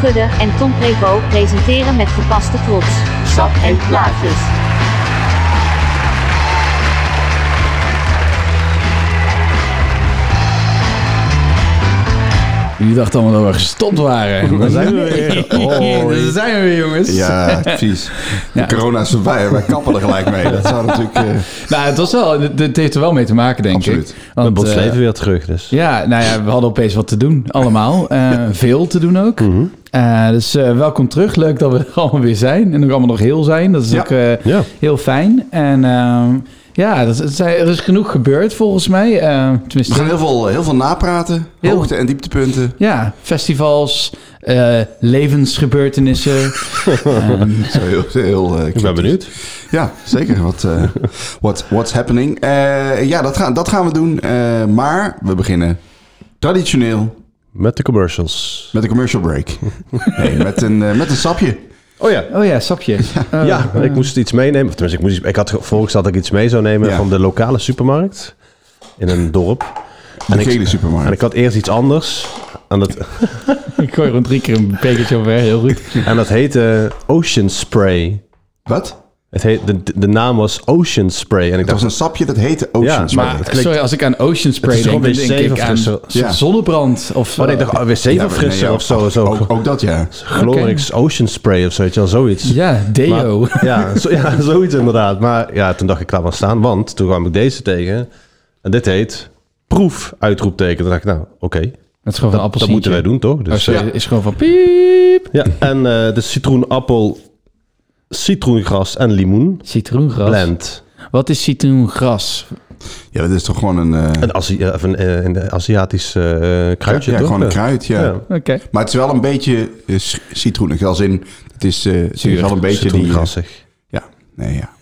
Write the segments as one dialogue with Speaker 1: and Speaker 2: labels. Speaker 1: Gudde en Tom Prevo presenteren met gepaste trots. Sap en plaatjes.
Speaker 2: Jullie dachten allemaal dat we gestopt waren.
Speaker 3: Daar zijn we weer. Oh,
Speaker 2: Daar zijn we weer, jongens.
Speaker 3: Ja, precies. De
Speaker 2: Ja.
Speaker 3: corona is voorbij. Wij kappen er gelijk mee. Dat zou natuurlijk... eh,
Speaker 2: Nou, het, was wel, het, het heeft er wel mee te maken, denk
Speaker 3: Absoluut.
Speaker 2: ik.
Speaker 4: Mijn bot
Speaker 2: eh,
Speaker 4: leven weer terug, dus.
Speaker 2: ja, nou ja, we hadden opeens wat te doen, allemaal. Eh, veel te doen ook.
Speaker 3: Mhm.
Speaker 2: Eh, dus eh, welkom terug. Leuk dat we er allemaal weer zijn. En ook allemaal nog heel zijn. Dat is
Speaker 3: Ja.
Speaker 2: ook eh,
Speaker 4: Ja.
Speaker 2: heel fijn. En ehm, ja, dat, het zijn- er is genoeg gebeurd volgens mij. Eh,
Speaker 3: we
Speaker 2: tenminste,
Speaker 3: gaan heel veel, heel veel napraten.
Speaker 2: Heel-
Speaker 3: Hoogte- en dieptepunten.
Speaker 2: ja, festivals, eh, levensgebeurtenissen. Ehm,
Speaker 3: Zo heel, heel, eh,
Speaker 4: Ik ben benieuwd.
Speaker 3: Ja, zeker. Wat, eh, what, what's happening? Eh, ja, dat gaan, dat gaan we doen. Eh, maar we beginnen traditioneel
Speaker 4: Met de commercials.
Speaker 3: met een commercial break. Nee, met, een, eh, met een sapje.
Speaker 4: Oh ja.
Speaker 2: oh ja, sapje. Eh,
Speaker 4: Ja, ik moest iets meenemen. Of tenminste, ik, moest, iets- ik had volgens dat ik iets mee zou nemen
Speaker 3: Ja.
Speaker 4: van de lokale supermarkt. In een dorp.
Speaker 3: De
Speaker 4: ik-
Speaker 3: gele supermarkt.
Speaker 4: En ik had eerst iets anders. En dat,
Speaker 2: Ik gooi rond drie keer een bekertje over, heel goed.
Speaker 4: en dat heette Ocean Spray.
Speaker 3: Wat?
Speaker 4: Het heet, de, de naam was Ocean Spray. En ik
Speaker 3: Het was
Speaker 4: dacht,
Speaker 3: een sapje dat heette Ocean
Speaker 4: Ja,
Speaker 3: Spray.
Speaker 4: maar- het klinkt-
Speaker 2: Sorry, als ik aan Ocean Spray
Speaker 4: Het is
Speaker 2: denk,
Speaker 4: toch
Speaker 2: dan
Speaker 4: een
Speaker 2: denk
Speaker 4: wc
Speaker 2: ik
Speaker 4: of
Speaker 2: aan
Speaker 4: zo?
Speaker 3: Ja.
Speaker 2: zonnebrand. Of,
Speaker 4: oh, nee, ik dacht, oh, wc
Speaker 3: Ja, Oh,
Speaker 4: of
Speaker 3: maar nee,
Speaker 4: of zo. zo.
Speaker 3: Ook, ook dat, ja.
Speaker 4: Glorix Ocean Spray of zo, weet je wel, zoiets.
Speaker 2: ja,
Speaker 4: Maar-
Speaker 2: deo.
Speaker 4: ja, zo, ja, zoiets inderdaad. Maar ja, toen dacht ik, laat maar staan. Want toen kwam ik deze tegen. En dit heet proef, uitroepteken. Toen dacht ik, nou, oké.
Speaker 2: Dat is gewoon van Oh,
Speaker 4: Dat moeten wij doen, toch? Dus, eh,
Speaker 2: is gewoon van piep.
Speaker 4: ja. En eh, de citroen, appel, citroengras en limoen.
Speaker 2: Citroengras.
Speaker 4: Blend.
Speaker 2: Wat is citroengras?
Speaker 3: Ja, dat is toch gewoon een... eh,
Speaker 4: Een, Azi of een, eh, een Aziatisch eh, kruidje,
Speaker 3: ja,
Speaker 4: toch?
Speaker 3: gewoon een kruid, ja.
Speaker 4: Ja.
Speaker 2: Oké.
Speaker 3: Maar het is wel een beetje eh, c- citroenig. Als in, het is, eh, het is wel een beetje die... eh,
Speaker 4: Citroengrassig.
Speaker 3: Ja, nee, ja.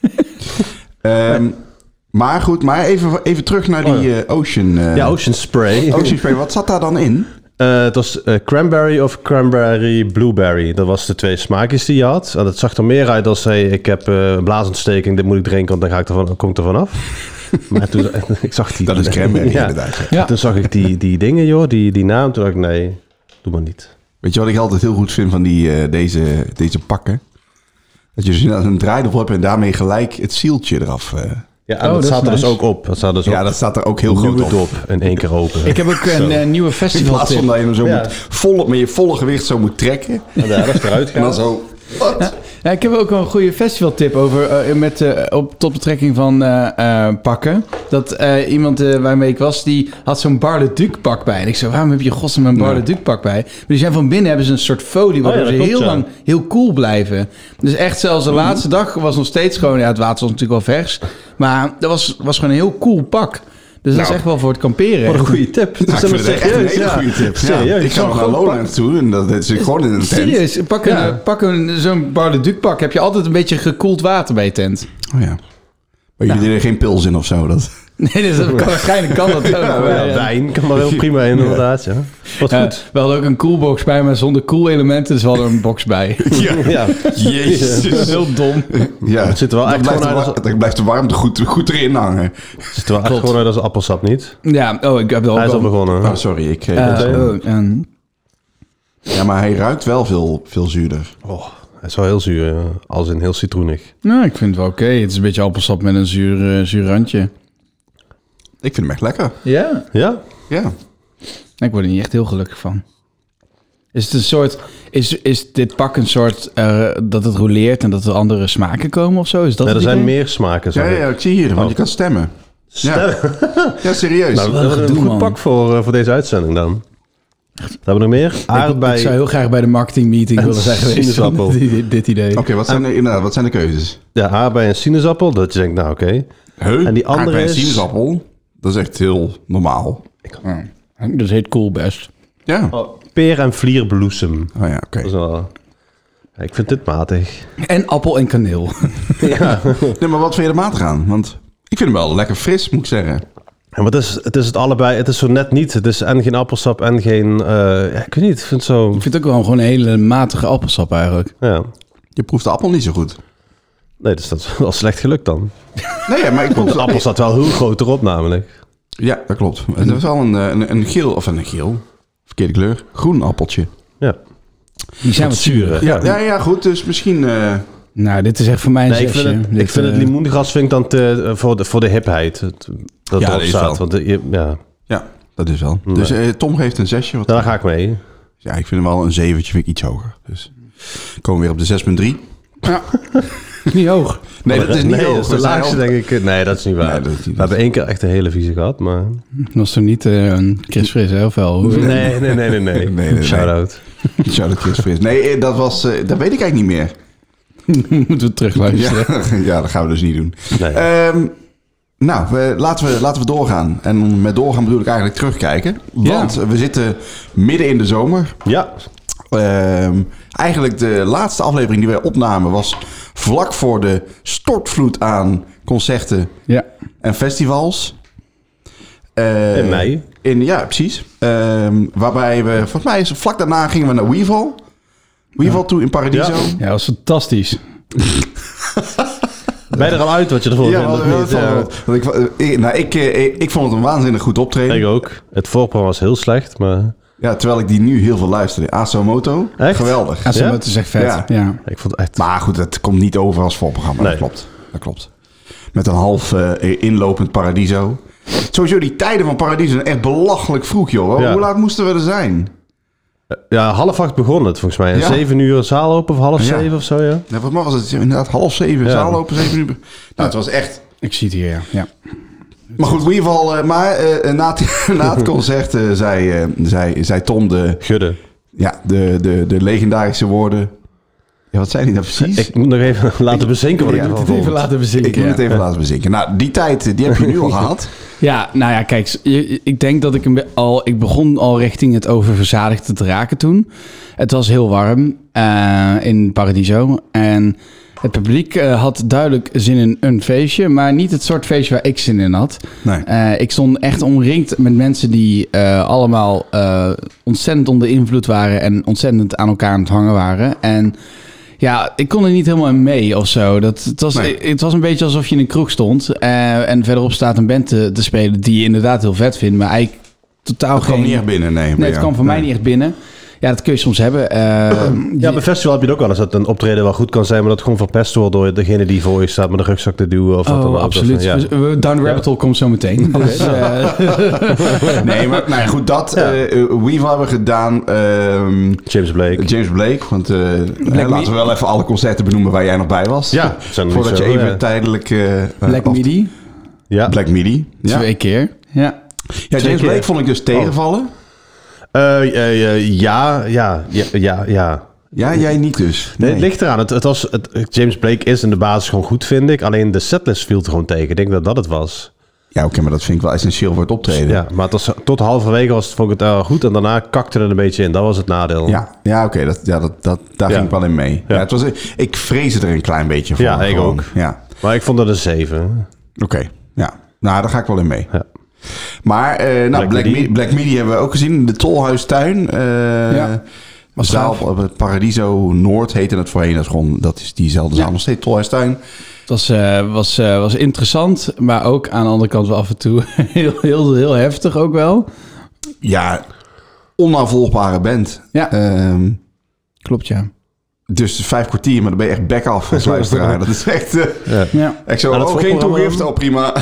Speaker 3: Ehm, maar goed, maar even, even terug naar die
Speaker 4: Oh,
Speaker 3: eh, Ocean... eh,
Speaker 4: ja, Ocean Spray.
Speaker 3: Ocean Spray, wat zat daar dan in?
Speaker 4: Eh, het was eh, cranberry of cranberry blueberry. Dat was de twee smaakjes die je had. En dat zag er meer uit als, hey, ik heb eh, blaasontsteking, dit moet ik drinken, want dan ga ik ervan, kom ik er vanaf. Maar toen, eh, ik zag die...
Speaker 3: Dat is cranberry, inderdaad, ja.
Speaker 2: Ja.
Speaker 4: Toen zag ik die, die dingen, joh, die, die naam. Toen dacht ik, nee, doe maar niet.
Speaker 3: Weet je wat ik altijd heel goed vind van die, eh, deze, deze pakken? Dat je dus inderdaad een draaidobbel hebt en daarmee gelijk het zieltje eraf. eh.
Speaker 4: Ja, en
Speaker 2: Oh,
Speaker 4: dat,
Speaker 2: dat is
Speaker 4: staat er dus
Speaker 2: nice.
Speaker 4: ook op. Dat staat dus
Speaker 3: Ja,
Speaker 4: ook
Speaker 3: dat staat er ook heel
Speaker 4: nieuwe
Speaker 3: groot op.
Speaker 4: dop in één keer open.
Speaker 2: Ik heb ook een eh, nieuwe
Speaker 3: In
Speaker 2: festival
Speaker 3: plaats van dat je hem zo
Speaker 4: Ja.
Speaker 3: moet vol, met je volle gewicht zo moet trekken.
Speaker 4: En daar is eruit
Speaker 3: En
Speaker 4: gaan.
Speaker 3: dan zo... Wat?
Speaker 2: Ja, ik heb ook een goede festivaltip over, eh, met, eh, op, tot betrekking van eh, eh, pakken. Dat eh, iemand eh, waarmee ik was, die had zo'n Bar le Duc pak bij. En ik zei, waarom heb je godsnaam een Bar le Duc pak bij? Maar die zijn van binnen hebben ze een soort folie, waardoor
Speaker 4: dat
Speaker 2: ze
Speaker 4: klopt,
Speaker 2: heel
Speaker 4: Oh ja. Mhm.
Speaker 2: lang heel cool blijven. Dus echt zelfs de laatste dag was nog steeds gewoon, ja het water was natuurlijk wel vers. Maar dat was, was gewoon een heel cool pak. Dus dat is echt wel voor het kamperen.
Speaker 4: Nou. Wat een goede tip. Het
Speaker 3: Nou,
Speaker 4: is
Speaker 3: ik vind het
Speaker 4: helemaal
Speaker 3: echt een
Speaker 4: serieus,
Speaker 3: hele
Speaker 4: ja.
Speaker 3: goede tip. Ja,
Speaker 4: Serieus.
Speaker 3: ik ga nog naar Lowlands toe en dat is gewoon in een tent.
Speaker 2: Serieus, pak, een,
Speaker 4: Ja.
Speaker 2: eh, pak een, zo'n Bar le Duc pak. Heb je altijd een beetje gekoeld water bij je tent?
Speaker 3: Oh ja. Maar
Speaker 4: Nou.
Speaker 3: jullie deden er geen pils in of zo? Dat...
Speaker 2: Nee, dus dat kan, waarschijnlijk kan dat ook. maar,
Speaker 4: Ja,
Speaker 2: ja.
Speaker 4: wijn kan daar heel prima in, inderdaad. Ja. Wat
Speaker 2: Ja,
Speaker 4: goed.
Speaker 2: we hadden ook een coolbox bij, maar zonder cool elementen. Dus we hadden een box bij.
Speaker 4: Ja.
Speaker 3: Jezus.
Speaker 2: Heel dom.
Speaker 3: Ja,
Speaker 4: Het zit er wel
Speaker 3: dan blijft,
Speaker 4: echt gewoon
Speaker 3: de,
Speaker 4: uit
Speaker 3: wa-
Speaker 4: als-
Speaker 3: dan blijft de warmte goed, goed erin hangen.
Speaker 4: Het ziet er wel echt gewoon uit als appelsap, niet?
Speaker 2: Ja, oh, ik heb wel
Speaker 4: Hij is al begonnen.
Speaker 3: Oh, sorry. Ik, eh,
Speaker 2: Eh,
Speaker 4: begonnen.
Speaker 2: oh, en-
Speaker 3: ja, maar hij ruikt wel veel, veel zuurder.
Speaker 4: Oh, hij is wel heel zuur, ja. als in heel citroenig.
Speaker 2: nou, ik vind het wel oké. Het is een beetje appelsap met een zuur, eh, zuur randje.
Speaker 3: Ik vind hem echt lekker.
Speaker 2: Ja?
Speaker 4: Ja?
Speaker 3: Ja.
Speaker 2: Ik word er niet echt heel gelukkig van. Is het een soort... Is, is dit pak een soort... eh, dat het rouleert en dat er andere smaken komen of zo? Is dat
Speaker 4: Nee, er
Speaker 2: het
Speaker 4: zijn
Speaker 2: idee?
Speaker 4: meer smaken.
Speaker 3: Ja,
Speaker 4: zeg
Speaker 3: ja,
Speaker 4: ik.
Speaker 3: ik zie hier, want
Speaker 4: Oh.
Speaker 3: je kan stemmen.
Speaker 4: Sterk.
Speaker 3: Ja, serieus.
Speaker 4: Nou, dat is
Speaker 2: gedoe,
Speaker 4: een goed
Speaker 2: man.
Speaker 4: pak voor, eh, voor deze uitzending dan. Hebben we nog meer?
Speaker 2: Ik zou
Speaker 4: Aardbei.
Speaker 2: heel graag bij de marketing meeting willen zijn geweest. van
Speaker 4: sinaasappel.
Speaker 2: dit- dit, dit idee.
Speaker 3: Oké, wat, zijn de- inderdaad, wat zijn de keuzes?
Speaker 4: Ja, aardbei en sinaasappel. Dat je denkt, nou oké.
Speaker 3: Heu,
Speaker 4: En die andere
Speaker 3: aardbei en
Speaker 4: is-
Speaker 3: sinaasappel. Dat is echt heel normaal.
Speaker 2: Dat Dus heet cool best.
Speaker 3: Ja. Oh,
Speaker 4: Oh, peer en vlierbloesem.
Speaker 3: ja, oké.
Speaker 4: Dat is wel... Ja, ik vind dit matig.
Speaker 2: En appel en kaneel.
Speaker 3: Nee, maar wat vind je er matig aan? Want ik vind hem wel lekker fris, moet ik zeggen.
Speaker 4: Ja, maar het is, het is het allebei. Het is zo net niet. Het is en geen appelsap en geen... eh, ja, ik weet niet. Ik vind het zo...
Speaker 2: Ik vind het ook wel gewoon een hele matige appelsap eigenlijk.
Speaker 4: Ja.
Speaker 3: Je proeft de appel niet zo goed.
Speaker 4: Nee, dus dat is wel slecht gelukt dan.
Speaker 3: Nee, ja, maar ik proef
Speaker 4: De appel staat wel heel groot erop namelijk.
Speaker 3: Ja, dat klopt. Het is wel een, eh, een, een geel, of een geel, verkeerde kleur, groen appeltje.
Speaker 4: Ja.
Speaker 2: Die zijn wat zuurig.
Speaker 4: Ja,
Speaker 3: Ja, ja, goed. Dus misschien... eh,
Speaker 2: Nou, dit is echt voor mij een
Speaker 4: Nee, ik vind
Speaker 2: zesje.
Speaker 4: het,
Speaker 2: Dit,
Speaker 4: ik vind het
Speaker 2: eh,
Speaker 4: limoengras vind ik dan te, eh, voor, de, voor de hipheid. Het- Dat
Speaker 3: Ja,
Speaker 4: erop
Speaker 3: dat is wel.
Speaker 4: staat. Want de- je- ja,
Speaker 3: ja, dat is wel. Dus eh, Tom geeft een zesje. Wat,
Speaker 4: daar ga ik mee.
Speaker 3: ja, ik vind hem wel een zeventje, vind ik iets hoger. Dus komen we weer op de 6,3.
Speaker 2: niet hoog.
Speaker 3: Nee, dat is niet
Speaker 4: nee,
Speaker 3: hoog.
Speaker 4: dat is
Speaker 3: We
Speaker 4: de
Speaker 3: zijn
Speaker 4: laagste,
Speaker 3: al-
Speaker 4: denk ik. Nee, dat is niet waar.
Speaker 3: Nee, dat is niet-
Speaker 4: we hebben één keer echt een hele vieze gehad, maar...
Speaker 2: Was er niet eh, een Chris Fris, hè? Of wel? Hoe-
Speaker 4: Nee, nee, nee, nee. nee.
Speaker 3: nee, nee.
Speaker 4: Shout-out.
Speaker 3: Zou dat Chris Fris- Nee, eh, dat was... eh, dat weet ik eigenlijk niet meer.
Speaker 2: Moeten we terugluisteren.
Speaker 3: Ja, ja, dat gaan we dus niet doen.
Speaker 4: Nee.
Speaker 3: Ehm, nou, we- laten, we, laten we doorgaan. En met doorgaan bedoel ik eigenlijk terugkijken. Want we zitten midden in de zomer.
Speaker 4: Ja,
Speaker 3: Ehm, eigenlijk de laatste aflevering die wij opnamen was vlak voor de stortvloed aan concerten
Speaker 2: Ja.
Speaker 3: en festivals. Eh,
Speaker 4: In mei.
Speaker 3: In, ja, precies. Ehm, waarbij we, volgens mij, is- vlak daarna gingen we naar Weevil. Weevil toe in Paradiso.
Speaker 4: Ja.
Speaker 2: Ja, dat was fantastisch.
Speaker 4: ben je er al uit wat je ervoor
Speaker 3: Ja, wel,
Speaker 4: vindt? of
Speaker 3: wel,
Speaker 4: niet?
Speaker 3: wel,
Speaker 4: Ja.
Speaker 3: wel. Want ik, eh, ik, nou, ik, eh, ik, ik vond het een waanzinnig goed optreden.
Speaker 4: Ik ook. Het voorprogramma was heel slecht, maar
Speaker 3: Ja, terwijl ik die nu heel veel luisterde. Asomoto,
Speaker 4: Echt?
Speaker 3: geweldig.
Speaker 2: Ja, zo
Speaker 4: Ja?
Speaker 2: het is echt vet.
Speaker 3: Ja.
Speaker 2: Ja.
Speaker 4: ik vond het echt...
Speaker 3: Maar goed, het komt niet over als voorprogramma. Dat
Speaker 4: Nee.
Speaker 3: klopt. Dat klopt. Met een half eh, inlopend Paradiso. Sowieso, die tijden van Paradiso zijn echt belachelijk vroeg, joh.
Speaker 4: Ja.
Speaker 3: Hoe laat moesten we er zijn?
Speaker 4: Ja, half acht begon het volgens mij. En
Speaker 3: Ja.
Speaker 4: Zeven uur zaal open of half
Speaker 3: Ja.
Speaker 4: zeven of zo, ja.
Speaker 3: Nou, wat was het? Inderdaad, half zeven,
Speaker 4: Ja.
Speaker 3: zaal open, zeven uur. Nou, het was echt...
Speaker 2: Ik zie het hier, ja. ja.
Speaker 3: Maar goed, in ieder geval... eh, maar eh, na, het, na het concert eh, zei, eh, zei, zei Tom de,
Speaker 4: Gudde.
Speaker 3: ja, de, de, de legendarische woorden... Ja, wat zei hij nou precies?
Speaker 4: Ik moet nog even laten bezinken wat
Speaker 3: Ja,
Speaker 4: ik
Speaker 3: dit
Speaker 4: ervan
Speaker 2: Even
Speaker 4: vond.
Speaker 2: laten bezinken.
Speaker 3: Ik moet het
Speaker 2: ja.
Speaker 3: even laten bezinken. Nou, die tijd, eh, die heb je nu al gehad.
Speaker 2: Ja, nou ja, kijk, s- je- ik denk dat ik een be- al, ik begon al richting het oververzadigd te raken toen. Het was heel warm eh, in Paradiso en het publiek eh, had duidelijk zin in een feestje, maar niet het soort feestje waar ik zin in had.
Speaker 3: Nee.
Speaker 2: Eh, ik stond echt omringd met mensen die eh, allemaal eh, ontzettend onder invloed waren en ontzettend aan elkaar aan het hangen waren. En ja, ik kon er niet helemaal in mee of zo. Dat, het, was,
Speaker 3: Nee.
Speaker 2: het was een beetje alsof je in een kroeg stond eh, en verderop staat een band te, te spelen die je inderdaad heel vet vindt, maar eigenlijk totaal
Speaker 3: Dat
Speaker 2: geen...
Speaker 3: kwam niet echt binnen, nee.
Speaker 2: Nee, het kwam voor mij niet echt binnen. Ja, dat kun je soms hebben. Eh,
Speaker 4: Ja, bij festival heb je het ook wel eens dat een optreden wel goed kan zijn, maar dat gewoon verpest wordt door degene die voor je staat met een rugzak te duwen of wat dan
Speaker 2: Oh,
Speaker 4: ook.
Speaker 2: absoluut.
Speaker 4: Ja.
Speaker 2: We- we- Down the Rabbit Hole komt zo meteen. Dus, eh,
Speaker 3: Nee, maar nou ja, goed, dat
Speaker 4: Ja.
Speaker 3: eh Weave hebben gedaan. ehm,
Speaker 4: James Blake.
Speaker 3: James Blake, want eh, hè, laten we wel even alle concerten benoemen waar jij nog bij was.
Speaker 4: Ja, zijn er
Speaker 3: Voordat
Speaker 4: niet
Speaker 3: je
Speaker 4: zo,
Speaker 3: even
Speaker 4: ja.
Speaker 3: tijdelijk... eh,
Speaker 2: Black
Speaker 3: af-
Speaker 2: Midi,
Speaker 4: Ja.
Speaker 3: Black Midi. Ja.
Speaker 2: twee keer. Ja.
Speaker 3: Ja, James
Speaker 4: keer.
Speaker 3: Blake vond ik dus tegenvallen.
Speaker 4: Oh. Eh, eh, eh, ja, ja, ja, ja, ja.
Speaker 3: Ja, jij niet dus.
Speaker 4: Nee, het ligt eraan. Het, het was, het, James Blake is in de basis gewoon goed, vind ik. Alleen de setlist viel er gewoon tegen. Ik denk dat dat het was.
Speaker 3: Ja, oké, maar dat vind ik wel essentieel voor het optreden.
Speaker 4: Ja, maar het was, tot halverwege was het, vond ik het eh, goed. En daarna kakte het een beetje in. Dat was het nadeel.
Speaker 3: Ja, ja oké, dat, ja, dat, dat, daar
Speaker 4: Ja.
Speaker 3: ging ik wel in mee. Ja.
Speaker 4: Ja.
Speaker 3: het was, ik vrees er een klein beetje voor.
Speaker 4: Ja, ik
Speaker 3: gewoon.
Speaker 4: ook.
Speaker 3: Ja,
Speaker 4: Maar ik vond dat een 7.
Speaker 3: Oké, ja. Nou, daar ga ik wel in mee.
Speaker 4: Ja.
Speaker 3: Maar eh, nou, Black,
Speaker 4: Black
Speaker 3: Midi.
Speaker 4: Midi.
Speaker 3: Black Midi hebben we ook gezien. in De Tolhuistuin. eh
Speaker 2: Ja. Was
Speaker 3: zaal
Speaker 2: gaaf.
Speaker 3: op het Paradiso Noord heette het voorheen. Dat is, gewoon, dat is diezelfde zaal nog steeds. Tolhuistuin.
Speaker 2: Het was, eh, was, eh, was interessant, maar ook aan de andere kant wel af en toe heel, heel, heel heftig ook wel.
Speaker 3: Ja, onafvolgbare band.
Speaker 2: Ja.
Speaker 3: Ehm,
Speaker 2: Klopt, ja.
Speaker 3: dus vijf kwartier, maar dan ben je echt back af als luisteraar. dat is echt... eh,
Speaker 2: Ja,
Speaker 3: Ik zo,
Speaker 4: Maar dat
Speaker 3: oh, geen
Speaker 4: voorprogramma-
Speaker 3: toegift. Oh, prima.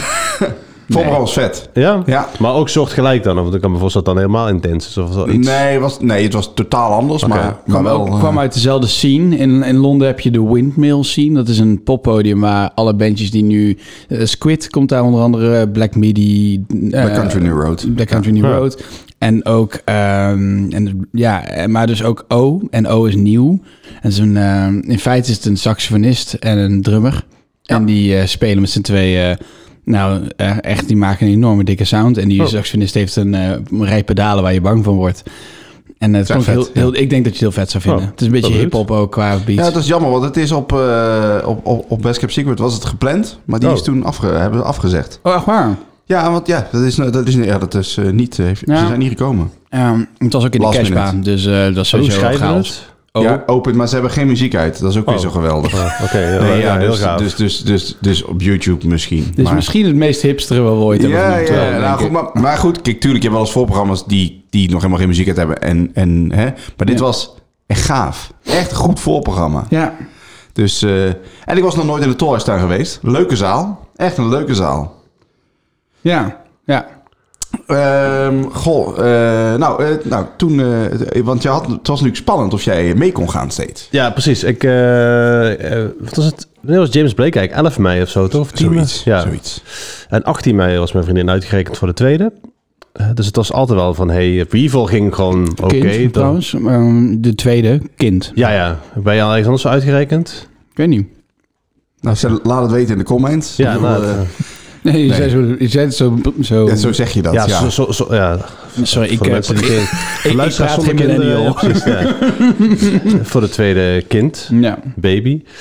Speaker 3: Vooral was vet.
Speaker 4: Ja?
Speaker 3: Ja.
Speaker 4: Maar ook soort gelijk dan. Want ik kan me voorstellen dat dan helemaal intens is. Of zo. iets.
Speaker 3: Nee, was, nee, het was totaal anders, maar, maar
Speaker 2: kwam,
Speaker 3: wel...
Speaker 2: ook,
Speaker 3: eh,
Speaker 2: kwam uit dezelfde scene. In, in Londen heb je de Windmill scene. Dat is een poppodium waar alle bandjes die nu... eh, Squid komt daar onder andere, Black Midi... eh,
Speaker 3: bij Country New Road.
Speaker 2: Black Country New Road. En ook, ehm, en, ja, en- maar dus ook O. En O is nieuw. En zo'n, ehm, in feite is het een saxofonist en een drummer. En die eh, spelen met z'n tweeën. eh, nou, eh, echt, die maken een enorme dikke sound. En die saxofonist heeft een eh rij pedalen waar je bang van wordt. En het
Speaker 3: Ja,
Speaker 2: klonk
Speaker 3: vet,
Speaker 2: heel,
Speaker 3: ja.
Speaker 2: heel, ik denk dat je het heel vet zou vinden.
Speaker 4: Oh,
Speaker 2: het is een beetje
Speaker 4: wel leuk.
Speaker 2: hip-hop ook qua beats.
Speaker 3: Ja, dat is jammer, want het is op, eh op, op, op Best Kept Secret was het gepland, maar die
Speaker 4: Oh.
Speaker 3: is toen afge, hebben ze afgezegd.
Speaker 2: Oh, echt waar?
Speaker 3: Ja, want ja, dat is, dat is, ja, dat is eh, niet, eh, ze
Speaker 2: Ja.
Speaker 3: zijn niet gekomen.
Speaker 2: Ehm, het was ook in de
Speaker 3: Last minute.
Speaker 2: cashbaan, dus eh, dat is
Speaker 4: Hoe
Speaker 2: sowieso
Speaker 4: schrijven we
Speaker 2: chaos.
Speaker 4: het?
Speaker 2: Oh.
Speaker 3: Ja, open, maar ze hebben geen muziek uit. Dat is ook weer zo geweldig.
Speaker 4: Ah, Oké, ja,
Speaker 3: Nee,
Speaker 4: ja,
Speaker 3: Oh. ja,
Speaker 4: heel
Speaker 3: dus,
Speaker 4: gaaf.
Speaker 3: dus, dus, dus, dus op YouTube misschien.
Speaker 2: Dit is misschien het meest hipstere wat we ooit hebben
Speaker 3: ja,
Speaker 2: genoemd,
Speaker 3: ja,
Speaker 2: wel,
Speaker 3: nou,
Speaker 2: denk ik.
Speaker 3: goed, maar, maar goed, kijk, tuurlijk, je hebt wel eens voorprogramma's die, die nog helemaal geen muziek uit hebben. En, en, hè? Maar dit
Speaker 2: Ja.
Speaker 3: was En gaaf. Echt goed voorprogramma.
Speaker 2: Ja.
Speaker 3: Dus, eh, en ik was nog nooit in de Tolhuistuin geweest. Leuke zaal. Echt een leuke zaal.
Speaker 2: Ja. Ja.
Speaker 3: Ehm, goh, eh, nou, eh, nou, toen... eh, want je had, het was natuurlijk spannend of jij mee kon gaan steeds.
Speaker 4: Ja, precies. Ik, eh, eh, wat was het? Wanneer was James Blake eigenlijk? 11 mei of zo, toch? Of 10 mei?
Speaker 3: Zoiets,
Speaker 4: Ja.
Speaker 3: zoiets.
Speaker 4: En 18 mei was mijn vriendin uitgerekend voor de tweede. Eh, dus het was altijd wel van, hey, Weevil ging gewoon oké.
Speaker 2: Kind,
Speaker 4: dan-
Speaker 2: trouwens. Ehm, de tweede, kind.
Speaker 4: Ja, ja. Ben je al ergens anders uitgerekend?
Speaker 2: Ik weet niet.
Speaker 3: Nou, ze- laat het weten in de comments.
Speaker 4: Ja,
Speaker 3: Ik wil,
Speaker 4: nou,
Speaker 3: eh,
Speaker 2: Nee, je
Speaker 3: Nee.
Speaker 2: zei zo... Je zei het zo, zo,
Speaker 3: ja, zo zeg je dat, ja.
Speaker 4: ja, Zo, zo, zo, ja.
Speaker 2: Sorry, ik...
Speaker 4: Voor de
Speaker 2: eh,
Speaker 4: mensen die
Speaker 2: ik-
Speaker 4: geen-
Speaker 2: ik
Speaker 4: luisteraars
Speaker 2: praat
Speaker 4: zonder
Speaker 2: geen
Speaker 4: kinderen,
Speaker 2: millennial.
Speaker 4: ja, precies, ja. voor de tweede kind,
Speaker 2: Ja.
Speaker 4: baby.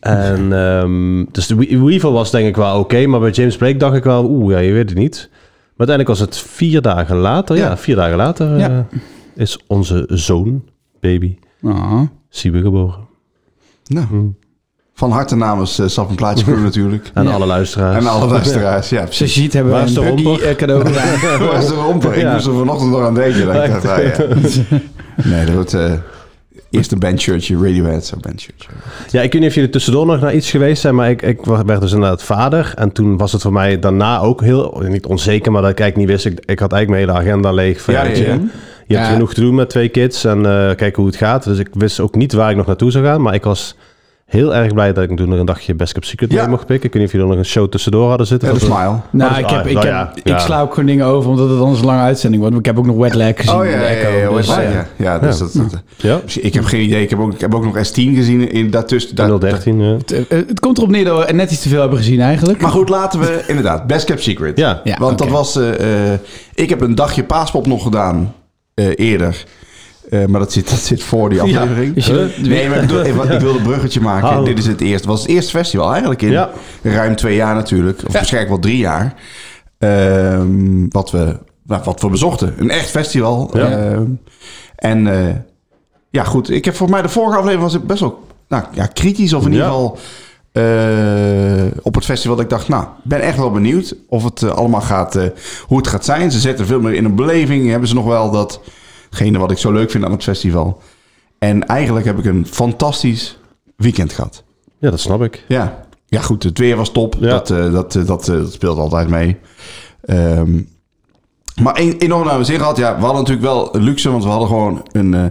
Speaker 4: En, ehm, dus de We- Weevil was denk ik wel oké, maar bij James Blake dacht ik wel, oeh, ja, je weet het niet. Maar uiteindelijk was het vier dagen later, ja,
Speaker 3: Ja.
Speaker 4: vier dagen later
Speaker 2: Ja.
Speaker 4: eh, is onze zoon, baby,
Speaker 2: Ah.
Speaker 4: Siebe geboren.
Speaker 3: Nou, van harte namens eh, Sap en Plaatje Crew natuurlijk.
Speaker 4: Mm. En alle luisteraars.
Speaker 3: En alle luisteraars, ja precies.
Speaker 2: Sajid hebben wij
Speaker 4: Waar is
Speaker 2: een
Speaker 4: de
Speaker 2: buggy
Speaker 4: romper?
Speaker 2: eh, cadeau gedaan.
Speaker 3: Waar is de romper? Ik
Speaker 4: Ja.
Speaker 3: moest er vanochtend nog aan denken. Dat ik dacht, ah, ja. Nee, dat wordt eh, eerst een bandshirtje, Radiohead, zo'n bandshirtje.
Speaker 4: Ja, ik weet niet of jullie tussendoor nog naar iets geweest zijn, maar ik, ik werd dus inderdaad vader. En toen was het voor mij daarna ook heel, niet onzeker, maar dat ik eigenlijk niet wist. Ik, ik had eigenlijk mijn hele agenda leeg. Van,
Speaker 3: Ja,
Speaker 4: weet
Speaker 3: ja.
Speaker 4: Je, je hebt
Speaker 2: Ja.
Speaker 4: genoeg te doen met twee kids en eh kijken hoe het gaat. Dus ik wist ook niet waar ik nog naartoe zou gaan, maar ik was heel erg blij dat ik toen nog een dagje Best Cup Secret
Speaker 3: Ja.
Speaker 4: mee mocht pikken. Ik weet niet of jullie nog een show tussendoor hadden zitten.
Speaker 3: En een
Speaker 4: Dat was-
Speaker 3: smile.
Speaker 2: Nou,
Speaker 4: Oh,
Speaker 2: ik,
Speaker 4: dus-
Speaker 2: heb,
Speaker 4: ah,
Speaker 2: ik,
Speaker 4: nou
Speaker 2: heb,
Speaker 4: ja,
Speaker 2: ik
Speaker 4: ja.
Speaker 2: sla ook gewoon dingen over, omdat het anders een lange uitzending wordt. Ik heb ook nog wet lag gezien.
Speaker 3: Oh
Speaker 2: in
Speaker 3: ja, ja,
Speaker 2: de
Speaker 3: ja,
Speaker 2: Echo,
Speaker 3: ja,
Speaker 2: dus,
Speaker 3: ja,
Speaker 2: eh,
Speaker 3: ja. ja, dus dat, dat-
Speaker 4: Ja,
Speaker 3: dus ik heb geen idee. Ik heb ook, ik heb ook nog S10 gezien in daartussen. daar-
Speaker 4: 013. ja.
Speaker 2: het, eh, het komt erop neer dat we net iets te veel hebben gezien eigenlijk.
Speaker 3: Maar goed, laten we inderdaad, Best Kept Secret.
Speaker 4: Ja.
Speaker 2: Ja,
Speaker 3: Want
Speaker 2: oké.
Speaker 3: dat was, eh, eh, ik heb een dagje paaspop nog gedaan eh, eerder. Eh, maar dat zit, dat zit voor die aflevering.
Speaker 2: Is je dat-
Speaker 3: Nee, maar ik, bedoel, ik, wa- ik wilde een bruggetje maken.
Speaker 4: Hallo.
Speaker 3: Dit is het eerste. Het was het eerste festival eigenlijk in
Speaker 4: Ja.
Speaker 3: ruim twee jaar natuurlijk. Of waarschijnlijk wel drie jaar. Ehm, wat, we, nou, wat we bezochten. Een echt festival.
Speaker 4: Ja.
Speaker 3: Ehm, en eh, ja, goed. Ik heb voor mij de vorige aflevering was ik best wel nou, ja, kritisch. Of in ieder
Speaker 4: Ja.
Speaker 3: geval eh, op het festival. Dat ik dacht, nou, ik ben echt wel benieuwd of het eh, allemaal gaat, eh, hoe het gaat zijn. Ze zetten veel meer in een beleving. Hebben ze nog wel datgene wat ik zo leuk vind aan het festival. En eigenlijk heb ik een fantastisch weekend gehad.
Speaker 4: ja, dat snap ik.
Speaker 3: Ja, ja goed, het weer was top.
Speaker 4: Ja.
Speaker 3: Dat, eh, dat, eh, dat, eh, dat speelt altijd mee. Ehm, maar een, enorm naar mijn zin gehad. Ja, we hadden natuurlijk wel luxe, want we hadden gewoon een eh,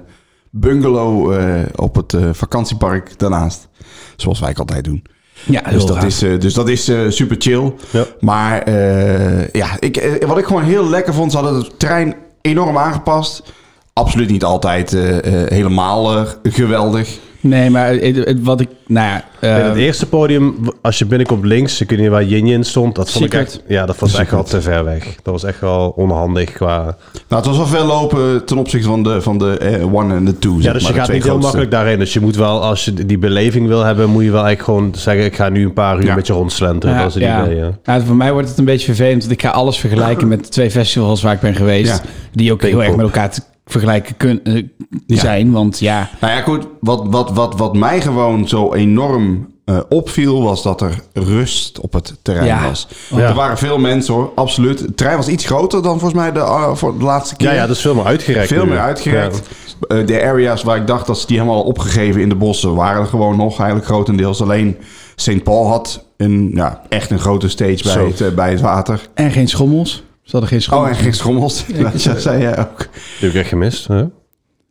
Speaker 3: bungalow eh, op het eh, vakantiepark daarnaast. Zoals wij altijd doen.
Speaker 2: Ja,
Speaker 3: Dus dat, is, eh, dus dat is eh, super chill.
Speaker 4: Ja.
Speaker 3: Maar eh, ja, ik, eh, wat ik gewoon heel lekker vond, ze hadden de trein enorm aangepast. Absoluut niet altijd eh, eh, helemaal eh, geweldig.
Speaker 2: Nee, maar het, het- wat ik... Nou ja... eh,
Speaker 3: Ehm.
Speaker 4: En het eerste podium, als je binnenkomt links, ik weet niet waar Yin Yin stond. Dat vond ik
Speaker 2: Secret.
Speaker 4: echt, ja, dat was echt wel te ver weg. Dat was echt wel onhandig qua...
Speaker 3: Nou, het was wel veel lopen ten opzichte van de, van de eh, one en de two.
Speaker 4: Ja, dus je gaat niet heel makkelijk daarheen. Dus je moet wel, als je die beleving wil hebben, moet je wel echt gewoon zeggen, ik ga nu een paar uur
Speaker 3: Ja.
Speaker 4: met je rondslenteren. dat is het idee, ja.
Speaker 2: Ja, Nou, voor mij wordt het een beetje vervelend, want ik ga alles vergelijken met de twee festivals waar ik ben geweest,
Speaker 3: Ja.
Speaker 2: die ook heel erg met
Speaker 4: Pinkpop.
Speaker 2: elkaar te vergelijken kunnen zijn, want ja,
Speaker 3: Nou ja, goed. Wat, wat, wat, wat mij gewoon zo enorm eh, opviel, was dat er rust op het terrein
Speaker 2: Ja.
Speaker 3: was.
Speaker 4: Ja.
Speaker 3: Er waren veel mensen hoor, absoluut. Het terrein was iets groter dan volgens mij de, eh, voor de laatste keer.
Speaker 4: Ja, ja, dat is veel meer uitgerekt.
Speaker 3: Veel
Speaker 4: nu.
Speaker 3: meer uitgerekt.
Speaker 4: Ja.
Speaker 3: Eh, de areas waar ik dacht dat ze die helemaal opgegeven in de bossen waren er gewoon nog eigenlijk grotendeels. Alleen St. Paul had een, ja, echt een grote stage bij
Speaker 4: Zo.
Speaker 3: het, eh, bij het water.
Speaker 2: en geen schommels. Ze hadden geen
Speaker 3: Oh,
Speaker 2: schommels.
Speaker 3: en geen schommels. Dat zei jij ook.
Speaker 4: Die heb ik echt gemist. Hè?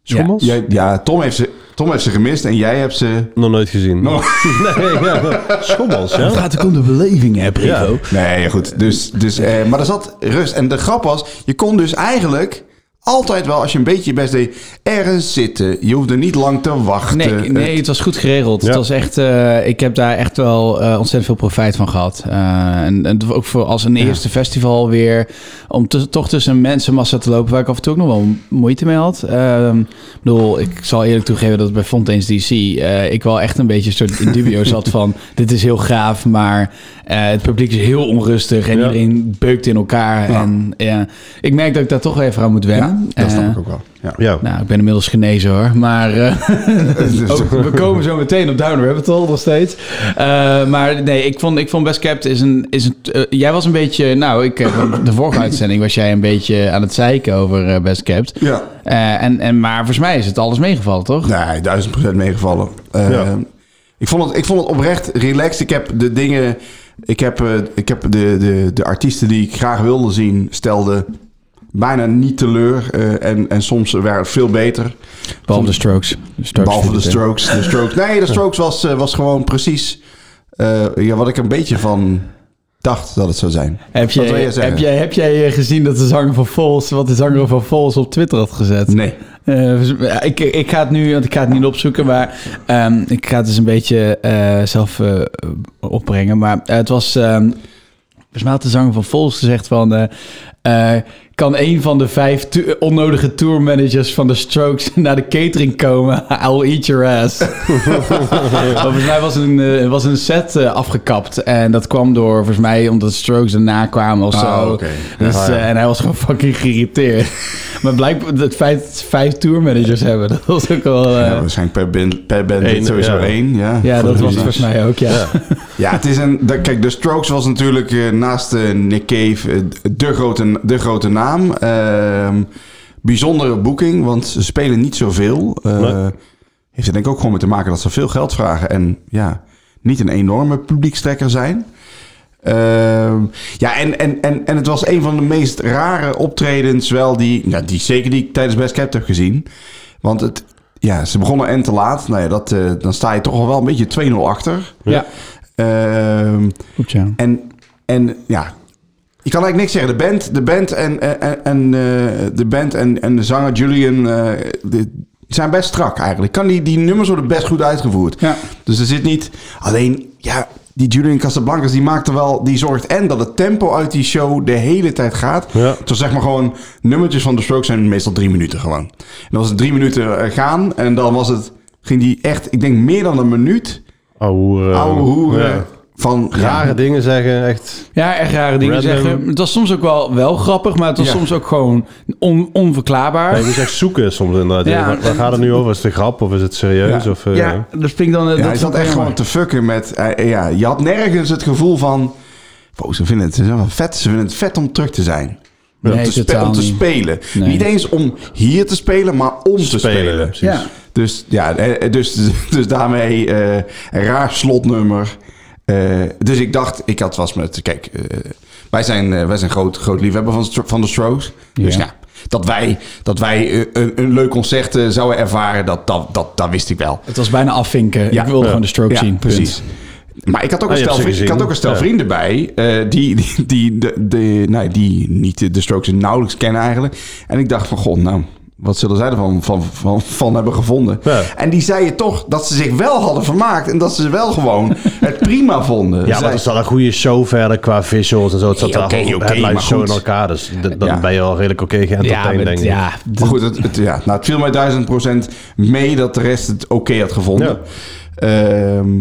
Speaker 4: Schommels?
Speaker 3: Jij- ja, Tom heeft, ze, Tom heeft ze gemist en jij hebt ze...
Speaker 4: Nog nooit gezien. Nee, ja. Schommels,
Speaker 2: Het
Speaker 4: ja.
Speaker 2: gaat ook om de beleving, hè, Privo?
Speaker 3: Nee, ja, goed. Dus, dus, eh, maar er zat rust. En de grap was, je kon dus eigenlijk altijd wel, als je een beetje je best deed, ergens zitten. Je hoefde niet lang te wachten.
Speaker 2: Nee, nee, het was goed geregeld.
Speaker 4: Ja.
Speaker 2: Het was echt, eh, ik heb daar echt wel eh, ontzettend veel profijt van gehad. Eh, en, en ook voor als een eerste festival weer. Om te- toch tussen een mensenmassa te lopen waar ik af en toe ook nog wel moeite mee had. Ehm, ik bedoel, ik zal eerlijk toegeven dat bij Fontaine's DC eh, ik wel echt een beetje een soort dubio zat van... dit is heel gaaf, maar eh, het publiek is heel onrustig en
Speaker 4: Ja.
Speaker 2: iedereen beukt in elkaar.
Speaker 3: Ja.
Speaker 2: En ja, ik merk dat ik daar toch even aan moet wennen. Ja, eh,
Speaker 3: Dat snap ik ook wel. Ja.
Speaker 4: Ja.
Speaker 2: Nou, ik ben inmiddels genezen hoor. Maar eh,
Speaker 3: Dus-
Speaker 2: ook- Oh, we komen zo meteen op Down Rabbit Hole nog steeds. Eh, maar nee, ik vond, ik vond Best Kept is een... Is een eh, jij was een beetje... Nou, ik, eh, de vorige uitzending was jij een beetje aan het zeiken over eh, Best Kept.
Speaker 3: Ja.
Speaker 2: Eh, en, en, maar volgens mij is het alles meegevallen, toch?
Speaker 3: Nee, duizend procent meegevallen. Eh,
Speaker 4: Ja.
Speaker 3: ik, vond het, ik vond het oprecht relaxed. Ik heb de dingen... Ik heb, eh, ik heb de, de, de artiesten die ik graag wilde zien, stelde bijna niet teleur. eh, en, en soms waren het veel beter.
Speaker 2: Behalve de Strokes. De strokes
Speaker 3: Behalve de
Speaker 2: doet het, hè.
Speaker 3: Strokes. De strokes. Nee, de Strokes was, eh, was gewoon precies eh, ja, wat ik een beetje van dacht dat het zou zijn.
Speaker 2: Heb
Speaker 3: Wat wil
Speaker 2: jij,
Speaker 3: je zeggen?
Speaker 2: heb, jij, heb jij eh, gezien dat de zanger van Vols... wat de zanger van Vols op Twitter had gezet?
Speaker 3: Nee.
Speaker 2: Eh, ik, ik ga het nu, want ik ga het niet opzoeken, maar ehm, ik ga het dus een beetje eh, zelf eh, opbrengen. Maar eh, het was, ehm volgens mij had de zanger van Vols gezegd van, eh, eh, kan een van de vijf tu- onnodige tourmanagers van de Strokes naar de catering komen? I'll eat your ass. Maar volgens mij was een, eh, was een set eh, afgekapt en dat kwam door, volgens mij, omdat de Strokes erna kwamen of zo.
Speaker 3: Ah, oké.
Speaker 2: Dus,
Speaker 4: Ja, ja.
Speaker 2: eh, en hij was gewoon fucking geïrriteerd. maar blijkbaar het feit dat ze vijf tourmanagers hebben, dat was ook wel... eh,
Speaker 3: Ja, waarschijnlijk per band, per band
Speaker 4: Eén,
Speaker 3: sowieso
Speaker 4: ja.
Speaker 3: één. Ja,
Speaker 2: ja,
Speaker 3: Voor
Speaker 2: dat
Speaker 3: de
Speaker 2: was het
Speaker 3: muziek.
Speaker 2: volgens mij ook, ja.
Speaker 3: Ja, het is een. de- kijk, de Strokes was natuurlijk eh, naast eh, Nick Cave eh, de, grote, de grote naam. Ehm, bijzondere boeking, want ze spelen niet zoveel. Eh,
Speaker 4: Nee.
Speaker 3: Heeft er denk ik ook gewoon mee te maken dat ze veel geld vragen en ja, niet een enorme publiekstrekker zijn. Ehm, ja, en, en, en, en het was een van de meest rare optredens, wel die, ja, die zeker die ik tijdens Best Kept heb gezien. Want het, ja, ze begonnen en te laat. Nou ja, dat, eh, dan sta je toch al wel een beetje 2-0 achter.
Speaker 2: Ja.
Speaker 3: Ehm,
Speaker 2: Goed, ja.
Speaker 3: en, en ja, ik kan eigenlijk niks zeggen. De band, de band en, en, en, eh, de, band en, en de zanger Julian eh, die zijn best strak eigenlijk. Kan die, die nummers worden best goed uitgevoerd.
Speaker 2: Ja.
Speaker 3: Dus er zit niet... Alleen, ja, die Julian Casablancas die maakt er wel... Die zorgt en dat het tempo uit die show de hele tijd gaat.
Speaker 4: Ja.
Speaker 3: Zo zeg maar gewoon... Nummertjes van The Strokes zijn meestal drie minuten gewoon. En dan was het drie minuten eh, gaan. En dan was het... Ging die echt, ik denk meer dan een minuut...
Speaker 4: Oude hoeren.
Speaker 3: Oude hoeren
Speaker 4: Eh, Ja.
Speaker 3: van...
Speaker 4: Rare
Speaker 3: ja,
Speaker 4: dingen zeggen, echt.
Speaker 2: Ja, echt rare dingen
Speaker 4: Random.
Speaker 2: zeggen. Het was soms ook wel, wel grappig, maar het was
Speaker 3: Ja.
Speaker 2: soms ook gewoon on- onverklaarbaar.
Speaker 4: Ja, je moet echt zoeken soms inderdaad.
Speaker 2: Ja.
Speaker 4: waar, waar gaat het nu over? Is het een grap of is het serieus?
Speaker 3: Ja.
Speaker 4: Of, eh,
Speaker 2: ja, dat vind ik dan... eh,
Speaker 3: Ja,
Speaker 2: dat
Speaker 3: hij
Speaker 2: vond
Speaker 3: zat
Speaker 2: ik
Speaker 3: echt
Speaker 2: jammer.
Speaker 3: gewoon te fucken met... eh, ja, je had nergens het gevoel van... Wow, ze vinden het, ze zijn wel vet, ze vinden het vet om terug te zijn.
Speaker 2: Nee,
Speaker 3: om, te spe-
Speaker 2: totaal
Speaker 3: om te
Speaker 2: niet.
Speaker 3: spelen.
Speaker 2: Nee.
Speaker 3: Niet eens om hier te spelen, maar om te spelen.
Speaker 4: Spelen, precies.
Speaker 2: Ja.
Speaker 3: Dus, ja, eh, dus, dus daarmee eh, een raar slotnummer. Eh, dus ik dacht, ik had was met... Kijk, eh, wij zijn, eh, wij zijn groot, groot liefhebber van, Stro- van de Strokes. Dus
Speaker 2: Ja.
Speaker 3: ja, dat wij, dat wij eh, een, een leuk concert eh, zouden ervaren, dat, dat, dat, dat wist ik wel.
Speaker 2: Het was bijna afvinken.
Speaker 3: Ja.
Speaker 2: Ik wilde
Speaker 3: Ja.
Speaker 2: gewoon de stroke zien. punt.
Speaker 3: Precies. Maar ik had ook
Speaker 4: Ah,
Speaker 3: een
Speaker 4: je
Speaker 3: stel,
Speaker 4: hebt ze
Speaker 3: vrienden, ik had
Speaker 4: gezien.
Speaker 3: ook een stel
Speaker 4: Ja.
Speaker 3: vrienden bij. eh, die, die, die, de, de, nou, die niet de- de Strokes nauwelijks kennen eigenlijk. En ik dacht van, god, nou, wat zullen zij ervan van, van, van hebben gevonden?
Speaker 4: Ja.
Speaker 3: En die zeiden toch dat ze zich wel hadden vermaakt. En dat ze wel gewoon het prima vonden.
Speaker 4: Ja, maar
Speaker 3: Zij-
Speaker 4: het is al een goede show verder qua visuals en zo. Het zat
Speaker 3: Nee,
Speaker 4: daar
Speaker 3: oké,
Speaker 4: al
Speaker 3: oké,
Speaker 4: headline
Speaker 3: maar
Speaker 4: show
Speaker 3: goed.
Speaker 4: in elkaar. Dus d- dan
Speaker 3: Ja.
Speaker 4: ben je al redelijk oké
Speaker 2: Ja,
Speaker 4: geëntertained,
Speaker 2: maar,
Speaker 4: denk ik.
Speaker 2: ja,
Speaker 3: Maar goed, het, het- ja, nou, het viel mij duizend procent mee dat de rest het oké had gevonden. Ehm,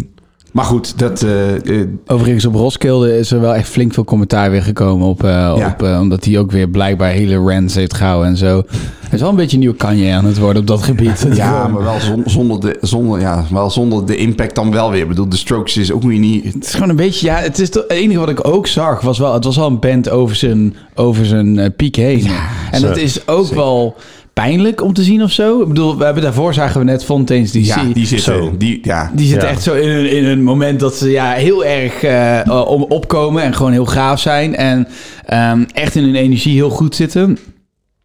Speaker 3: maar goed, dat... eh, eh,
Speaker 2: Overigens, op Roskilde is er wel echt flink veel commentaar weer gekomen. Op, eh, op, eh, omdat hij ook weer blijkbaar hele rants heeft gehouden en zo. Hij is wel een beetje een nieuw Kanye aan het worden op dat gebied.
Speaker 3: Ja, maar wel zon- zonder de, zonder, ja, wel zonder de impact dan wel weer. Ik bedoel, de Strokes is ook weer niet...
Speaker 2: Het is gewoon een beetje... Ja, het, is toch- het enige wat ik ook zag was wel... Het was al een band over zijn, over zijn eh, piek heen. en
Speaker 4: zo,
Speaker 2: dat is ook wel pijnlijk om te zien of zo. Ik bedoel, we hebben daarvoor zagen we net Fontaine's DC.
Speaker 3: Ja, die
Speaker 4: Zo.
Speaker 3: zitten. Die, ja.
Speaker 2: Die zitten
Speaker 4: Ja.
Speaker 2: echt zo in een, in een moment dat ze ja, heel erg eh, eh, om, opkomen en gewoon heel gaaf zijn. En ehm, echt in hun energie heel goed zitten.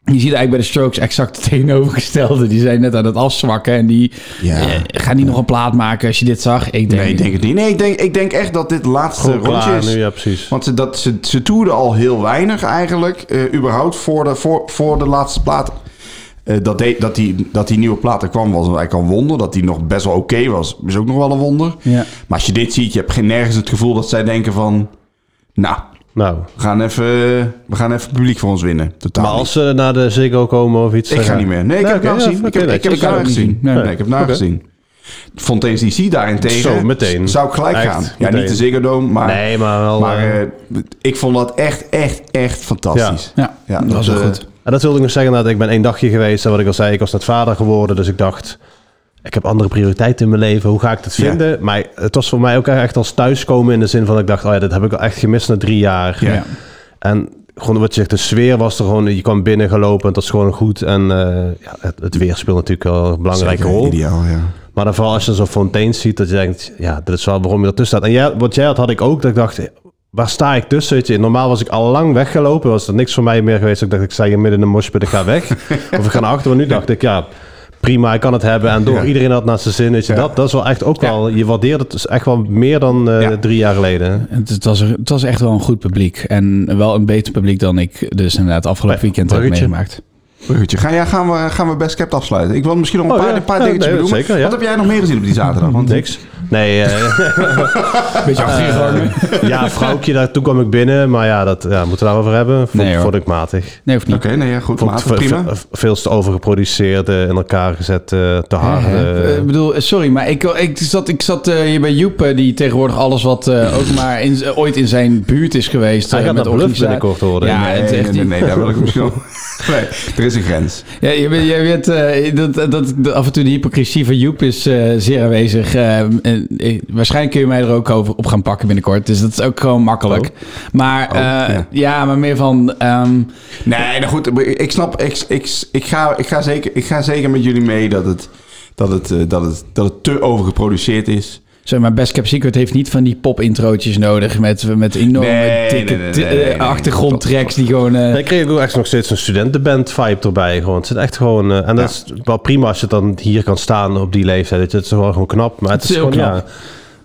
Speaker 2: Je ziet eigenlijk bij de Strokes exact het tegenovergestelde. Die zijn net aan het afzwakken en die
Speaker 3: Ja.
Speaker 2: eh, gaan die nog een plaat maken als je dit zag. Ik denk,
Speaker 3: nee, ik denk het niet. Nee, ik denk, ik denk echt dat dit laatste
Speaker 4: Gewoon
Speaker 3: rondje
Speaker 4: klaar
Speaker 3: is.
Speaker 4: nu, ja precies.
Speaker 3: Want ze, dat, ze, ze toerden al heel weinig eigenlijk. eh, überhaupt voor de, voor, voor de laatste plaat. Eh, dat, de- dat, die, dat die nieuwe plaat er kwam was eigenlijk een wonder. Dat die nog best wel oké was, is ook nog wel een wonder.
Speaker 2: Ja.
Speaker 3: Maar als je dit ziet, je hebt geen nergens het gevoel dat zij denken van... Nou,
Speaker 4: Nou,
Speaker 3: we gaan even, we gaan even publiek voor ons winnen. Totaal
Speaker 4: maar
Speaker 3: niet.
Speaker 4: als ze naar de Ziggo komen of iets... eh,
Speaker 3: Ik ga niet meer. Nee, ik heb het nou gezien. Ik heb- ik heb het nou gezien.
Speaker 2: Nee.
Speaker 3: Nee, ik heb het nou
Speaker 4: Oké.
Speaker 3: gezien. Fontaine's DC daarentegen.
Speaker 4: Zo, meteen.
Speaker 3: Zou ik gelijk
Speaker 4: Echt,
Speaker 3: gaan. Ja,
Speaker 4: meteen.
Speaker 3: niet de Ziggo Dome, maar...
Speaker 4: Nee, maar wel...
Speaker 3: maar
Speaker 4: eh,
Speaker 3: eh, ik vond dat echt, echt, echt fantastisch.
Speaker 2: Ja, dat was wel
Speaker 3: eh,
Speaker 2: goed.
Speaker 4: En dat wilde ik nog zeggen, dat ik ben één dagje geweest. En wat ik al zei, ik was net vader geworden. Dus ik dacht, ik heb andere prioriteiten in mijn leven. Hoe ga ik dat
Speaker 3: Ja.
Speaker 4: vinden? Maar het was voor mij ook echt als thuiskomen in de zin van... dat ik dacht, oh ja, dit heb ik al echt gemist na drie jaar.
Speaker 3: Ja.
Speaker 4: En gewoon wat je zegt, de sfeer was er gewoon... Je kwam binnen gelopen en dat is gewoon goed. En eh, ja, het, het weer speelt natuurlijk wel een belangrijke
Speaker 3: Zeker,
Speaker 4: rol.
Speaker 3: Ideaal, ja.
Speaker 4: Maar dan vooral als je zo'n fontein ziet, dat je denkt, ja, dit is wel waarom je ertussen staat. En jij, wat jij had, had ik ook, dat ik dacht, waar sta ik tussen? Weet je? Normaal was ik al lang weggelopen, was er niks voor mij meer geweest. Ik dacht, ik sta hier midden in de moshpit, ik ga weg. of ik ga naar achteren. Maar nu dacht ik, ja, prima, ik kan het hebben. En door,
Speaker 3: Ja.
Speaker 4: iedereen had naast zijn zin, weet je.
Speaker 3: Ja.
Speaker 4: Dat, dat is wel echt ook
Speaker 2: Ja.
Speaker 4: wel, je waardeert het dus echt wel meer dan eh,
Speaker 3: Ja.
Speaker 4: drie jaar geleden.
Speaker 2: Het, het was, er- het was echt wel een goed publiek. En wel een beter publiek dan ik dus inderdaad afgelopen
Speaker 4: Bij
Speaker 2: weekend heb
Speaker 4: Bruggetje.
Speaker 2: meegemaakt.
Speaker 3: Bruggetje. Ga, ja, gaan, we, gaan we Best Kept afsluiten? Ik wil misschien nog een
Speaker 4: Oh,
Speaker 3: paar,
Speaker 4: ja.
Speaker 3: een paar
Speaker 4: Ja,
Speaker 3: dingetjes
Speaker 4: nee,
Speaker 3: benoemen.
Speaker 4: zeker, ja.
Speaker 3: Wat heb jij nog meer gezien op die zaterdag? Want
Speaker 4: Niks. Nee, eh,
Speaker 2: Beetje afgehangen.
Speaker 4: ja, vrouwtje, daar, toen kwam ik binnen. Maar ja, dat ja, moeten we daarover hebben. Vond,
Speaker 2: Nee, hoor.
Speaker 4: vond ik matig.
Speaker 2: Nee, of niet.
Speaker 3: Oké, nee, ja, goed.
Speaker 4: Vond ik
Speaker 3: Maat,
Speaker 4: ve-
Speaker 3: prima.
Speaker 4: ve- ve- veel te overgeproduceerd, eh, in elkaar gezet, eh, te
Speaker 3: Ah,
Speaker 4: hard. eh.
Speaker 2: Eh, Ik bedoel, eh, sorry, maar ik, ik zat, ik zat eh, hier bij Joep, eh, die tegenwoordig alles wat eh, ook maar in, z- ooit in zijn buurt is geweest.
Speaker 4: Hij
Speaker 2: eh,
Speaker 4: gaat naar Bluff
Speaker 2: organisa-
Speaker 4: binnenkort horen.
Speaker 2: Ja,
Speaker 3: nee,
Speaker 2: het is
Speaker 3: nee,
Speaker 2: echt
Speaker 3: nee,
Speaker 2: niet-
Speaker 3: nee, daar wil ik misschien wel. Nee, er is een grens.
Speaker 2: Ja, je weet, je weet eh, dat, dat, dat af en toe de hypocrisie van Joep is eh, zeer aanwezig. Eh, en, eh, waarschijnlijk kun je mij er ook over op gaan pakken binnenkort. Dus dat is ook gewoon makkelijk. Maar eh,
Speaker 3: Oh. ja.
Speaker 2: ja. maar meer van... ehm,
Speaker 3: Nee, nou goed, ik snap, ik, ik, ik, ga, ik, ga, zeker, ik ga zeker met jullie mee dat het, dat het, eh, dat het, dat het te overgeproduceerd is.
Speaker 2: Zeg maar, Best Kept Secret heeft niet van die pop-introotjes nodig met, met enorme
Speaker 3: Nee,
Speaker 2: dikke
Speaker 3: nee, nee, nee, nee,
Speaker 2: eh,
Speaker 3: nee.
Speaker 2: achtergrondtracks die gewoon... eh,
Speaker 4: Hij kreeg ook echt nog steeds een studentenband vibe erbij. Gewoon. Het zit echt gewoon. eh, en dat is wel prima als je dan hier kan staan op die leeftijd. weet je. Het is wel gewoon knap. Maar het,
Speaker 2: Het
Speaker 4: is
Speaker 2: is heel
Speaker 4: gewoon, ja.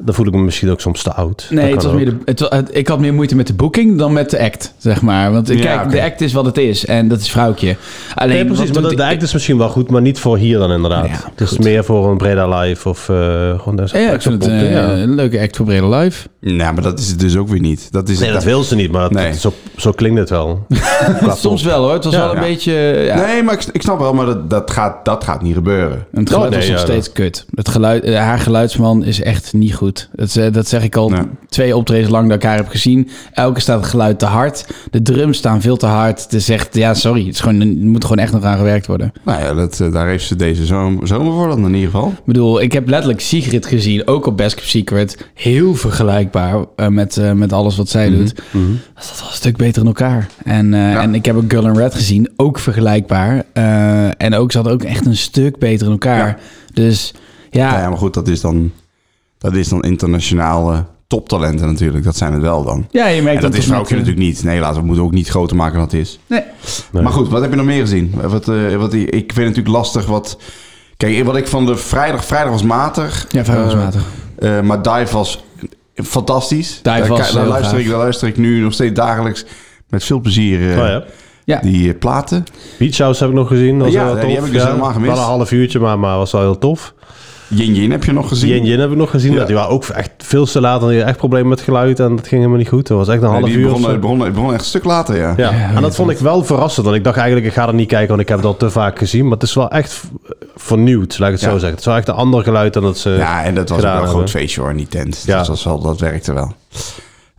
Speaker 4: Dan voel ik me misschien ook soms te oud. Dat
Speaker 2: Nee,
Speaker 4: kan
Speaker 2: het was
Speaker 4: ook.
Speaker 2: meer de, het, wa- het- ik had meer moeite met de boeking dan met de act, zeg maar. Want eh,
Speaker 3: Ja,
Speaker 2: kijk,
Speaker 3: oké.
Speaker 2: de act is wat het is en dat is vrouwtje. Alleen,
Speaker 4: Nee, precies.
Speaker 2: wat
Speaker 4: Maar
Speaker 2: doet
Speaker 4: dat, de
Speaker 2: die-
Speaker 4: act is misschien wel goed, maar niet voor hier dan inderdaad.
Speaker 2: Ja,
Speaker 4: het is meer voor een Breda Live of eh, gewoon daar
Speaker 2: Ja, ik vind het eh, een leuke act voor Brede Live.
Speaker 3: Nou, maar dat is het dus ook weer niet. Dat is
Speaker 4: Nee, dat
Speaker 3: het,
Speaker 4: wil ze niet, maar dat-
Speaker 3: Nee.
Speaker 4: zo, zo klinkt het wel. Qua
Speaker 2: Soms wel hoor, het was
Speaker 4: Ja.
Speaker 2: wel een
Speaker 4: Ja.
Speaker 2: beetje... Ja.
Speaker 3: Nee, maar ik, ik snap wel, maar dat, dat, gaat, dat gaat niet gebeuren.
Speaker 2: En Het geluid
Speaker 4: Oh,
Speaker 2: was
Speaker 4: nee,
Speaker 2: nog
Speaker 4: ja,
Speaker 2: steeds kut. Het geluid, eh, haar geluidsman is echt niet goed. Dat, ze- dat zeg ik al
Speaker 3: Nee.
Speaker 2: twee optredens lang dat ik haar heb gezien. Elke staat het geluid te hard. De drums staan veel te hard. Het is echt, ja sorry, het, is gewoon, er moet gewoon echt nog aan gewerkt worden.
Speaker 3: Nou ja, dat, eh, daar heeft ze deze zomer, zomer voor dan in ieder geval.
Speaker 2: Ik bedoel, ik heb letterlijk Sigrid gezien, ook op Best Kept Secret. Heel vergelijkbaar eh, met, eh, met alles wat
Speaker 3: Mhm,
Speaker 2: zij doet. Dus Dat was wel een stuk beter in elkaar. En, eh, en ik heb ook Girl in Red gezien, ook vergelijkbaar. Eh, en ook, ze hadden ook echt een stuk beter in elkaar.
Speaker 3: Ja.
Speaker 2: Dus ja,
Speaker 3: Nou ja, maar goed, dat is dan, dat is dan internationale toptalenten natuurlijk. Dat zijn het wel dan.
Speaker 2: ja, je merkt
Speaker 3: En dat
Speaker 2: het
Speaker 3: is
Speaker 2: met,
Speaker 3: vrouwtje
Speaker 2: eh,
Speaker 3: natuurlijk niet. Nee, laten we we moeten ook niet groter maken dan het is.
Speaker 2: Nee.
Speaker 3: Maar goed, wat heb je nog meer gezien? Wat, eh, wat, ik vind het natuurlijk lastig wat... Kijk, wat ik van de vrijdag... Vrijdag was matig.
Speaker 2: Ja, vrijdag was
Speaker 3: Eh,
Speaker 2: matig.
Speaker 3: eh, maar Dive was fantastisch.
Speaker 2: Dive
Speaker 3: daar,
Speaker 2: was eh,
Speaker 3: daar
Speaker 2: heel
Speaker 3: luister
Speaker 2: gaaf.
Speaker 3: ik, daar luister ik nu nog steeds dagelijks met veel plezier eh,
Speaker 4: Oh ja.
Speaker 2: Ja.
Speaker 3: die eh, platen.
Speaker 4: Beach House heb ik nog gezien. Dat was
Speaker 3: Ja,
Speaker 4: wel
Speaker 3: die
Speaker 4: tof.
Speaker 3: heb ik dus helemaal gemist.
Speaker 4: Wel een half uurtje, maar, maar was wel heel tof.
Speaker 3: Yin Yin heb je nog gezien.
Speaker 4: Yin Yin heb ik nog gezien.
Speaker 3: Ja.
Speaker 4: Die waren ook echt veel te laat. En die hadden echt problemen met geluid. En dat ging helemaal niet goed. Dat was echt een
Speaker 3: Nee,
Speaker 4: half
Speaker 3: die
Speaker 4: uur.
Speaker 3: begon,
Speaker 4: of zo.
Speaker 3: het begon, het begon echt een stuk later, ja.
Speaker 4: ja.
Speaker 2: Ja,
Speaker 4: en dat vond ik wel verrassend. Want ik dacht eigenlijk, ik ga er niet kijken. Want ik heb dat te vaak gezien. Maar het is wel echt v- vernieuwd, laat ik het
Speaker 3: Ja.
Speaker 4: zo zeggen. Het is wel echt een ander geluid dan dat
Speaker 2: eh,
Speaker 4: ze
Speaker 3: Ja, en dat was ook wel
Speaker 4: gedaan
Speaker 3: een
Speaker 4: hebben.
Speaker 3: groot feestje hoor, in die tent.
Speaker 4: Ja.
Speaker 3: Dus dat, was wel, dat werkte wel.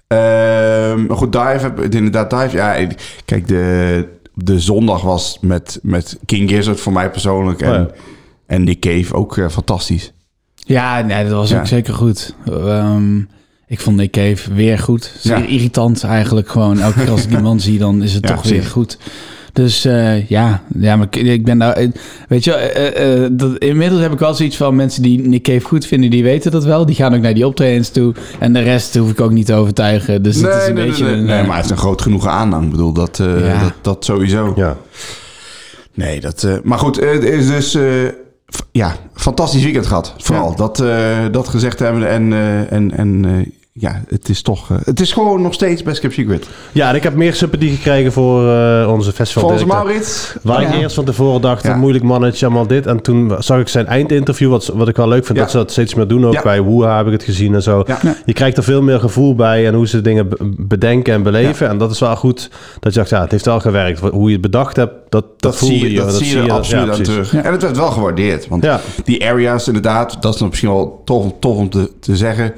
Speaker 3: Ehm, maar goed, Dive, heb- inderdaad, Dive. Ja, ik- kijk, de, de zondag was met, met King Gizzard voor mij persoonlijk. En,
Speaker 4: Oh ja.
Speaker 3: en Nick Cave ook eh, fantastisch.
Speaker 2: Ja, nee, dat was
Speaker 3: Ja.
Speaker 2: ook zeker goed. Ehm, ik vond Nick Cave weer goed. Zeer
Speaker 3: Ja.
Speaker 2: irritant eigenlijk gewoon. Elke keer als ik die man zie, dan is het
Speaker 3: Ja,
Speaker 2: toch weer
Speaker 3: precies.
Speaker 2: goed. Dus eh, ja, ja, maar ik- ik ben daar... eh, Weet je, wel, eh, eh, dat, inmiddels heb ik wel zoiets van mensen die Nick Cave goed vinden, die weten dat wel. Die gaan ook naar die optredens toe. En de rest hoef ik ook niet te overtuigen. Dus het is een beetje...
Speaker 3: nee,
Speaker 2: een,
Speaker 3: nee,
Speaker 2: eh,
Speaker 3: maar hij heeft een groot genoegen aanhang. Ik bedoel, dat, eh,
Speaker 2: Ja.
Speaker 3: dat, dat sowieso.
Speaker 4: Ja.
Speaker 3: Nee, dat... eh, maar goed, eh, het is dus... eh, f- ja, fantastisch weekend gehad. Vooral
Speaker 2: Ja.
Speaker 3: dat, eh, dat gezegd hebben. En, eh, en, en eh, ja, het is toch... eh, het is gewoon nog steeds Best Kept Secret.
Speaker 4: ja, en ik heb meer sympathie gekregen voor eh, onze festival.
Speaker 3: Volgens Maurits...
Speaker 4: Waar
Speaker 2: Ja.
Speaker 4: ik eerst van tevoren dacht,
Speaker 3: Ja.
Speaker 4: een moeilijk mannetje, allemaal dit. En toen zag ik zijn eindinterview, wat, wat ik wel leuk vind
Speaker 3: Ja.
Speaker 4: dat ze dat steeds meer doen. Ook
Speaker 3: Ja.
Speaker 4: bij Woeha heb ik het gezien en zo.
Speaker 3: Ja.
Speaker 4: Je krijgt er veel meer gevoel bij en hoe ze dingen be- bedenken en beleven. En dat is wel goed dat je dacht, ja, het heeft wel gewerkt. Wat- Hoe je het bedacht hebt, dat, dat,
Speaker 3: Dat,
Speaker 4: voelde
Speaker 3: zie je, dat, zie je er absoluut
Speaker 4: ja,
Speaker 3: aan
Speaker 4: precies.
Speaker 3: terug. En het werd wel gewaardeerd. Want
Speaker 4: Ja.
Speaker 3: die area's inderdaad, dat is dan misschien wel tof, tof om te, te zeggen.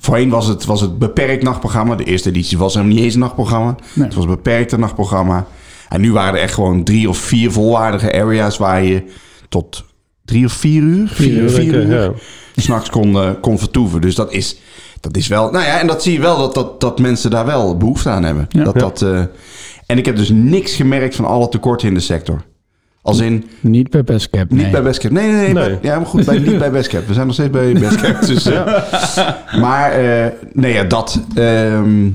Speaker 3: Voorheen was het, was het beperkt nachtprogramma. De eerste editie was hem niet eens een nachtprogramma. Het was een beperkte nachtprogramma. En nu waren er echt gewoon drie of vier volwaardige areas waar je tot drie of vier uur, vier,
Speaker 4: uur,
Speaker 3: vier
Speaker 4: denk ik, ja.
Speaker 3: s'nachts kon, eh, kon vertoeven. Dus dat is, dat is wel... Nou ja, en dat zie je wel, dat, dat, dat mensen daar wel behoefte aan hebben. dat, Dat, eh, en ik heb dus niks gemerkt van alle tekorten in de sector. Als in,
Speaker 2: Niet bij Bestcap,
Speaker 3: niet
Speaker 2: nee.
Speaker 3: bij Bestcap. Nee, nee, nee.
Speaker 4: Nee.
Speaker 3: bij- ja, maar goed, bij, niet bij Bestcap. We zijn nog steeds bij Bestcap. Dus, eh, Maar, eh, nee, ja, dat... ehm, ja,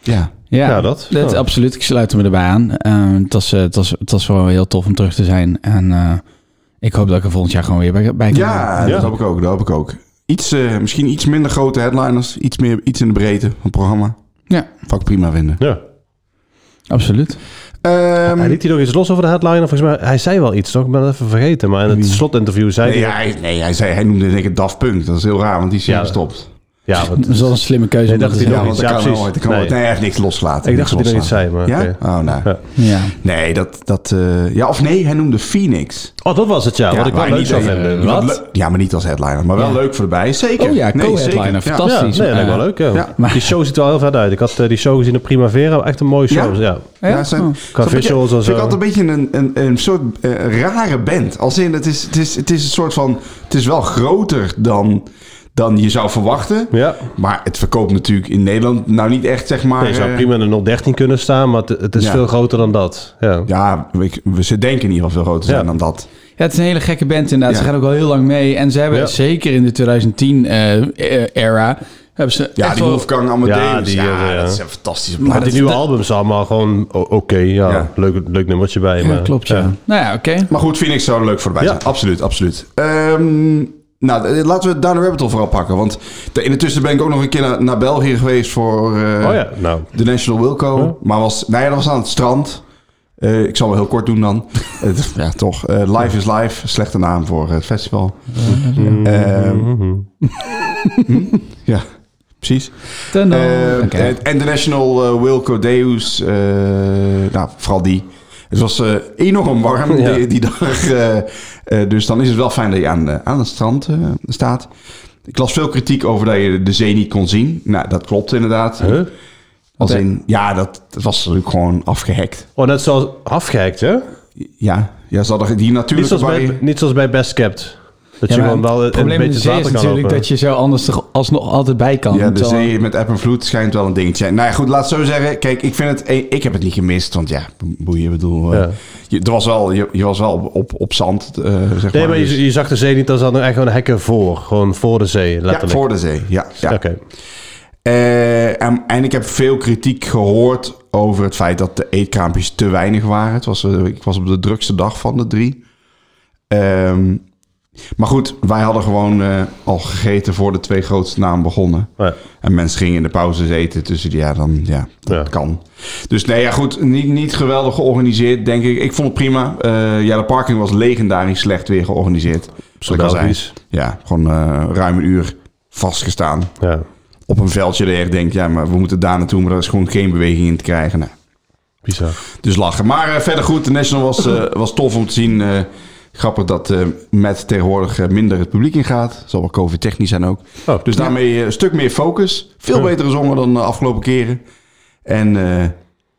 Speaker 2: Ja,
Speaker 4: Ja, dat.
Speaker 2: dat
Speaker 4: Ja.
Speaker 2: absoluut. Ik sluit me erbij aan. Eh, het, was, eh, het, was, het was wel heel tof om terug te zijn. En eh, ik hoop dat ik er volgend jaar gewoon weer bij, bij kan zijn.
Speaker 3: ja,
Speaker 4: Ja.
Speaker 3: dat hoop ik ook. Dat hoop ik ook. Iets, eh, misschien iets minder grote headliners. Iets, meer, iets in de breedte van het programma.
Speaker 2: Ja,
Speaker 3: Vak prima vinden.
Speaker 4: Ja.
Speaker 2: absoluut.
Speaker 3: Ehm,
Speaker 4: Hij liet hier nog iets los over de headliner. Volgens mij, hij zei wel iets, toch? Ik ben het even vergeten. Maar in het slotinterview zei
Speaker 3: nee,
Speaker 4: hij...
Speaker 3: ja, hij, nee, hij, zei, hij noemde denk ik Daft Punk. Dat is heel raar, want die is hier
Speaker 4: Ja.
Speaker 3: gestopt.
Speaker 4: Ja, want-
Speaker 2: Dat is wel een slimme keuze.
Speaker 4: Nee,
Speaker 2: om
Speaker 4: dacht
Speaker 2: te
Speaker 4: ik
Speaker 3: Ja,
Speaker 2: zeggen.
Speaker 3: want
Speaker 4: iets.
Speaker 3: dat
Speaker 4: Ja,
Speaker 3: kan
Speaker 4: precies.
Speaker 3: nooit. Dat kan
Speaker 4: Nee.
Speaker 3: nooit. Nee, hij heeft niks loslaten.
Speaker 4: Ik
Speaker 3: Niks
Speaker 4: dacht dat hij nog iets
Speaker 3: loslaten.
Speaker 4: zei, maar...
Speaker 3: Ja?
Speaker 4: oké.
Speaker 3: Oh, nee.
Speaker 4: Ja.
Speaker 2: ja.
Speaker 3: Nee, dat... dat eh, ja, of nee, hij noemde Phoenix.
Speaker 4: Oh, dat was het, ja. wat ik wel
Speaker 3: maar
Speaker 4: leuk
Speaker 3: niet-
Speaker 4: zou
Speaker 3: eh,
Speaker 4: vinden.
Speaker 3: niet
Speaker 4: Wat?
Speaker 3: le- Ja, maar niet als headliner. Maar wel
Speaker 2: Ja.
Speaker 3: leuk voor erbij. Zeker.
Speaker 2: Oh ja, co-headliner.
Speaker 3: zeker.
Speaker 2: Fantastisch.
Speaker 4: Ja, nee, dat lijkt me wel leuk. Ja.
Speaker 3: Ja.
Speaker 4: Die show ziet er wel heel vet uit. Ik had eh, die show gezien in Primavera. Echt een mooie show. Ja.
Speaker 3: Ja, ja, zijn,
Speaker 2: Oh.
Speaker 3: zijn beetje-
Speaker 4: visuals en zo.
Speaker 3: Vind ik altijd een beetje een, een, een soort eh, rare band. Als in, het is, het, is, het is een soort van... Het is wel groter dan, dan je zou verwachten.
Speaker 4: Ja.
Speaker 3: Maar het verkoopt natuurlijk in Nederland nou niet echt, zeg maar...
Speaker 4: Nee, je zou
Speaker 3: eh,
Speaker 4: prima in de 013 kunnen staan, maar het, het is
Speaker 3: Ja.
Speaker 4: veel groter dan dat. Ja.
Speaker 3: Ja, ik- we, ze denken in ieder geval veel groter zijn
Speaker 4: Ja.
Speaker 3: dan dat.
Speaker 2: Ja, het is een hele gekke band inderdaad.
Speaker 3: Ja.
Speaker 2: Ze gaan ook wel heel lang mee. En ze hebben
Speaker 4: Ja.
Speaker 2: zeker in de 2010-era... eh, hebben ze
Speaker 3: Ja,
Speaker 2: echt
Speaker 3: die
Speaker 2: wel-
Speaker 3: Wolfgang Amadeus.
Speaker 4: Ja,
Speaker 3: Ja,
Speaker 4: die, eh,
Speaker 3: dat
Speaker 4: ja.
Speaker 3: is een fantastische
Speaker 4: Maar
Speaker 3: plaat.
Speaker 4: die nieuwe albums allemaal gewoon o- oké. ja,
Speaker 3: Ja.
Speaker 4: Leuk, leuk nummertje bij.
Speaker 2: Ja,
Speaker 4: maar,
Speaker 2: klopt, ja. Nou ja, oké.
Speaker 3: Maar goed, Phoenix zou er leuk voor erbij
Speaker 4: Ja.
Speaker 3: zijn. Absoluut, absoluut. Ehm, nou, eh, laten we Down the Rabbit Hole vooral pakken. Want de- in de tussen ben ik ook nog een keer naar, naar België geweest voor eh,
Speaker 4: Oh ja, nou.
Speaker 3: de National Wilco.
Speaker 4: Ja.
Speaker 3: Maar was, nou ja, dat was aan het strand. Eh, ik zal wel heel kort doen dan. Het- ja, toch. Eh, live is Live. Slechte naam voor het festival. Ehm, hm? ja, precies.
Speaker 2: Ten dan.
Speaker 3: Eh,
Speaker 2: Oké.
Speaker 3: en- En de National eh, Wilco Deus. eh, nou, vooral die. Het was eh, enorm warm
Speaker 4: Ja.
Speaker 3: die, die dag. eh, eh, dus dan is het wel fijn dat je aan, eh, aan het strand eh, staat. Ik las veel kritiek over dat je de zee niet kon zien. Nou, dat klopt inderdaad.
Speaker 4: Huh?
Speaker 3: Als in, ja, dat, dat was natuurlijk gewoon afgehackt.
Speaker 4: Oh, net zoals afgehackt, hè?
Speaker 3: Ja, ja ze hadden die
Speaker 4: Niet
Speaker 3: natuurlijke
Speaker 4: zoals, bij,
Speaker 3: barrière-
Speaker 4: niet zoals bij Best Kept. Dat
Speaker 2: Ja,
Speaker 4: je
Speaker 2: maar
Speaker 4: gewoon wel
Speaker 2: het
Speaker 4: een, een
Speaker 2: probleem
Speaker 4: beetje
Speaker 2: met de
Speaker 4: het
Speaker 2: zee is
Speaker 4: water
Speaker 2: dus
Speaker 4: kan
Speaker 2: natuurlijk
Speaker 4: lopen. dus
Speaker 2: dat je zo anders toch alsnog altijd bij kan.
Speaker 3: Ja, de
Speaker 2: Terwijl-
Speaker 3: zee met app en vloed schijnt wel een dingetje. Nou ja, goed, laat het zo zeggen. Kijk, ik vind het... eh, Ik heb het niet gemist, want ja, boeien, ik bedoel... eh,
Speaker 4: Ja.
Speaker 3: je, er was wel, je, je was wel op, op, op zand, eh, zeg
Speaker 4: Nee,
Speaker 3: maar.
Speaker 4: maar
Speaker 3: Dus-
Speaker 4: je, je zag de zee niet, er zat echt gewoon hekken voor. Gewoon voor de zee,
Speaker 3: ja,
Speaker 4: letterlijk.
Speaker 3: voor de zee, ja. ja.
Speaker 4: Oké.
Speaker 3: Eh, en, en ik heb veel kritiek gehoord over het feit dat de eetkraampjes te weinig waren. Het was, eh, ik was op de drukste dag van de drie. Ehm, maar goed, wij hadden gewoon eh, al gegeten voor de twee grootste namen begonnen.
Speaker 4: Ja.
Speaker 3: En mensen gingen in de pauzes eten tussen die, ja, dan, ja, dat
Speaker 4: Ja.
Speaker 3: kan. Dus nee, ja, goed, niet, niet geweldig georganiseerd, denk ik. Ik vond het prima. Eh, ja, de parking was legendarisch slecht weer georganiseerd. Zoals ik al zei.
Speaker 4: Belgisch.
Speaker 3: Ja, gewoon eh, ruim een uur vastgestaan
Speaker 4: Ja.
Speaker 3: op een veldje dat je echt denkt, ja, maar we moeten daar naartoe, maar daar is gewoon geen beweging in te krijgen. Nou,
Speaker 4: Bizar.
Speaker 3: dus lachen. Maar eh, verder goed, de National was, eh, was tof om te zien. Eh, grappig dat eh met tegenwoordig eh, minder het publiek ingaat. Zal wel COVID-technisch zijn ook.
Speaker 4: Oh,
Speaker 3: Dus daarmee eh, een stuk meer focus. Veel
Speaker 4: Ja.
Speaker 3: betere zongen dan de afgelopen keren. En eh,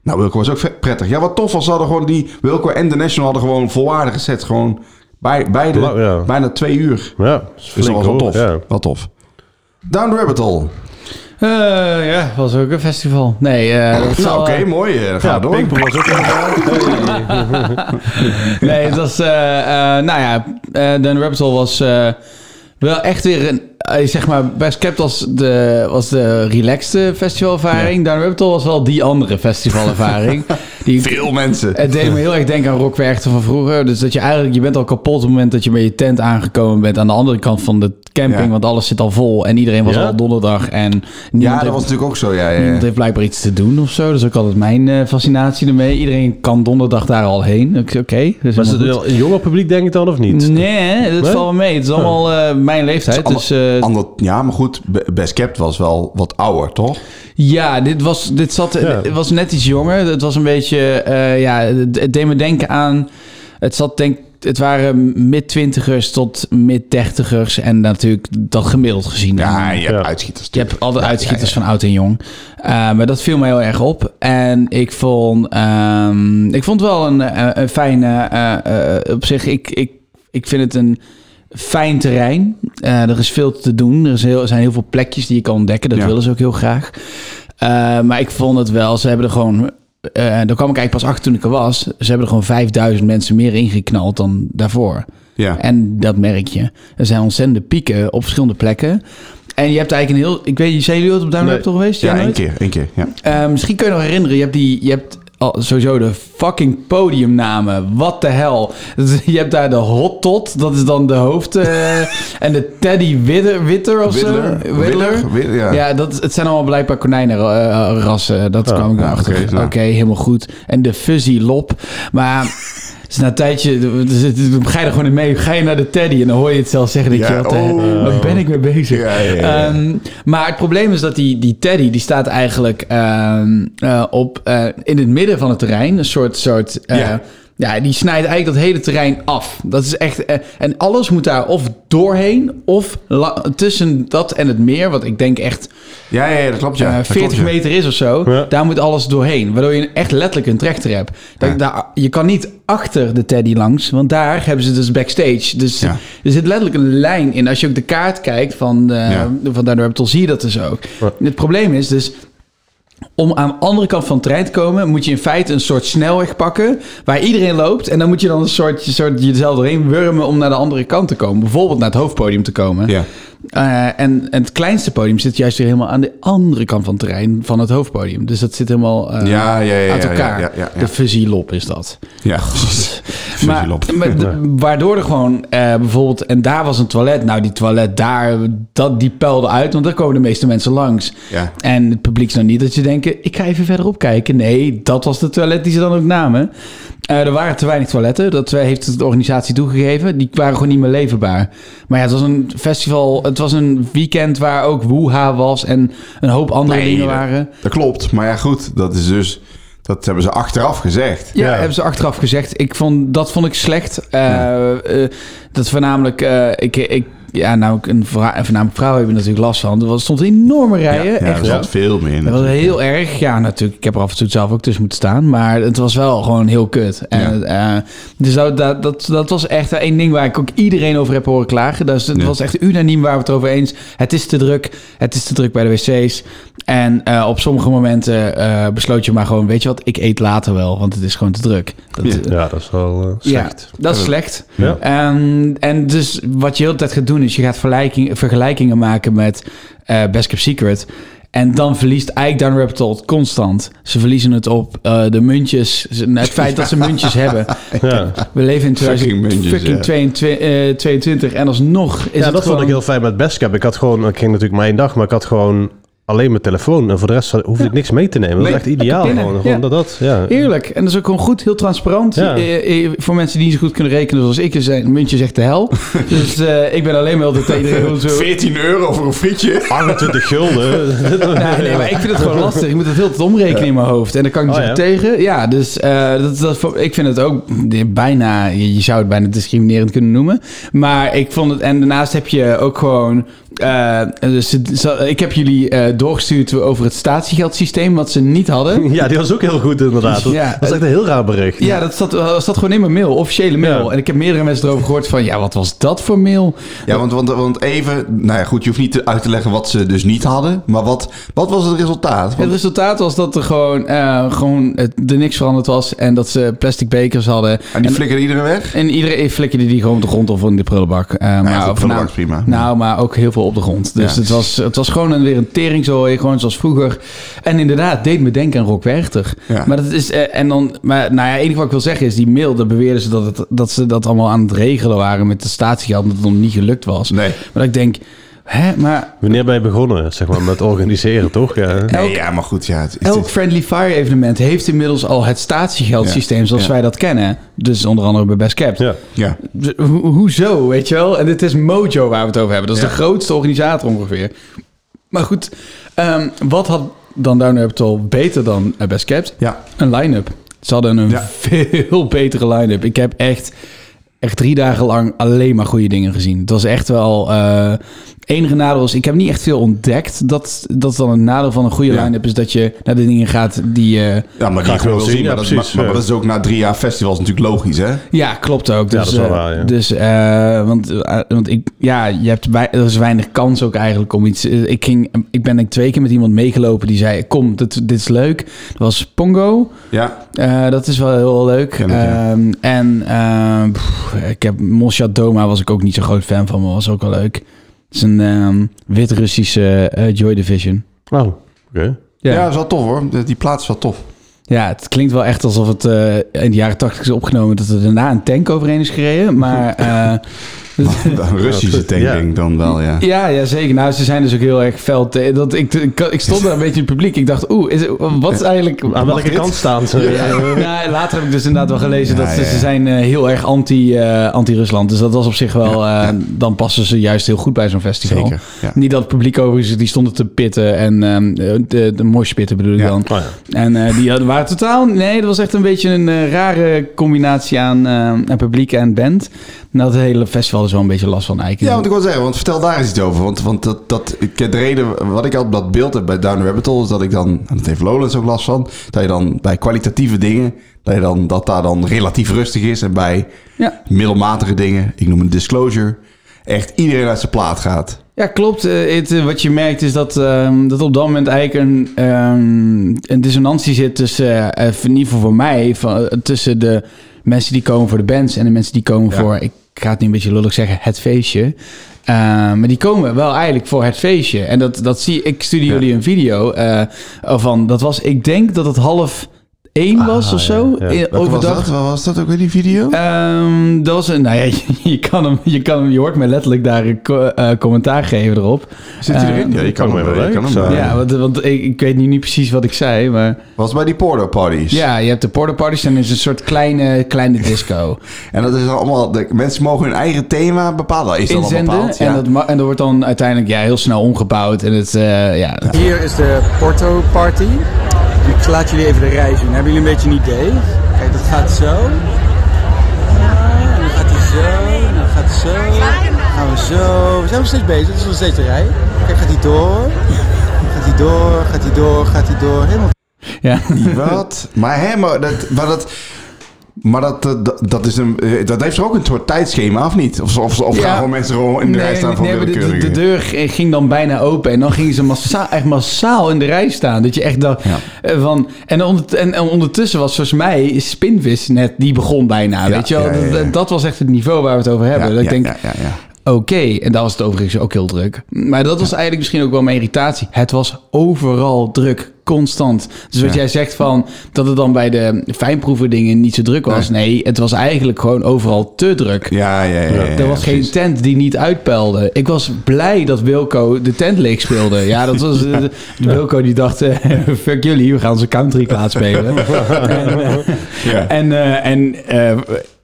Speaker 3: nou, Wilco was ook vet prettig. Ja, wat tof was, ze hadden gewoon die Wilco en de National hadden gewoon volwaardige sets. Gewoon bij, beide,
Speaker 4: Lang, ja.
Speaker 3: bijna twee uur.
Speaker 4: Ja, dat is
Speaker 3: Dus dat
Speaker 4: flink,
Speaker 3: was wel
Speaker 4: hoor.
Speaker 3: tof.
Speaker 4: Ja.
Speaker 3: Wel tof. Down the rabbit hole.
Speaker 2: Eh, ja, was ook een festival. Nee, eh, dat
Speaker 3: Nou,
Speaker 2: zal,
Speaker 3: oké,
Speaker 2: eh,
Speaker 3: mooi. eh, Ga
Speaker 4: Ja,
Speaker 3: door.
Speaker 4: Pinkpop was ook
Speaker 2: Nee, het was... eh, eh, nou ja, eh Dan Rabbit Hole was eh, wel echt weer een... eh, zeg maar, bij Skept was de, was de relaxte festivalervaring. Dan Rabbit Hole was wel die andere festivalervaring. die,
Speaker 3: Veel mensen.
Speaker 2: het deed me heel erg denken aan Rock Werchter van vroeger. Dus dat je eigenlijk... Je bent al kapot op het moment dat je met je tent aangekomen bent... aan de andere kant van de camping.
Speaker 3: Ja.
Speaker 2: Want alles zit al vol. En iedereen was
Speaker 4: Ja?
Speaker 2: al donderdag. En niemand
Speaker 3: Ja, dat
Speaker 2: heeft-
Speaker 3: was natuurlijk ook zo. Ja, ja, ja.
Speaker 2: Niemand heeft blijkbaar iets te doen of zo. Dat is ook altijd mijn eh, fascinatie ermee. Iedereen kan donderdag daar al heen. Oké, oké, dat is
Speaker 4: Was het
Speaker 2: helemaal
Speaker 4: een jonger publiek, denk ik dan, of niet?
Speaker 2: goed. Nee, dat
Speaker 4: Nee?
Speaker 2: valt wel mee. Het is allemaal eh, mijn leeftijd.
Speaker 3: Ander-
Speaker 2: Dus, eh,
Speaker 3: ander- ja, maar goed, Be- Best Kept was wel wat ouder, toch?
Speaker 2: ja, dit, was, dit zat, het was net iets jonger. Het was een beetje... eh, ja, het het deed me denken aan... Het zat denk het waren mid-twintigers tot mid-dertigers. En natuurlijk dat gemiddeld gezien.
Speaker 3: Ja, je hebt
Speaker 4: Ja.
Speaker 3: uitschieters.
Speaker 2: Je hebt altijd
Speaker 3: Ja,
Speaker 2: uitschieters
Speaker 3: ja, ja.
Speaker 2: van oud en jong. Eh, maar dat viel me heel erg op. En ik vond, ehm, ik vond wel een, eh, een fijne... eh, eh, op zich, ik, ik, ik vind het een fijn terrein. Eh, er is veel te doen. Er is heel, er zijn heel veel plekjes die je kan ontdekken. Dat
Speaker 3: Ja.
Speaker 2: willen ze ook heel graag. Eh, maar ik vond het wel... Ze hebben er gewoon... eh daar kwam ik eigenlijk pas achter toen ik er was. Ze hebben er gewoon 5000 mensen meer ingeknald dan daarvoor.
Speaker 3: Ja.
Speaker 2: En dat merk je. Er zijn ontzettende pieken op verschillende plekken. En je hebt eigenlijk een heel... Ik weet, zijn jullie ooit op Download
Speaker 4: Nee.
Speaker 2: toch geweest?
Speaker 3: Ja,
Speaker 2: Jij
Speaker 3: één
Speaker 2: nooit?
Speaker 3: keer, één keer. Ja.
Speaker 2: Eh, misschien kun je nog herinneren, je hebt die... Je hebt al sowieso de fucking podiumnamen. Wat de hel. Dus je hebt daar de Hot Tot, dat is dan de hoofd... eh, en de Teddy Witter, Witter of
Speaker 3: Widdler,
Speaker 2: zo. Widdler.
Speaker 3: Widdler, Wid- ja.
Speaker 2: Ja, dat, het zijn allemaal blijkbaar konijnenrassen. Dat kwam ik
Speaker 3: Oh, ja,
Speaker 2: achter.
Speaker 3: oké,
Speaker 2: Oké,
Speaker 3: nou.
Speaker 2: helemaal goed. En de Fuzzy Lop. Maar... Dus na een tijdje dus het- het- ga je er gewoon in mee. Ga je naar de teddy en dan hoor je het zelf zeggen. Dat
Speaker 3: Ja,
Speaker 2: je wat, eh,
Speaker 3: oh.
Speaker 2: waar ben ik mee bezig?
Speaker 3: Ja, ja, ja.
Speaker 2: Ehm, maar het probleem is dat die, die teddy, die staat eigenlijk ehm, eh, op, eh, in het midden van het terrein. Een soort, soort eh,
Speaker 3: Ja.
Speaker 2: ja. die snijdt eigenlijk dat hele terrein af. Dat is echt, eh, en alles moet daar of doorheen, of la- tussen dat en het meer. Wat ik denk echt
Speaker 3: Ja, ja, ja, dat klopt. Ja.
Speaker 2: eh,
Speaker 3: Dat
Speaker 2: 40
Speaker 3: klopt, ja.
Speaker 2: meter is of zo,
Speaker 4: Ja.
Speaker 2: daar moet alles doorheen. Waardoor je echt letterlijk een trechter hebt. Dat-
Speaker 3: Ja.
Speaker 2: daar, je kan niet achter de teddy langs, want daar hebben ze dus backstage. Dus
Speaker 3: Ja.
Speaker 2: er zit letterlijk een lijn in. Als je ook de kaart kijkt van, eh
Speaker 3: Ja.
Speaker 2: van daardoor heb zie je dat dus ook.
Speaker 4: Ja.
Speaker 2: Het probleem is dus, om aan de andere kant van de trein te komen, moet je in feite een soort snelweg pakken waar iedereen loopt. En dan moet je dan een soort, soort jezelf doorheen wurmen om naar de andere kant te komen. Bijvoorbeeld naar het hoofdpodium te komen.
Speaker 3: Ja.
Speaker 2: Eh, en, en het kleinste podium zit juist weer helemaal aan de andere kant van het terrein van het hoofdpodium. Dus dat zit helemaal eh,
Speaker 3: Ja, ja, ja,
Speaker 2: uit
Speaker 3: ja,
Speaker 2: elkaar.
Speaker 3: ja, ja, ja.
Speaker 2: De fusielop is dat.
Speaker 3: Ja, precies.
Speaker 2: Maar,
Speaker 3: Fusielop.
Speaker 2: maar de- waardoor er gewoon eh, bijvoorbeeld, en daar was een toilet. Nou, die toilet daar, dat, die peilde uit, want daar komen de meeste mensen langs.
Speaker 3: Ja.
Speaker 2: En het publiek is nou niet dat je denken, ik ga even verderop kijken. Nee, dat was de toilet die ze dan ook namen. Eh, er waren te weinig toiletten, dat eh, heeft de organisatie toegegeven. Die waren gewoon niet meer leverbaar. Maar ja, het was een festival, het was een weekend waar ook woeha was en een hoop andere
Speaker 3: Nee,
Speaker 2: dingen
Speaker 3: dat-
Speaker 2: waren.
Speaker 3: Dat klopt. Maar ja, goed. Dat is dus... Dat hebben ze achteraf gezegd.
Speaker 2: Ja,
Speaker 4: Ja.
Speaker 2: hebben ze achteraf gezegd. Ik vond, dat vond ik slecht. Eh, eh, dat voornamelijk... eh, ik, ik, ja, nou, een vra- en voornamelijk vrouwen hebben er natuurlijk last van. Er was- stond enorme rijen.
Speaker 3: ja,
Speaker 2: echt
Speaker 3: er zat veel meer in.
Speaker 2: Dat was
Speaker 3: natuurlijk.
Speaker 2: heel erg. Ja, natuurlijk. Ik heb er af en toe zelf ook tussen moeten staan. Maar het was wel gewoon heel kut. En, eh, dus dat, dat, dat, dat was echt één ding waar ik ook iedereen over heb horen klagen. Dus het
Speaker 3: Ja.
Speaker 2: was echt unaniem waar we het over eens. Het is te druk. Het is te druk bij de wc's. En eh, op sommige momenten eh, besloot je maar gewoon... weet je wat, ik eet later wel, want het is gewoon te druk. Dat,
Speaker 3: Ja.
Speaker 4: Ja, dat is wel eh, slecht.
Speaker 2: ja, dat is slecht.
Speaker 4: Ja.
Speaker 2: Ehm, en dus wat je heel de tijd gaat doen is je gaat vergelijking, vergelijkingen maken met eh Best Kept Secret. En dan verliest Ike Down Rabbit Hole het constant. Ze verliezen het op eh, de muntjes. Ze- Het feit dat ze muntjes hebben.
Speaker 4: Ja.
Speaker 2: We leven in
Speaker 3: Fucking muntjes,
Speaker 2: 2022 eh, 22 en alsnog is
Speaker 4: ja,
Speaker 2: het
Speaker 4: dat vond
Speaker 2: gewoon-
Speaker 4: ik heel fijn met Bestcap. Ik had gewoon, ik ging natuurlijk mijn dag, maar ik had gewoon alleen mijn telefoon. En voor de rest hoefde ik niks mee te nemen. Dat
Speaker 2: Nee,
Speaker 4: is echt ideaal.
Speaker 2: lekker
Speaker 4: Gewoon,
Speaker 2: binnen,
Speaker 4: gewoon
Speaker 2: ja.
Speaker 4: dat, dat, ja.
Speaker 2: Eerlijk. En dat is ook gewoon goed, heel transparant.
Speaker 4: Ja.
Speaker 2: Eh, eh, voor mensen die niet zo goed kunnen rekenen zoals ik, is een muntje zegt de hel. dus eh, ik ben alleen maar altijd tegen iedereen zo...
Speaker 3: 14 euro voor een frietje.
Speaker 4: 28 gulden.
Speaker 2: Nee, nee, maar ik vind het gewoon lastig. Ik moet het heel tijd omrekenen in mijn hoofd. En daar kan ik dus
Speaker 4: Oh,
Speaker 2: ook
Speaker 4: ja.
Speaker 2: tegen. Ja, dus eh, dat, dat, ik vind het ook bijna... Je je zou het bijna discriminerend kunnen noemen. Maar ik vond het... En daarnaast heb je ook gewoon... eh, dus ze- ze- ik heb jullie eh, doorgestuurd over het statiegeldsysteem... wat ze niet hadden.
Speaker 4: Ja, die was ook heel goed inderdaad. Dat,
Speaker 2: Ja.
Speaker 4: dat is echt een heel raar bericht.
Speaker 2: Ja, dat zat, eh, zat gewoon in mijn mail. Officiële mail.
Speaker 4: Ja.
Speaker 2: En ik heb meerdere mensen erover gehoord van... Ja, wat was dat voor mail?
Speaker 3: Ja, want, want, want even... Nou ja, goed. Je hoeft niet te- uit te leggen wat ze dus niet hadden. Maar wat, wat was het resultaat?
Speaker 2: Het
Speaker 3: Want,
Speaker 2: resultaat was dat er gewoon, eh, gewoon het, er niks veranderd was. En dat ze plastic bekers hadden.
Speaker 3: en die flikkerde iedereen weg?
Speaker 2: En iedereen flikkerde die gewoon op de grond of in de prullenbak. Eh, maar
Speaker 3: goed,
Speaker 2: ook
Speaker 3: prullenbak
Speaker 2: nou-
Speaker 3: is prima.
Speaker 2: Nou, maar ook heel veel op de grond. Dus
Speaker 3: Ja.
Speaker 2: het, was, het was gewoon een, weer een teringzooi, gewoon zoals vroeger. En inderdaad, deed me denken aan Rock Werchter.
Speaker 3: Ja.
Speaker 2: Maar dat is... eh, en dan... Maar nou ja, het enige wat ik wil zeggen is, die mail, daar beweerden ze dat, het, dat ze dat allemaal aan het regelen waren met de statiegeld, omdat het nog niet gelukt was.
Speaker 3: Nee.
Speaker 2: Maar dat ik denk, hè, maar...
Speaker 4: Wanneer ben je begonnen, zeg maar, met organiseren, toch? Ja.
Speaker 2: Elk-
Speaker 3: Nee, ja, maar goed. Ja, het,
Speaker 2: Elk Friendly Fire evenement heeft inmiddels al het statiegeldsysteem
Speaker 3: Ja.
Speaker 2: zoals
Speaker 3: Ja.
Speaker 2: wij dat kennen. Dus onder andere bij Best Capped.
Speaker 4: Ja.
Speaker 3: ja.
Speaker 2: Ho- hoezo, weet je wel? En dit is Mojo waar we het over hebben. Dat is
Speaker 3: Ja.
Speaker 2: de grootste organisator ongeveer. Maar goed, ehm, wat had dan Down Rabbit Hole beter dan eh, Best Kept?
Speaker 3: Ja.
Speaker 2: Een line-up. Ze hadden een
Speaker 3: Ja.
Speaker 2: veel betere line-up. Ik heb echt... echt drie dagen lang alleen maar goede dingen gezien. Het was echt wel... eh enige nadeel is, ik heb niet echt veel ontdekt. Dat, dat is dan een nadeel van een goede
Speaker 3: Ja.
Speaker 2: line-up... is dat je naar de dingen gaat die eh, je...
Speaker 3: Ja, maar die
Speaker 4: Graag
Speaker 3: ik wil
Speaker 4: wil
Speaker 3: zien.
Speaker 4: zien,
Speaker 3: maar,
Speaker 4: ja,
Speaker 3: dat, maar,
Speaker 4: precies. eh.
Speaker 3: maar dat is ook na drie jaar festivals natuurlijk logisch, hè?
Speaker 2: Ja, klopt ook. Dus,
Speaker 4: dat is wel
Speaker 2: eh,
Speaker 4: waar, ja.
Speaker 2: Dus, eh, want, eh, want ik, ja, je hebt wei- er is weinig kans ook eigenlijk om iets. eh, Ik, ging, ik ben denk ik twee keer met iemand meegelopen die zei: Kom, dit, dit is leuk. Dat was Pongo.
Speaker 3: Ja.
Speaker 2: Eh, dat is wel heel leuk.
Speaker 3: Ken ik, ja.
Speaker 2: Ehm, en ehm, pff, ik heb Mosjad Doma was ik ook niet zo'n groot fan van, maar was ook wel leuk. Het is een ehm, wit-Russische eh, Joy Division.
Speaker 4: Oh, oké.
Speaker 3: Ja. dat is wel tof hoor. Die- Die plaats is wel tof.
Speaker 2: Ja, het klinkt wel echt alsof het eh, in de jaren tachtig is opgenomen... dat er daarna een tank overheen is gereden. Maar eh,
Speaker 3: Een Russische tank
Speaker 4: Ja.
Speaker 3: denk ik dan wel, ja.
Speaker 2: Ja, ja, zeker. Nou, ze zijn dus ook heel erg fel. te- dat, ik, ik, ik stond daar een beetje in het publiek. Ik dacht, oeh, is, wat is eigenlijk...
Speaker 4: Aan
Speaker 3: Mag
Speaker 4: welke
Speaker 3: dit?
Speaker 4: kant staan ze?
Speaker 2: Ja, later heb ik dus inderdaad wel gelezen
Speaker 3: Ja,
Speaker 2: dat ze,
Speaker 3: ja, ja.
Speaker 2: ze zijn eh, heel erg anti, eh, anti-Rusland. dus dat was op zich wel... eh, Dan passen ze juist heel goed bij zo'n festival.
Speaker 3: Zeker, ja.
Speaker 2: Niet dat het publiek overigens, die stonden te pitten. En ehm, de, de moshpitten bedoel ik
Speaker 3: Ja.
Speaker 2: dan.
Speaker 4: Oh ja.
Speaker 2: En eh, die hadden- waren totaal... Nee, dat was echt een beetje een eh, rare combinatie aan, eh, aan publiek en band. En dat hele festival is wel een beetje last van Eiken.
Speaker 3: Ja, want ik wil zeggen, want vertel daar eens iets over. Want, want dat, dat, ik- de reden wat ik altijd dat beeld heb bij Down the Rabbit Hole is dat ik dan, en dat heeft Lowlands ook last van, dat je dan bij kwalitatieve dingen, dat, je dan, dat daar dan relatief rustig is. En bij
Speaker 2: ja.
Speaker 3: middelmatige dingen, ik noem een disclosure, echt iedereen uit zijn plaat gaat.
Speaker 2: Ja, klopt. Eh, het, eh, wat je merkt is dat, ehm, dat op dat moment eigenlijk een, ehm, een dissonantie zit tussen, eh, eh, in ieder geval voor mij, van, eh, tussen de mensen die komen voor de bands en de mensen die komen
Speaker 3: Ja.
Speaker 2: voor, ik ga het nu een beetje lullig zeggen, het feestje. Eh, maar die komen wel eigenlijk voor het feestje. En dat, dat zie ik, stuurde jullie een video eh, van, dat was, ik denk dat het half één was of zo, eh,
Speaker 4: ja.
Speaker 3: Ah, Welke was
Speaker 2: overdag.
Speaker 3: dat? Oh, Wat was dat ook weer die video?
Speaker 2: Ehm, dat was een, nou ja, je, kan hem, je kan hem, je hoort mij letterlijk daar een co- eh, commentaar geven erop.
Speaker 3: Zit hij
Speaker 2: Eh,
Speaker 3: erin? Ja, je kan
Speaker 4: kan
Speaker 3: hem
Speaker 4: me
Speaker 3: wel.
Speaker 4: wel
Speaker 3: je kan
Speaker 4: leuk,
Speaker 3: hem wel.
Speaker 4: zo.
Speaker 2: Ja, want, want ik, ik weet nu niet precies wat ik zei, maar...
Speaker 3: Was bij die porno parties.
Speaker 2: Ja, je hebt de porta parties en is een soort kleine, kleine disco.
Speaker 3: En dat is allemaal, de, mensen mogen hun eigen thema bepalen. Dat Is dat al
Speaker 2: Inzenden
Speaker 3: bepaald? Ja.
Speaker 2: en, dat, ma- en dat wordt dan uiteindelijk ja, heel snel omgebouwd. En het, eh, ja,
Speaker 5: Hier is de Porto Party. Ik laat jullie even de rij zien. Hebben jullie een beetje een idee? Kijk, dat gaat zo. Ja, en dan gaat hij zo. En dan gaat hij zo. Dan gaan we zo. We zijn nog steeds bezig. Het is nog steeds de rij. Kijk, gaat hij door. Gaat hij door. Gaat hij door. Gaat hij door. Helemaal
Speaker 2: ja.
Speaker 3: Wat? Maar hè, maar dat... Maar dat maar dat, eh, dat, dat, is een, eh, dat heeft er ook een soort tijdschema, of niet? Of, of, of gaan
Speaker 2: Ja.
Speaker 3: gewoon mensen gewoon in de rij staan voor
Speaker 2: nee, maar de- de, de
Speaker 3: willekeurige?
Speaker 2: deur g- ging dan bijna open en dan gingen ze massaal, echt massaal in de rij staan. Dat je echt dacht
Speaker 3: Ja.
Speaker 2: eh, van... En, ondert- en, en ondertussen was volgens mij Spinvis net, die begon bijna,
Speaker 3: Ja,
Speaker 2: weet je wel.
Speaker 3: ja, ja, ja.
Speaker 2: Dat, dat was echt het niveau waar we het over hebben. dat ik denk,
Speaker 3: ja, ja, ja.
Speaker 2: Oké, en daar was het overigens ook heel druk. Maar dat was eigenlijk misschien ook wel mijn irritatie. Het was overal druk, constant. Dus wat
Speaker 3: Ja.
Speaker 2: jij zegt van dat het dan bij de fijnproeven dingen niet zo druk was. Nee, het was eigenlijk gewoon overal te druk.
Speaker 3: Ja, ja, ja, ja,
Speaker 2: er was
Speaker 3: ja,
Speaker 2: geen
Speaker 3: precies.
Speaker 2: tent die niet uitpeilde. Ik was blij dat Wilco de tent leeg speelde. Ja, dat was. eh, Wilco die dacht: eh, fuck jullie, we gaan ze country plaat spelen. en, eh,
Speaker 3: Ja.
Speaker 2: en, eh, en, eh,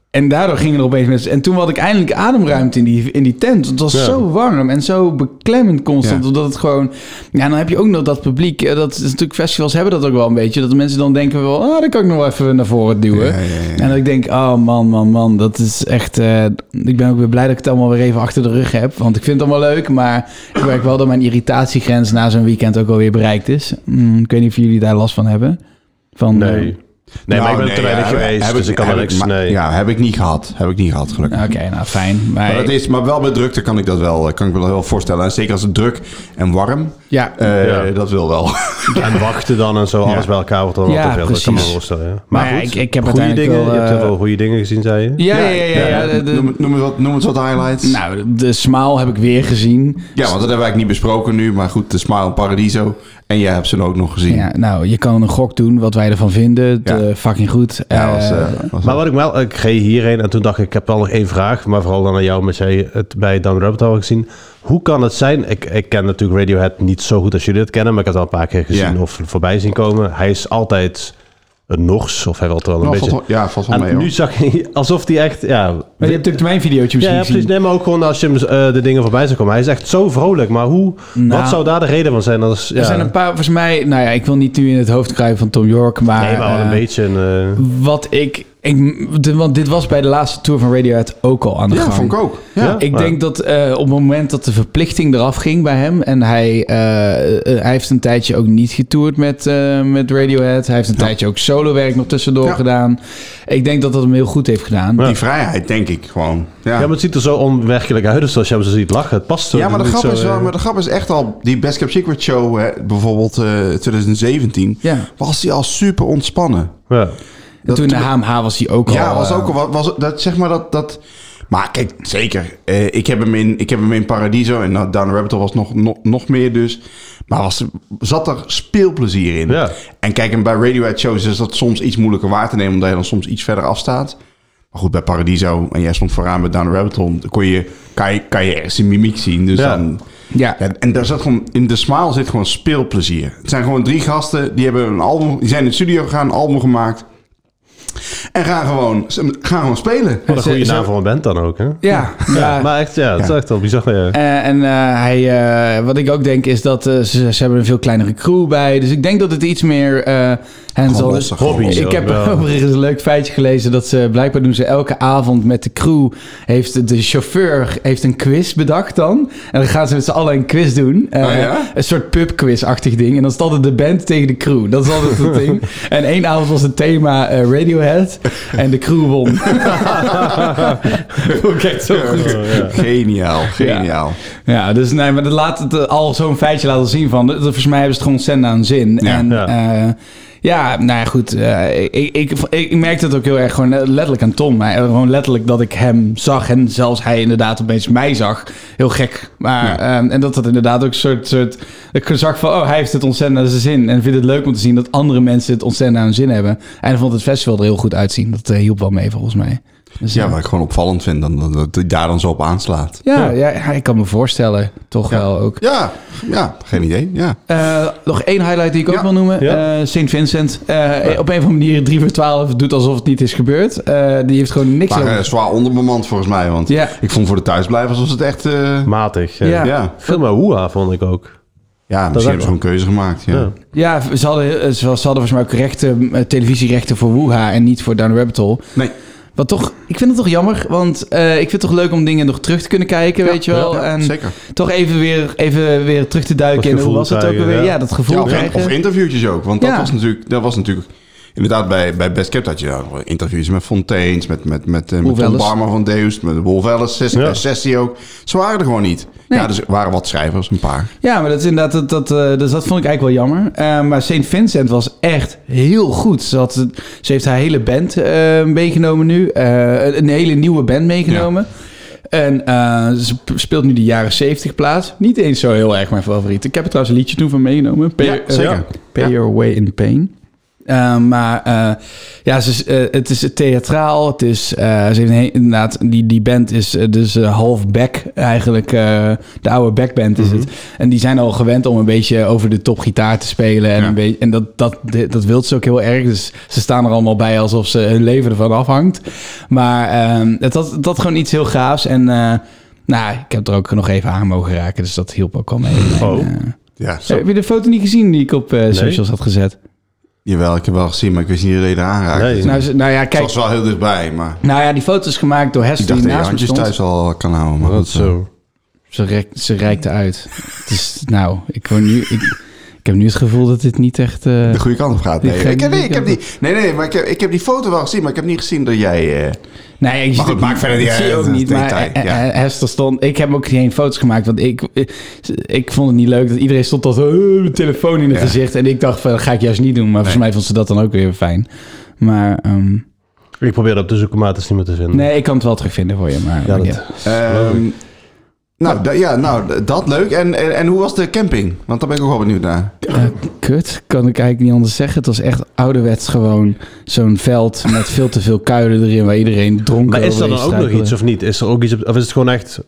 Speaker 2: en daardoor gingen er opeens mensen. En toen had ik eindelijk ademruimte in die, in die tent. Het was
Speaker 4: Ja.
Speaker 2: zo warm en zo beklemmend constant.
Speaker 3: Ja.
Speaker 2: Omdat het gewoon. Ja, dan heb je ook nog dat publiek. eh, Dat is natuurlijk festivals hebben dat ook wel een beetje. Dat de mensen dan denken: wel, ah, dat kan ik nog wel even naar voren duwen.
Speaker 3: Ja, ja, ja, ja.
Speaker 2: En dat ik denk: oh man, man, man. Dat is echt. eh, ik ben ook weer blij dat ik het allemaal weer even achter de rug heb. Want ik vind het allemaal leuk. Maar ik merk wel dat mijn irritatiegrens na zo'n weekend ook alweer bereikt is. Mm, ik weet niet of jullie daar last van hebben. Van,
Speaker 4: Nee.
Speaker 2: eh,
Speaker 4: Nee, maar
Speaker 2: Nou,
Speaker 3: Nou,
Speaker 4: ik ben er te weinig geweest, dus ik kan er
Speaker 3: wel
Speaker 4: niks... Nee.
Speaker 3: Ja, heb ik niet gehad. Heb ik niet gehad, gelukkig.
Speaker 2: Oké, nou fijn. Maar,
Speaker 3: Maar, dat is, maar wel met drukte kan ik dat wel, eh, kan ik me dat wel voorstellen. En zeker als het druk en warm,
Speaker 2: Ja.
Speaker 3: eh,
Speaker 4: Ja.
Speaker 3: dat wil wel.
Speaker 4: En wachten dan en zo, alles bij elkaar wordt dan wel
Speaker 2: Ja,
Speaker 4: te veel. Dat kan me
Speaker 2: precies.
Speaker 4: voorstellen, ja. Maar,
Speaker 2: Maar ja,
Speaker 4: goed,
Speaker 2: ik- ik heb
Speaker 4: goede
Speaker 2: uiteindelijk
Speaker 4: dingen.
Speaker 2: wel,
Speaker 4: Je hebt heel
Speaker 2: eh,
Speaker 4: veel goede dingen gezien, zei je?
Speaker 2: ja, ja, ja. ja, ja, de- de-
Speaker 3: noem, het- noem, eens wat, noem eens wat highlights.
Speaker 2: nou, de- de smaal heb ik weer gezien.
Speaker 3: ja, want dat hebben we eigenlijk niet besproken nu. Maar goed, de Smile Paradiso. En jij hebt ze ook nog gezien.
Speaker 2: Ja, nou, je kan een gok doen wat wij ervan vinden.
Speaker 3: Ja.
Speaker 2: Eh, fucking goed.
Speaker 3: Ja, was,
Speaker 2: Eh,
Speaker 3: eh, was-
Speaker 4: Maar wat ik wel, ik ging hierheen en toen dacht ik, ik heb wel nog één vraag, maar vooral dan aan jou, met jij het bij Dan Rabbit Hole gezien. Hoe kan het zijn, ik, ik ken natuurlijk Radiohead niet zo goed als jullie het kennen, maar ik heb het al een paar keer gezien
Speaker 3: Ja.
Speaker 4: of voorbij zien komen. Hij is altijd een nors, of hij wil wel een
Speaker 3: Nou,
Speaker 4: beetje...
Speaker 3: valt wel- ja, valt wel
Speaker 4: en
Speaker 3: mee, hoor.
Speaker 4: nu zag hij alsof hij echt, ja...
Speaker 2: maar je hebt natuurlijk mijn videootje
Speaker 4: Ja,
Speaker 2: misschien
Speaker 4: ja, precies.
Speaker 2: gezien.
Speaker 4: Nee, maar ook gewoon als je hem eh, de dingen voorbij zou komen. Hij is echt zo vrolijk. Maar hoe,
Speaker 2: Nou.
Speaker 4: wat zou daar de reden van zijn? Als, ja,
Speaker 2: Er zijn een paar, volgens mij... Nou ja, ik wil niet nu in het hoofd krijgen van Tom York, maar...
Speaker 4: nee, maar wel een
Speaker 2: eh,
Speaker 4: beetje een... eh,
Speaker 2: Wat ik Ik, de- want dit was bij de laatste tour van Radiohead ook al aan de
Speaker 3: Ja,
Speaker 2: gang.
Speaker 3: vond ik ook. Ja.
Speaker 4: Ja.
Speaker 2: Ik denk dat eh, op het moment dat de verplichting eraf ging bij hem... en hij, eh, eh, hij heeft een tijdje ook niet getoerd met, eh, met Radiohead. Hij heeft een tijdje ook solowerk nog tussendoor
Speaker 3: Ja.
Speaker 2: gedaan. Ik denk dat dat hem heel goed heeft gedaan.
Speaker 3: Die vrijheid, denk ik gewoon. Ja,
Speaker 4: Ja, maar het ziet er zo onwerkelijk uit. Dus als je hem zo ziet lachen, het past zo
Speaker 3: Ja, maar de,
Speaker 4: niet
Speaker 3: grap
Speaker 4: zo,
Speaker 3: is, wel-
Speaker 4: eh,
Speaker 3: maar de grap is echt al... Die Best Kept Secret Show, hè, bijvoorbeeld eh, 2017...
Speaker 2: Ja.
Speaker 3: was die al super ontspannen.
Speaker 4: ja.
Speaker 2: En
Speaker 3: Dat
Speaker 2: toen de HMH was hij ook al...
Speaker 3: Ja, was
Speaker 2: eh,
Speaker 3: ook al... wat- Was, dat, zeg maar dat... dat maar kijk, zeker. eh, ik, heb hem in, ik heb hem in Paradiso en nou, Down the Rabbit Hole was nog, nog, nog meer dus. Maar was, zat er speelplezier in.
Speaker 4: Ja.
Speaker 3: En kijk, en bij Radiohead shows is dat soms iets moeilijker waar te nemen... omdat je dan soms iets verder afstaat. Maar goed, bij Paradiso en jij stond vooraan met Down the Rabbit Hole... dan kon je, kan, je, kan je ergens die mimiek zien. Dus
Speaker 4: Ja.
Speaker 3: dan...
Speaker 2: Ja.
Speaker 3: Ja, en daar zat gewoon, in de smaal zit gewoon speelplezier. Het zijn gewoon drie gasten, die, hebben een album, die zijn in de studio gegaan, een album gemaakt. En gaan gewoon, ze gaan gewoon spelen.
Speaker 4: Wat een goede
Speaker 2: Ze-
Speaker 4: naam voor een band dan ook, hè?
Speaker 2: Ja, ja.
Speaker 4: Maar echt, ja, het is
Speaker 3: Ja.
Speaker 4: echt wel bizar. Ja.
Speaker 2: Eh, en eh, hij, eh, wat ik ook denk is dat eh, ze, ze hebben een veel kleinere crew bij. Dus ik denk dat het iets meer eh hands-on
Speaker 3: Gewoon
Speaker 2: is.
Speaker 3: losser, gewoon
Speaker 4: Hobby.
Speaker 2: Ik
Speaker 4: ook
Speaker 2: heb
Speaker 4: wel.
Speaker 2: overigens een leuk feitje gelezen dat ze blijkbaar doen ze elke avond met de crew. Heeft de chauffeur heeft een quiz bedacht dan. En dan gaan ze met z'n allen een quiz doen. Eh,
Speaker 3: Oh ja?
Speaker 2: Een soort pubquiz-achtig ding. En dan is het altijd de band tegen de crew. Dat is altijd het ding. En één avond was het thema eh, Radiohead. En de crew won. Vond ik echt zo goed.
Speaker 3: Geniaal, geniaal.
Speaker 2: Ja, dus nee, maar dat laat het eh, al zo'n feitje laten zien van. dat- dat- Volgens mij hebben ze het gewoon cent aan zin.
Speaker 3: Ja.
Speaker 2: en
Speaker 4: Ja.
Speaker 2: ja, ja nou ja, goed. eh, ik, ik, ik, ik merkte het ook heel erg gewoon eh, letterlijk aan Tom. Maar eh, gewoon letterlijk dat ik hem zag. En zelfs hij inderdaad opeens mij zag. Heel gek. Maar, eh, en dat dat inderdaad ook een soort, soort. Ik zag van, oh, hij heeft het ontzettend aan zijn zin. En vindt het leuk om te zien dat andere mensen het ontzettend aan hun zin hebben. En hij vond het festival er heel goed uitzien. Dat eh, hielp wel mee volgens mij. Dus,
Speaker 3: Ja,
Speaker 2: eh,
Speaker 3: wat ik gewoon opvallend vind, dan, dat- dat hij daar dan zo op aanslaat.
Speaker 2: ja, ja, ja, ik kan me voorstellen. Toch wel ook.
Speaker 3: Ja, ja, geen idee, ja.
Speaker 2: Eh, nog één highlight die ik ook
Speaker 3: Ja.
Speaker 2: wil noemen.
Speaker 4: Ja.
Speaker 2: Eh, St. Vincent. Eh, Op een of andere manier 3 voor 12 doet alsof het niet is gebeurd. Eh, die heeft gewoon niks
Speaker 3: Maar
Speaker 2: aan-
Speaker 3: eh, zwaar onderbemand volgens mij, want
Speaker 2: Ja.
Speaker 3: ik vond voor de thuisblijvers was het echt... eh,
Speaker 4: Matig. Ja.
Speaker 2: Ja.
Speaker 3: ja,
Speaker 4: Veel maar hoeha, vond ik ook.
Speaker 3: ja, misschien hebben ze gewoon een keuze gemaakt. Ja.
Speaker 4: Ja.
Speaker 2: Ja, ze hadden, eh, ze hadden volgens mij ook rechten, eh, televisierechten voor Woeha en niet voor Down the Rabbit Hole.
Speaker 3: Nee,
Speaker 2: Wat toch, ik vind het toch jammer, want eh, ik vind het toch leuk om dingen nog terug te kunnen kijken, weet je wel.
Speaker 3: ja,
Speaker 2: en
Speaker 3: zeker.
Speaker 2: toch even weer, even weer terug te
Speaker 4: Dat
Speaker 2: duiken in hoe
Speaker 4: gevoel
Speaker 2: was het ook
Speaker 4: krijgen,
Speaker 2: alweer. Ja.
Speaker 4: ja.
Speaker 2: dat gevoel
Speaker 3: Ja, of,
Speaker 2: krijgen.
Speaker 3: of interviewtjes ook. Want
Speaker 2: Ja.
Speaker 3: dat, was natuurlijk, dat was natuurlijk... Inderdaad, bij, bij Best Kept had je nou, interviews met Fontaines, met, met, met, eh, met
Speaker 2: Wolf
Speaker 3: Tom
Speaker 2: Ellis.
Speaker 3: Barmer van Deust, met Wolf Ellis, Sis-
Speaker 4: Ja.
Speaker 3: eh, Sessie ook. Ze waren er gewoon niet. Ja, dus er waren wat schrijvers, een paar.
Speaker 2: Ja, maar dat is inderdaad, dat, dat, eh, dus dat vond ik eigenlijk wel jammer. Eh, maar St. Vincent was echt heel goed. Ze, had, ze heeft haar hele band eh, meegenomen nu. Eh, een- een hele nieuwe band meegenomen. En eh, ze p- speelt nu de jaren 70 plaats. Niet eens zo heel erg mijn favoriet. Ik heb er trouwens een liedje toen van meegenomen. Pay,
Speaker 3: Ja,
Speaker 2: eh,
Speaker 3: zeker.
Speaker 2: ja, Pay
Speaker 3: Ja.
Speaker 2: Your Way in Pain. Eh, maar eh, ja, ze is, eh, het is theatraal. Het is, eh, ze heeft een he- inderdaad, die, die band is eh, dus eh, half back eigenlijk. eh, de oude backband is het. En die zijn al gewend om een beetje over de top gitaar te spelen. En,
Speaker 3: Ja.
Speaker 2: een beetje, en dat, dat, dat wil ze ook heel erg. Dus ze staan er allemaal bij alsof ze hun leven ervan afhangt. Maar ehm, het had, het had gewoon iets heel gaafs. En eh, nou, ik heb er ook nog even aan mogen raken. Dus dat hielp ook al mee.
Speaker 4: Oh.
Speaker 2: En, eh,
Speaker 3: Ja,
Speaker 2: heb je de foto niet gezien die ik op eh, socials had gezet?
Speaker 3: Jawel, ik heb wel gezien, maar ik wist niet dat je er aanraakte.
Speaker 4: Nee.
Speaker 3: Dus
Speaker 2: Nou, ze- nou ja,
Speaker 3: Het
Speaker 2: kijk.
Speaker 3: was wel heel dichtbij, maar...
Speaker 2: Nou ja, die foto is gemaakt door Hester
Speaker 3: Ik dacht
Speaker 2: die
Speaker 3: dat je
Speaker 2: naast me
Speaker 3: handjes
Speaker 2: stond.
Speaker 3: thuis al kan houden. Maar
Speaker 4: Dat
Speaker 3: goed, eh,
Speaker 4: zo.
Speaker 2: Ze, rek, ze reikte uit. Het is, nou, ik, word nu, ik, ik heb nu het gevoel dat dit niet echt... eh,
Speaker 3: De goede kant op gaat.
Speaker 2: Die
Speaker 3: Nee,
Speaker 2: gek-
Speaker 3: ik heb, nee, ik heb
Speaker 2: die-
Speaker 3: die, nee, nee, maar ik heb, ik heb die foto wel gezien, maar ik heb niet gezien dat jij... eh
Speaker 2: Nee, ik
Speaker 3: Maar goed, maakt verder niet
Speaker 2: dat zie je
Speaker 3: uit,
Speaker 2: ook
Speaker 3: het
Speaker 2: niet. Maar
Speaker 3: detail,
Speaker 2: eh,
Speaker 3: ja.
Speaker 2: eh, Hester stond. Ik heb ook geen foto's gemaakt, want ik, ik, ik vond het niet leuk dat iedereen stond als eh, met telefoon in het
Speaker 3: Ja.
Speaker 2: gezicht. En ik dacht van, dat ga ik juist niet doen. Maar volgens mij vond ze dat dan ook weer fijn. Maar ehm,
Speaker 4: Ik probeer dat op te zoeken, maar het is niet meer te vinden.
Speaker 2: nee, ik kan het wel terugvinden voor je. Maar
Speaker 4: Ja, dat-
Speaker 2: ja. Eh,
Speaker 3: ehm, nou, da- ja, nou, d- dat leuk. En, en, en hoe was de camping? Want daar ben ik ook wel benieuwd naar.
Speaker 2: Eh, kut, kan ik eigenlijk niet anders zeggen. Het was echt ouderwets gewoon zo'n veld met veel te veel kuilen erin waar iedereen dronken
Speaker 4: Maar is er dan
Speaker 2: overheen
Speaker 4: ook nog
Speaker 2: struikelde.
Speaker 4: iets of niet? Is er ook iets, op- of is het gewoon echt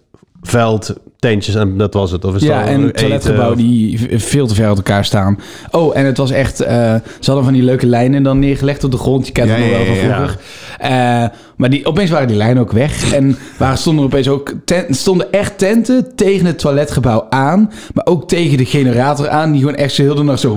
Speaker 4: veld, tentjes en dat was het. Of is
Speaker 2: Ja,
Speaker 4: dat
Speaker 2: en
Speaker 4: eten
Speaker 2: een toiletgebouw
Speaker 4: of-
Speaker 2: die v- veel te ver uit elkaar staan. Oh, en het was echt... eh, ze hadden van die leuke lijnen dan neergelegd op de grond. Je kent
Speaker 3: Ja,
Speaker 2: het nog
Speaker 3: ja,
Speaker 2: wel van
Speaker 3: ja, ja.
Speaker 2: vroeger. Eh, maar die, opeens waren die lijnen ook weg. En waren, stonden er opeens ook ten- stonden echt tenten tegen het toiletgebouw aan. Maar ook tegen de generator aan. Die gewoon echt zo heel de nacht zo...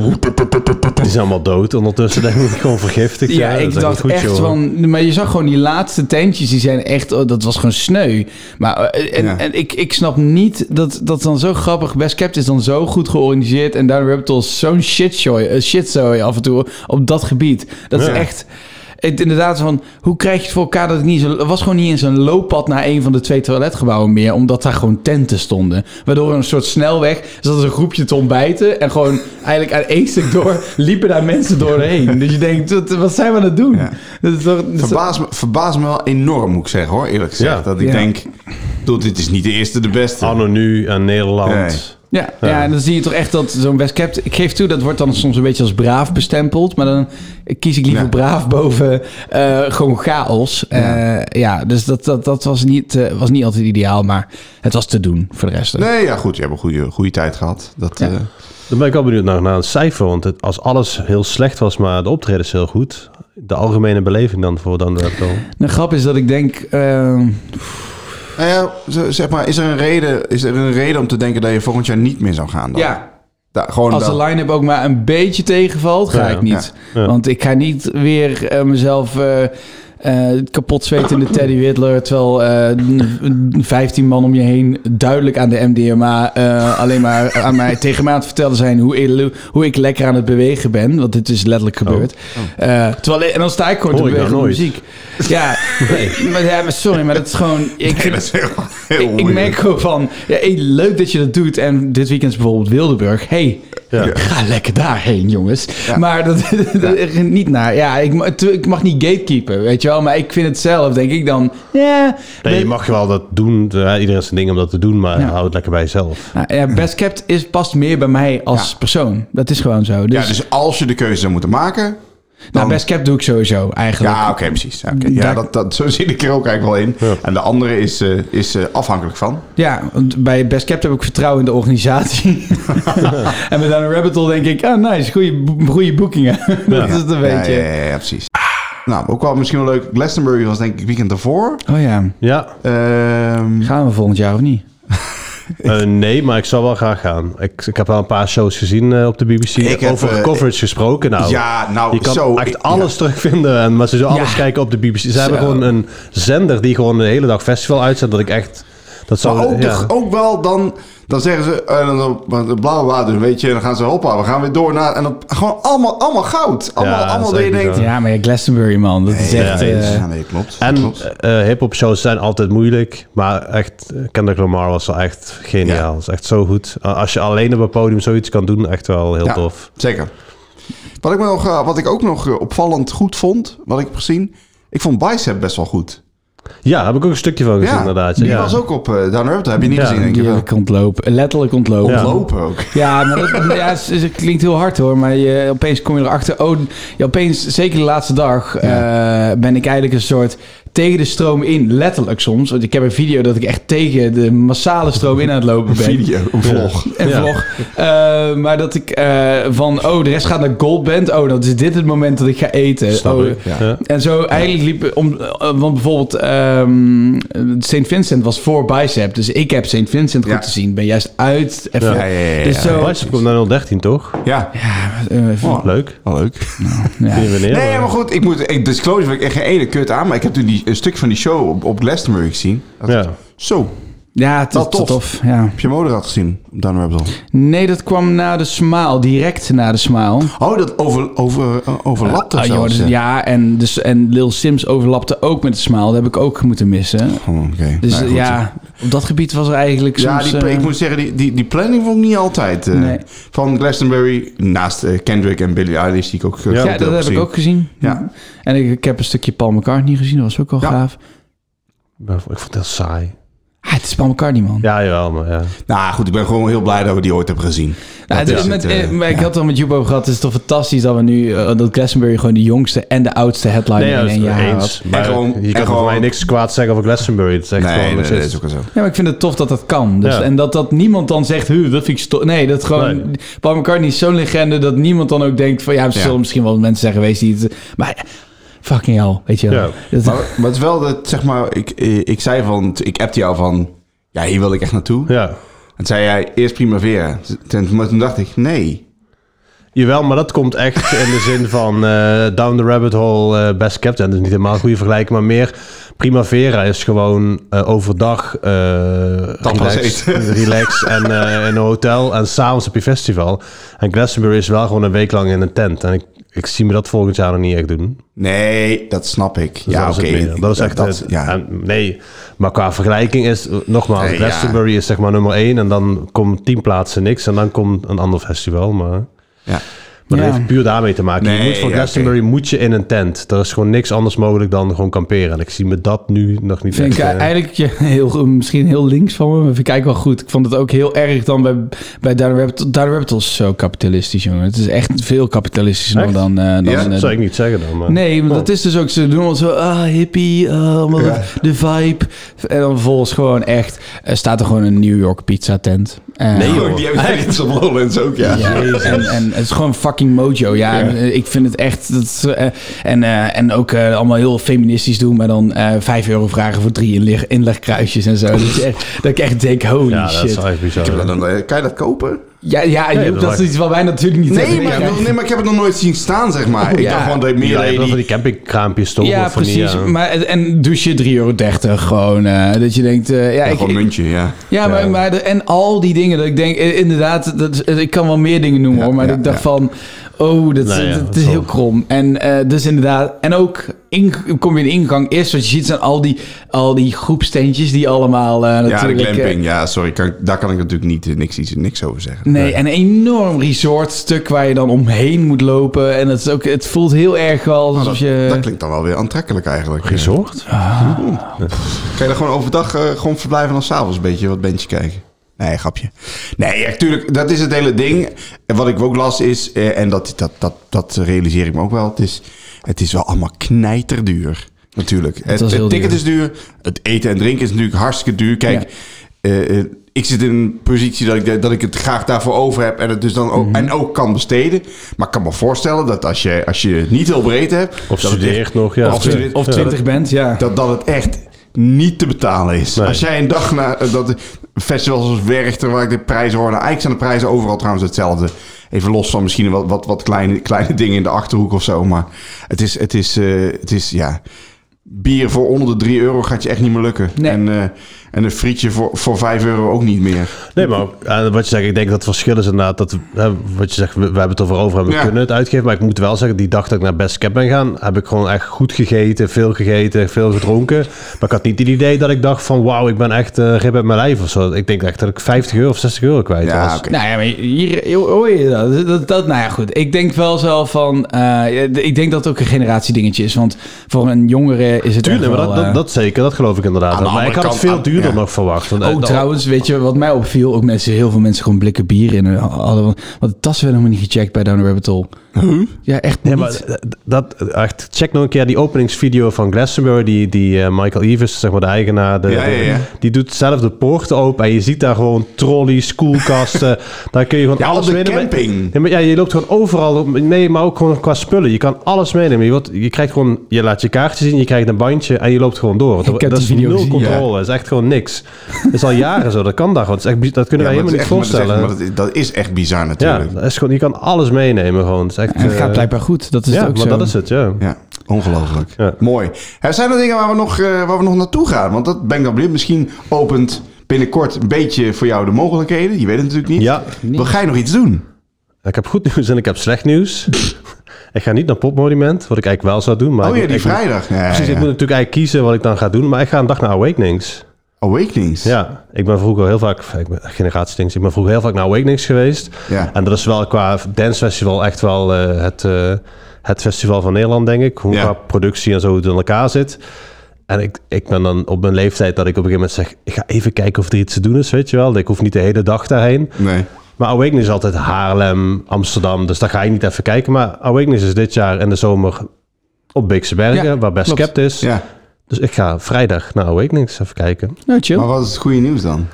Speaker 4: Die zijn allemaal dood ondertussen, denk ik. Gewoon vergiftigd.
Speaker 2: Ja,
Speaker 4: eh, dat
Speaker 2: ik
Speaker 4: is
Speaker 2: dacht
Speaker 4: goed,
Speaker 2: echt
Speaker 4: joh.
Speaker 2: van... Maar je zag gewoon die laatste tentjes, die zijn echt... oh, dat was gewoon sneu. Maar eh, en,
Speaker 3: Ja.
Speaker 2: en ik, ik snap niet dat, dat dan zo grappig... Best Kept is dan zo goed georganiseerd... en Down Rabbit Hole is zo'n shitzooi eh, shitzooi af en toe op dat gebied. Dat
Speaker 4: Ja.
Speaker 2: is echt... Het, inderdaad, van hoe krijg je het voor elkaar dat het niet zo. Er was gewoon niet eens een looppad naar een van de twee toiletgebouwen meer, omdat daar gewoon tenten stonden. Waardoor er een soort snelweg zat dus een groepje te ontbijten en gewoon eigenlijk aan één stuk door liepen daar mensen doorheen. Dus je denkt, wat, wat zijn we aan het doen?
Speaker 3: Ja.
Speaker 2: Dat is toch, dat is toch-
Speaker 3: Verbaas me, verbaas me wel enorm, moet ik zeggen hoor, eerlijk gezegd.
Speaker 4: Ja. Ah,
Speaker 3: Dat ik
Speaker 2: Ja.
Speaker 3: denk, doe, dit is niet de eerste, de beste.
Speaker 4: Anno nu en Nederland.
Speaker 2: ja, ja. en dan zie je toch echt dat zo'n West Cap. Ik geef toe, dat wordt dan soms een beetje als braaf bestempeld. Maar dan kies ik liever
Speaker 3: Ja.
Speaker 2: braaf boven eh, gewoon chaos. Ja, ja dus dat, dat, dat was, niet, eh, was niet altijd ideaal. Maar het was te doen voor de rest.
Speaker 3: Nee, ja goed, je hebt een goede, goede tijd gehad. Dat,
Speaker 2: Ja.
Speaker 3: eh,
Speaker 4: Dan ben ik wel benieuwd naar, naar het cijfer. Want het, als alles heel slecht was, maar de optredens heel goed. De algemene beleving dan voor dan Rabbit Hole.
Speaker 2: De grap is dat ik denk... ehm,
Speaker 3: nou ja, z- zeg maar, is er, een reden, is er een reden om te denken dat je volgend jaar niet meer zou gaan dan?
Speaker 2: ja,
Speaker 3: Da- gewoon
Speaker 2: als
Speaker 3: dat-
Speaker 2: de line-up ook maar een beetje tegenvalt, ga
Speaker 4: Ja,
Speaker 2: ik niet.
Speaker 4: ja.
Speaker 2: Want ik ga niet weer eh, mezelf eh, eh, kapot zweten in de Teddy Whittler... terwijl eh, n- 15 man om je heen duidelijk aan de MDMA... eh, alleen maar aan mij tegen mij aan het vertellen zijn... Hoe, il- hoe ik lekker aan het bewegen ben. Want dit is letterlijk gebeurd. Eh, terwijl, en dan sta ik gewoon
Speaker 4: Oh. Hoor
Speaker 2: te
Speaker 4: ik nou
Speaker 2: bewegen op
Speaker 4: nooit.
Speaker 2: muziek. Ja, maar, ja, maar sorry, maar dat is gewoon... Ik,
Speaker 3: Nee, dat is heel, heel
Speaker 2: ik, ik
Speaker 3: moeilijk.
Speaker 2: merk gewoon van, ja, hey, leuk dat je dat doet. En dit weekend is bijvoorbeeld Wildeburg. hey,
Speaker 4: Ja.
Speaker 2: ga lekker daarheen, jongens.
Speaker 3: Ja.
Speaker 2: Maar dat, dat- niet naar. Ja, ik, ma- tu- ik mag niet gatekeeper, weet je wel. Maar ik vind het zelf, denk ik dan. Ja,
Speaker 4: Nee, je
Speaker 2: weet-
Speaker 4: mag wel dat doen. Ja, iedereen zijn ding om dat te doen, maar
Speaker 2: Ja.
Speaker 4: hou het lekker bij jezelf.
Speaker 2: Nou, ja, best kept is, past meer bij mij als
Speaker 3: Ja.
Speaker 2: persoon. Dat is gewoon zo. Dus,
Speaker 3: Ja, dus als je de keuze zou moeten maken...
Speaker 2: nou,
Speaker 3: dan-
Speaker 2: best kept doe ik sowieso eigenlijk.
Speaker 3: Ja, oké, precies. Ja, oké. Ja,
Speaker 2: Daar-
Speaker 3: dat, dat, zo zit ik er ook eigenlijk wel in.
Speaker 4: Ja.
Speaker 3: En de andere is, eh, is eh, afhankelijk van.
Speaker 2: Ja, want bij Best Kept heb ik vertrouwen in de organisatie. en met Down a Rabbit Hole denk ik, ah nice, goede, goede boekingen. dat is het een
Speaker 3: Ja,
Speaker 2: beetje.
Speaker 3: ja, ja, ja, precies. Nou, ook wel misschien wel leuk. Glastonbury was denk ik het weekend ervoor.
Speaker 2: Oh ja,
Speaker 4: Ja,
Speaker 3: Ehm,
Speaker 2: gaan we volgend jaar of niet?
Speaker 4: eh, nee, maar ik zou wel graag gaan. Ik, ik heb al een paar shows gezien eh, op de BBC.
Speaker 3: Ik heb,
Speaker 4: Over
Speaker 3: eh,
Speaker 4: coverage gesproken nou.
Speaker 3: ja, nou,
Speaker 4: Je kan
Speaker 3: zo,
Speaker 4: echt
Speaker 3: ik-
Speaker 4: alles terugvinden. En, maar ze zullen alles kijken op de BBC. Ze hebben gewoon een zender die gewoon de hele dag festival uitzendt. Dat ik echt... Dat zou,
Speaker 3: Maar ook,
Speaker 4: ja.
Speaker 3: toch ook wel dan, dan zeggen ze, eh, dan, dan- dan- bla bla bla, dus weet je, en dan gaan ze, hoppa, we gaan weer door naar, en dan gewoon allemaal, allemaal goud. Allemaal,
Speaker 4: dat is
Speaker 3: allemaal dat je
Speaker 4: echt
Speaker 3: denkt,
Speaker 4: bizar.
Speaker 2: Ja, maar ja, Glastonbury, man. Dat is
Speaker 3: nee,
Speaker 2: echt...
Speaker 3: nee,
Speaker 2: eh,
Speaker 3: ja, nee, klopt.
Speaker 4: En
Speaker 3: klopt.
Speaker 4: eh, eh, hip-hop shows zijn altijd moeilijk. Maar echt, eh, Kendrick Lamar was wel echt geniaal.
Speaker 3: Ja.
Speaker 4: Is echt zo goed. Eh, als je alleen op een podium zoiets kan doen, echt wel heel
Speaker 3: Ja,
Speaker 4: tof.
Speaker 3: Zeker. Wat ik, me nog, eh, wat ik ook nog eh, opvallend goed vond, wat ik heb gezien, ik vond Bicep best wel goed.
Speaker 4: Ja, heb ik ook een stukje van gezien Dus inderdaad.
Speaker 3: die
Speaker 4: ja.
Speaker 3: was ook op eh Down Rabbit Hole, heb je niet
Speaker 4: Ja.
Speaker 3: gezien, denk je wel.
Speaker 2: Heerlijk ontlopen. eh, Letterlijk ontlopen.
Speaker 4: Ja.
Speaker 3: Lopen ook.
Speaker 2: Ja, maar dat, ja, het, is- het klinkt heel hard hoor. Maar je, opeens kom je erachter. Oh, je, opeens, zeker de laatste dag, eh, ben ik eigenlijk een soort tegen de stroom in. Letterlijk soms. Want ik heb een video dat ik echt tegen de massale stroom in aan het lopen ben.
Speaker 3: Video, een vlog.
Speaker 2: En
Speaker 4: Ja.
Speaker 2: vlog. Eh, maar dat ik eh, van, oh, de rest gaat naar Goldband. Oh, dan is dit het moment dat ik ga eten.
Speaker 4: Snap
Speaker 2: oh,
Speaker 4: ik. Ja.
Speaker 2: En zo eigenlijk liep om, eh, want bijvoorbeeld ehm St. Vincent was voor Bicep, dus ik heb St. Vincent goed
Speaker 3: Ja.
Speaker 2: te zien. Ben juist uit. Even,
Speaker 3: Ja, ja, ja, ja,
Speaker 2: Dus
Speaker 3: ja.
Speaker 2: zo,
Speaker 4: Bicep komt naar 013, toch?
Speaker 3: Ja,
Speaker 2: eh, even-
Speaker 3: Oh,
Speaker 4: Leuk.
Speaker 3: wel leuk.
Speaker 2: ja.
Speaker 4: Niet wanneer,
Speaker 3: Nee,
Speaker 4: maar-
Speaker 3: maar goed, ik moet, ik disclose, ik echt geen ene kut aan, maar ik heb toen die, een stuk van die show op, op Glastonbury gezien. Dat-
Speaker 4: Ja.
Speaker 3: Zo,
Speaker 2: ja, het is
Speaker 3: Wel tof.
Speaker 2: tof. ja.
Speaker 3: heb je Moderat gezien op Down Rabbit Hole?
Speaker 2: Nee, dat kwam na de smaal, direct na de smaal.
Speaker 3: Oh, dat over, over, eh, overlapt
Speaker 2: Ah,
Speaker 3: of
Speaker 2: joh, dus-
Speaker 3: zo.
Speaker 2: ja, en, dus, en Lil Sims overlapte ook met de smaal. Dat heb ik ook moeten missen.
Speaker 3: Oh, oké.
Speaker 2: Dus
Speaker 3: Nou goed.
Speaker 2: ja, op dat gebied was er eigenlijk
Speaker 3: Ja,
Speaker 2: soms...
Speaker 3: die,
Speaker 2: eh,
Speaker 3: ik moet zeggen, die, die, die planning vond ik niet altijd. eh,
Speaker 2: Nee.
Speaker 3: Van Glastonbury, naast eh, Kendrick en Billie Eilish, die ik ook eh, groot
Speaker 2: ja, dat heb
Speaker 3: gezien.
Speaker 2: ik ook gezien.
Speaker 3: Ja.
Speaker 2: En ik, ik heb een stukje Paul McCartney gezien, dat was ook al
Speaker 3: Ja.
Speaker 2: gaaf.
Speaker 4: Maar Ik vond het heel saai.
Speaker 2: Ah, het is Paul McCartney, man.
Speaker 4: Ja, jawel, maar ja.
Speaker 3: Nou goed, ik ben gewoon heel blij dat we die ooit hebben gezien.
Speaker 2: Ja,
Speaker 3: Dat
Speaker 2: het is
Speaker 3: is
Speaker 2: met,
Speaker 3: het, eh,
Speaker 2: eh, maar ik had het al met Joep over gehad. Het is toch fantastisch dat we nu eh, dat Glastonbury gewoon de jongste en de oudste headliner
Speaker 4: Nee, ja,
Speaker 2: in
Speaker 4: dat is
Speaker 2: één jaar
Speaker 4: eens.
Speaker 2: had.
Speaker 4: Maar
Speaker 3: En gewoon-
Speaker 4: je kan
Speaker 3: en
Speaker 4: volgens
Speaker 3: gewoon-
Speaker 4: mij niks kwaad zeggen over Glastonbury. Het is echt
Speaker 3: nee,
Speaker 4: gewoon
Speaker 3: nee,
Speaker 4: nog
Speaker 3: dat
Speaker 4: steeds-
Speaker 3: is ook wel zo.
Speaker 2: Ja, maar ik vind het tof dat dat kan. Dus,
Speaker 4: Ja.
Speaker 2: En dat, dat niemand dan zegt, "Huh, dat vind ik sto-" Nee, dat gewoon...
Speaker 4: Nee.
Speaker 2: Paul McCartney is zo'n legende dat niemand dan ook denkt van... Ja, er zullen
Speaker 3: Ja.
Speaker 2: misschien wel mensen zijn geweest die het... Maar fucking hell, weet je wel.
Speaker 4: Ja.
Speaker 2: Dat-
Speaker 3: Maar, maar het is wel dat, zeg maar, ik, eh, ik zei van, ik appte jou van, ja, hier wil ik echt naartoe.
Speaker 4: Ja.
Speaker 3: En zei jij, eerst Primavera. Ten, maar toen dacht ik, nee.
Speaker 4: Jawel, maar dat komt echt in de zin van eh, Down the Rabbit Hole, eh, Best Kept. En dat is niet helemaal een goede vergelijking, maar meer Primavera is gewoon eh, overdag eh
Speaker 3: Tapas
Speaker 4: relaxed,
Speaker 3: eten.
Speaker 4: relaxed en eh, in een hotel. En s'avonds heb je festival. En Glastonbury is wel gewoon een week lang in een tent. En ik, ik zie me dat volgend jaar nog niet echt doen.
Speaker 3: Nee, dat snap ik.
Speaker 4: Dus
Speaker 3: ja,
Speaker 4: dat is
Speaker 3: oké.
Speaker 4: het meer. Dat is echt
Speaker 3: dat-
Speaker 4: het.
Speaker 3: ja.
Speaker 4: en nee, maar qua vergelijking is, eh, nogmaals,
Speaker 3: Nee,
Speaker 4: Glastonbury is zeg maar nummer één. En dan komt tien plaatsen niks. En dan komt een ander festival, maar...
Speaker 3: ja.
Speaker 4: Maar dat
Speaker 2: Ja.
Speaker 4: heeft puur daarmee te maken. je
Speaker 3: Nee,
Speaker 4: moet voor
Speaker 3: ja,
Speaker 4: Glastonbury moet je in een tent. Er is gewoon niks anders mogelijk dan gewoon kamperen. En ik zie me dat nu nog niet
Speaker 2: vind
Speaker 4: echt.
Speaker 2: ik eh,
Speaker 4: eh,
Speaker 2: eigenlijk je, heel, goed- misschien heel links van me, maar vind ik eigenlijk wel goed. Ik vond het ook heel erg dan bij, bij Down the Rabbit Hole. Down the Rabbit Hole is zo kapitalistisch, jongen. Het is echt veel kapitalistischer
Speaker 4: Echt?
Speaker 2: dan... eh, dan
Speaker 3: Ja,
Speaker 2: eh,
Speaker 4: dat zou ik niet zeggen dan. Maar. Oh.
Speaker 2: Nee, maar dat is dus ook ze doen wel zo ah hippie, ah, allemaal de vibe en dan vervolgens gewoon echt eh, staat er gewoon een New York pizza tent. Eh,
Speaker 4: Nee, joh.
Speaker 3: Oh, die hebben echt op Lowlands ook, ja.
Speaker 2: ja, en, en het is gewoon fucking mojo. Ja, En, eh, ik vind het echt. Dat, is, eh, en, eh, en ook eh, allemaal heel feministisch doen, maar dan eh 5 euro vragen voor drie inleg, inlegkruisjes en zo. Dat, is echt, dat ik echt denk, holy
Speaker 4: Ja, dat
Speaker 2: shit.
Speaker 4: is echt bizar.
Speaker 3: Maar dan, eh, kan je dat kopen?
Speaker 2: Ja, ja Joep,
Speaker 4: dat
Speaker 2: dat
Speaker 4: is
Speaker 2: is iets wat wij natuurlijk niet
Speaker 3: Nee
Speaker 2: hebben.
Speaker 3: maar, nee, maar ik heb het nog nooit zien staan, zeg maar. ik
Speaker 2: ja.
Speaker 3: dacht gewoon dat ik meer...
Speaker 4: Oh, Ja, je
Speaker 3: dat
Speaker 4: hebt
Speaker 3: je
Speaker 4: wel van
Speaker 3: die-
Speaker 4: die campingkraampjes toch?
Speaker 2: Ja,
Speaker 4: of van die,
Speaker 2: precies.
Speaker 4: eh,
Speaker 2: maar, en douche 3,30 euro. Gewoon eh, dat je denkt. eh, ja,
Speaker 3: Ja,
Speaker 2: ik,
Speaker 3: gewoon muntje, ja.
Speaker 2: Ja, maar, maar de- en al die dingen. Dat ik denk, eh, inderdaad, dat, is- ik kan wel meer dingen noemen hoor. Maar
Speaker 3: ja,
Speaker 2: ik dacht
Speaker 3: ja.
Speaker 2: van, oh, dat,
Speaker 4: Nou ja,
Speaker 2: dat- dat
Speaker 4: dat
Speaker 2: is
Speaker 4: zal.
Speaker 2: heel krom. En eh, dus inderdaad, en ook in, kom je in de ingang. Eerst wat je ziet zijn al die, al die groepsteentjes die allemaal eh,
Speaker 3: Ja, de
Speaker 2: natuurlijk... eh,
Speaker 3: glamping. Ja, sorry. Kan, daar kan ik natuurlijk niet, eh, niks, iets, niks over zeggen.
Speaker 2: Nee, en een enorm resortstuk waar je dan omheen moet lopen. En het, is ook, het voelt heel erg wel
Speaker 3: Nou,
Speaker 2: alsof
Speaker 3: dat,
Speaker 2: je...
Speaker 3: dat klinkt dan wel weer aantrekkelijk eigenlijk.
Speaker 4: Resort?
Speaker 2: Ah.
Speaker 3: Kan je daar gewoon overdag eh, gewoon verblijven en dan s'avonds een beetje wat bandje kijken? Nee, grapje. Nee, ja, tuurlijk, dat is het hele ding. En wat ik ook las is, eh, en dat, dat, dat, dat realiseer ik me ook wel, het is, het is wel allemaal knijterduur. Natuurlijk.
Speaker 2: was
Speaker 3: Het, het
Speaker 2: heel
Speaker 3: ticket
Speaker 2: duur.
Speaker 3: is duur, het eten en drinken is natuurlijk hartstikke duur. Kijk, eh, eh, ik zit in een positie dat ik, dat ik het graag daarvoor over heb en het dus dan
Speaker 2: Mhm.
Speaker 3: ook, en ook kan besteden. Maar ik kan me voorstellen dat als je, als je het niet heel breed hebt...
Speaker 4: Of
Speaker 3: dat het
Speaker 4: studeert
Speaker 3: echt-
Speaker 4: nog, ja.
Speaker 3: Of, studeert-
Speaker 2: Of
Speaker 3: dat het-
Speaker 2: twintig bent, ja.
Speaker 3: dat, dat het echt niet te betalen is.
Speaker 4: Nee.
Speaker 3: Als jij een dag na dat de festivals als Werchter, waar ik de prijzen hoorde, eigenlijk zijn de prijzen overal trouwens hetzelfde. Even los van misschien wat, wat, wat kleine, kleine dingen in de achterhoek of zo. Maar het is, het is, eh, het is ja. Bier voor onder de 3 euro gaat je echt niet meer lukken.
Speaker 2: Nee.
Speaker 3: En, eh, en een frietje voor, voor 5 euro ook niet meer.
Speaker 4: Nee, maar eh, wat je zegt, ik denk dat het verschil is inderdaad dat, eh, wat je zegt, we, we hebben het over over en we
Speaker 3: Ja.
Speaker 4: kunnen het uitgeven. Maar ik moet wel zeggen, die dag dat ik naar Best Cap ben gaan, heb ik gewoon echt goed gegeten, veel gegeten, veel gedronken. Maar ik had niet het idee dat ik dacht van, wauw, ik ben echt eh rib uit mijn lijf of zo. Ik denk echt dat ik 50 euro of 60 euro kwijt
Speaker 3: Ja,
Speaker 4: was.
Speaker 3: oké.
Speaker 2: Nou ja, maar hier hoor je dat. dat, dat nou ja, goed. Ik denk wel zelf van... eh, ik denk dat het ook een generatiedingetje is. Want voor een jongere is het
Speaker 4: Tuurlijk,
Speaker 2: echt
Speaker 4: maar
Speaker 2: wel...
Speaker 4: dat, dat,
Speaker 2: eh,
Speaker 4: dat zeker, dat geloof ik inderdaad.
Speaker 3: Aan de
Speaker 4: wel. Maar ik
Speaker 3: andere
Speaker 4: had het
Speaker 3: kant-
Speaker 4: veel
Speaker 3: aan-
Speaker 4: duurder
Speaker 3: ja.
Speaker 4: nog verwacht. Want,
Speaker 2: Ook
Speaker 4: eh,
Speaker 2: trouwens, weet je wat mij opviel? Ook mensen, heel veel mensen gewoon blikken bier in hun hadden. Want de tassen werden helemaal niet gecheckt bij Down the Rabbit Hole. Ja, echt niet.
Speaker 4: Nee, maar d- dat, echt, check nog een keer die openingsvideo van Glastonbury. Die, die eh, Michael Evers, zeg maar de eigenaar, de,
Speaker 3: Ja, ja, ja.
Speaker 4: die doet zelf de poorten open. En je ziet daar gewoon trolleys, koelkasten. daar kun je gewoon
Speaker 3: Ja, op
Speaker 4: alles
Speaker 3: de
Speaker 4: meenemen.
Speaker 3: camping.
Speaker 4: Ja, maar, ja, je loopt gewoon overal op mee, maar ook gewoon qua spullen. Je kan alles meenemen. Je, wordt, je, krijgt gewoon, je laat je kaartje zien, je krijgt een bandje en je loopt gewoon door. Dat,
Speaker 2: Ik heb
Speaker 4: dat
Speaker 2: die
Speaker 4: is
Speaker 2: video
Speaker 4: nul
Speaker 2: gezien, ja.
Speaker 4: controle. Dat is echt gewoon niks. Dat is al jaren zo, dat kan daar gewoon. Dat, is echt, bi- dat kunnen wij
Speaker 3: maar
Speaker 4: helemaal
Speaker 3: het
Speaker 4: niet
Speaker 3: is echt- maar
Speaker 4: voorstellen.
Speaker 3: dat is echt- maar dat, is, dat is echt bizar
Speaker 4: ja,
Speaker 3: natuurlijk. Ja,
Speaker 4: dat is gewoon, je kan alles meenemen gewoon. Het, is echt,
Speaker 2: En het gaat
Speaker 4: eh,
Speaker 2: blijkbaar goed. Dat is
Speaker 4: ja,
Speaker 2: het ook zo.
Speaker 4: maar dat is het, ja.
Speaker 3: ongelooflijk.
Speaker 4: Ja.
Speaker 3: Mooi. Er zijn er dingen waar we, nog, eh, waar we nog naartoe gaan? Want dat ben ik dan benieuwd. Misschien opent binnenkort een beetje voor jou de mogelijkheden. Je weet het natuurlijk niet.
Speaker 4: Ja.
Speaker 3: Wil jij nog iets doen?
Speaker 4: Ik heb goed nieuws en ik heb slecht nieuws. ik ga niet naar Popmonument, wat ik eigenlijk wel zou doen. Maar
Speaker 3: Oh ja,
Speaker 4: ik-
Speaker 3: die
Speaker 4: ik-
Speaker 3: vrijdag. Ja,
Speaker 4: Precies,
Speaker 3: ja.
Speaker 4: ik moet natuurlijk eigenlijk kiezen wat ik dan ga doen. Maar ik ga een dag naar Awakenings.
Speaker 3: Awakenings.
Speaker 4: Ja, ik ben vroeger heel vaak, ik ben generatie Ik ben vroeger heel vaak naar Awakenings geweest.
Speaker 3: Ja.
Speaker 4: En dat is wel qua dancefestival echt wel eh, het, eh, het festival van Nederland, denk ik. Hoe
Speaker 3: Ja.
Speaker 4: qua productie en zo het in elkaar zit. En ik, ik ben dan op mijn leeftijd dat ik op een gegeven moment zeg... Ik ga even kijken of er iets te doen is, weet je wel. Ik hoef niet de hele dag daarheen.
Speaker 3: Nee.
Speaker 4: Maar Awakening is altijd Haarlem, Amsterdam. Dus daar ga je niet even kijken. Maar Awakening is dit jaar in de zomer op Beekse Bergen,
Speaker 2: Ja,
Speaker 4: waar best
Speaker 2: klopt.
Speaker 4: kept is.
Speaker 3: Ja.
Speaker 4: Dus ik ga vrijdag naar Awakenings even kijken.
Speaker 2: Nou, chill.
Speaker 3: Maar wat is het goede nieuws dan?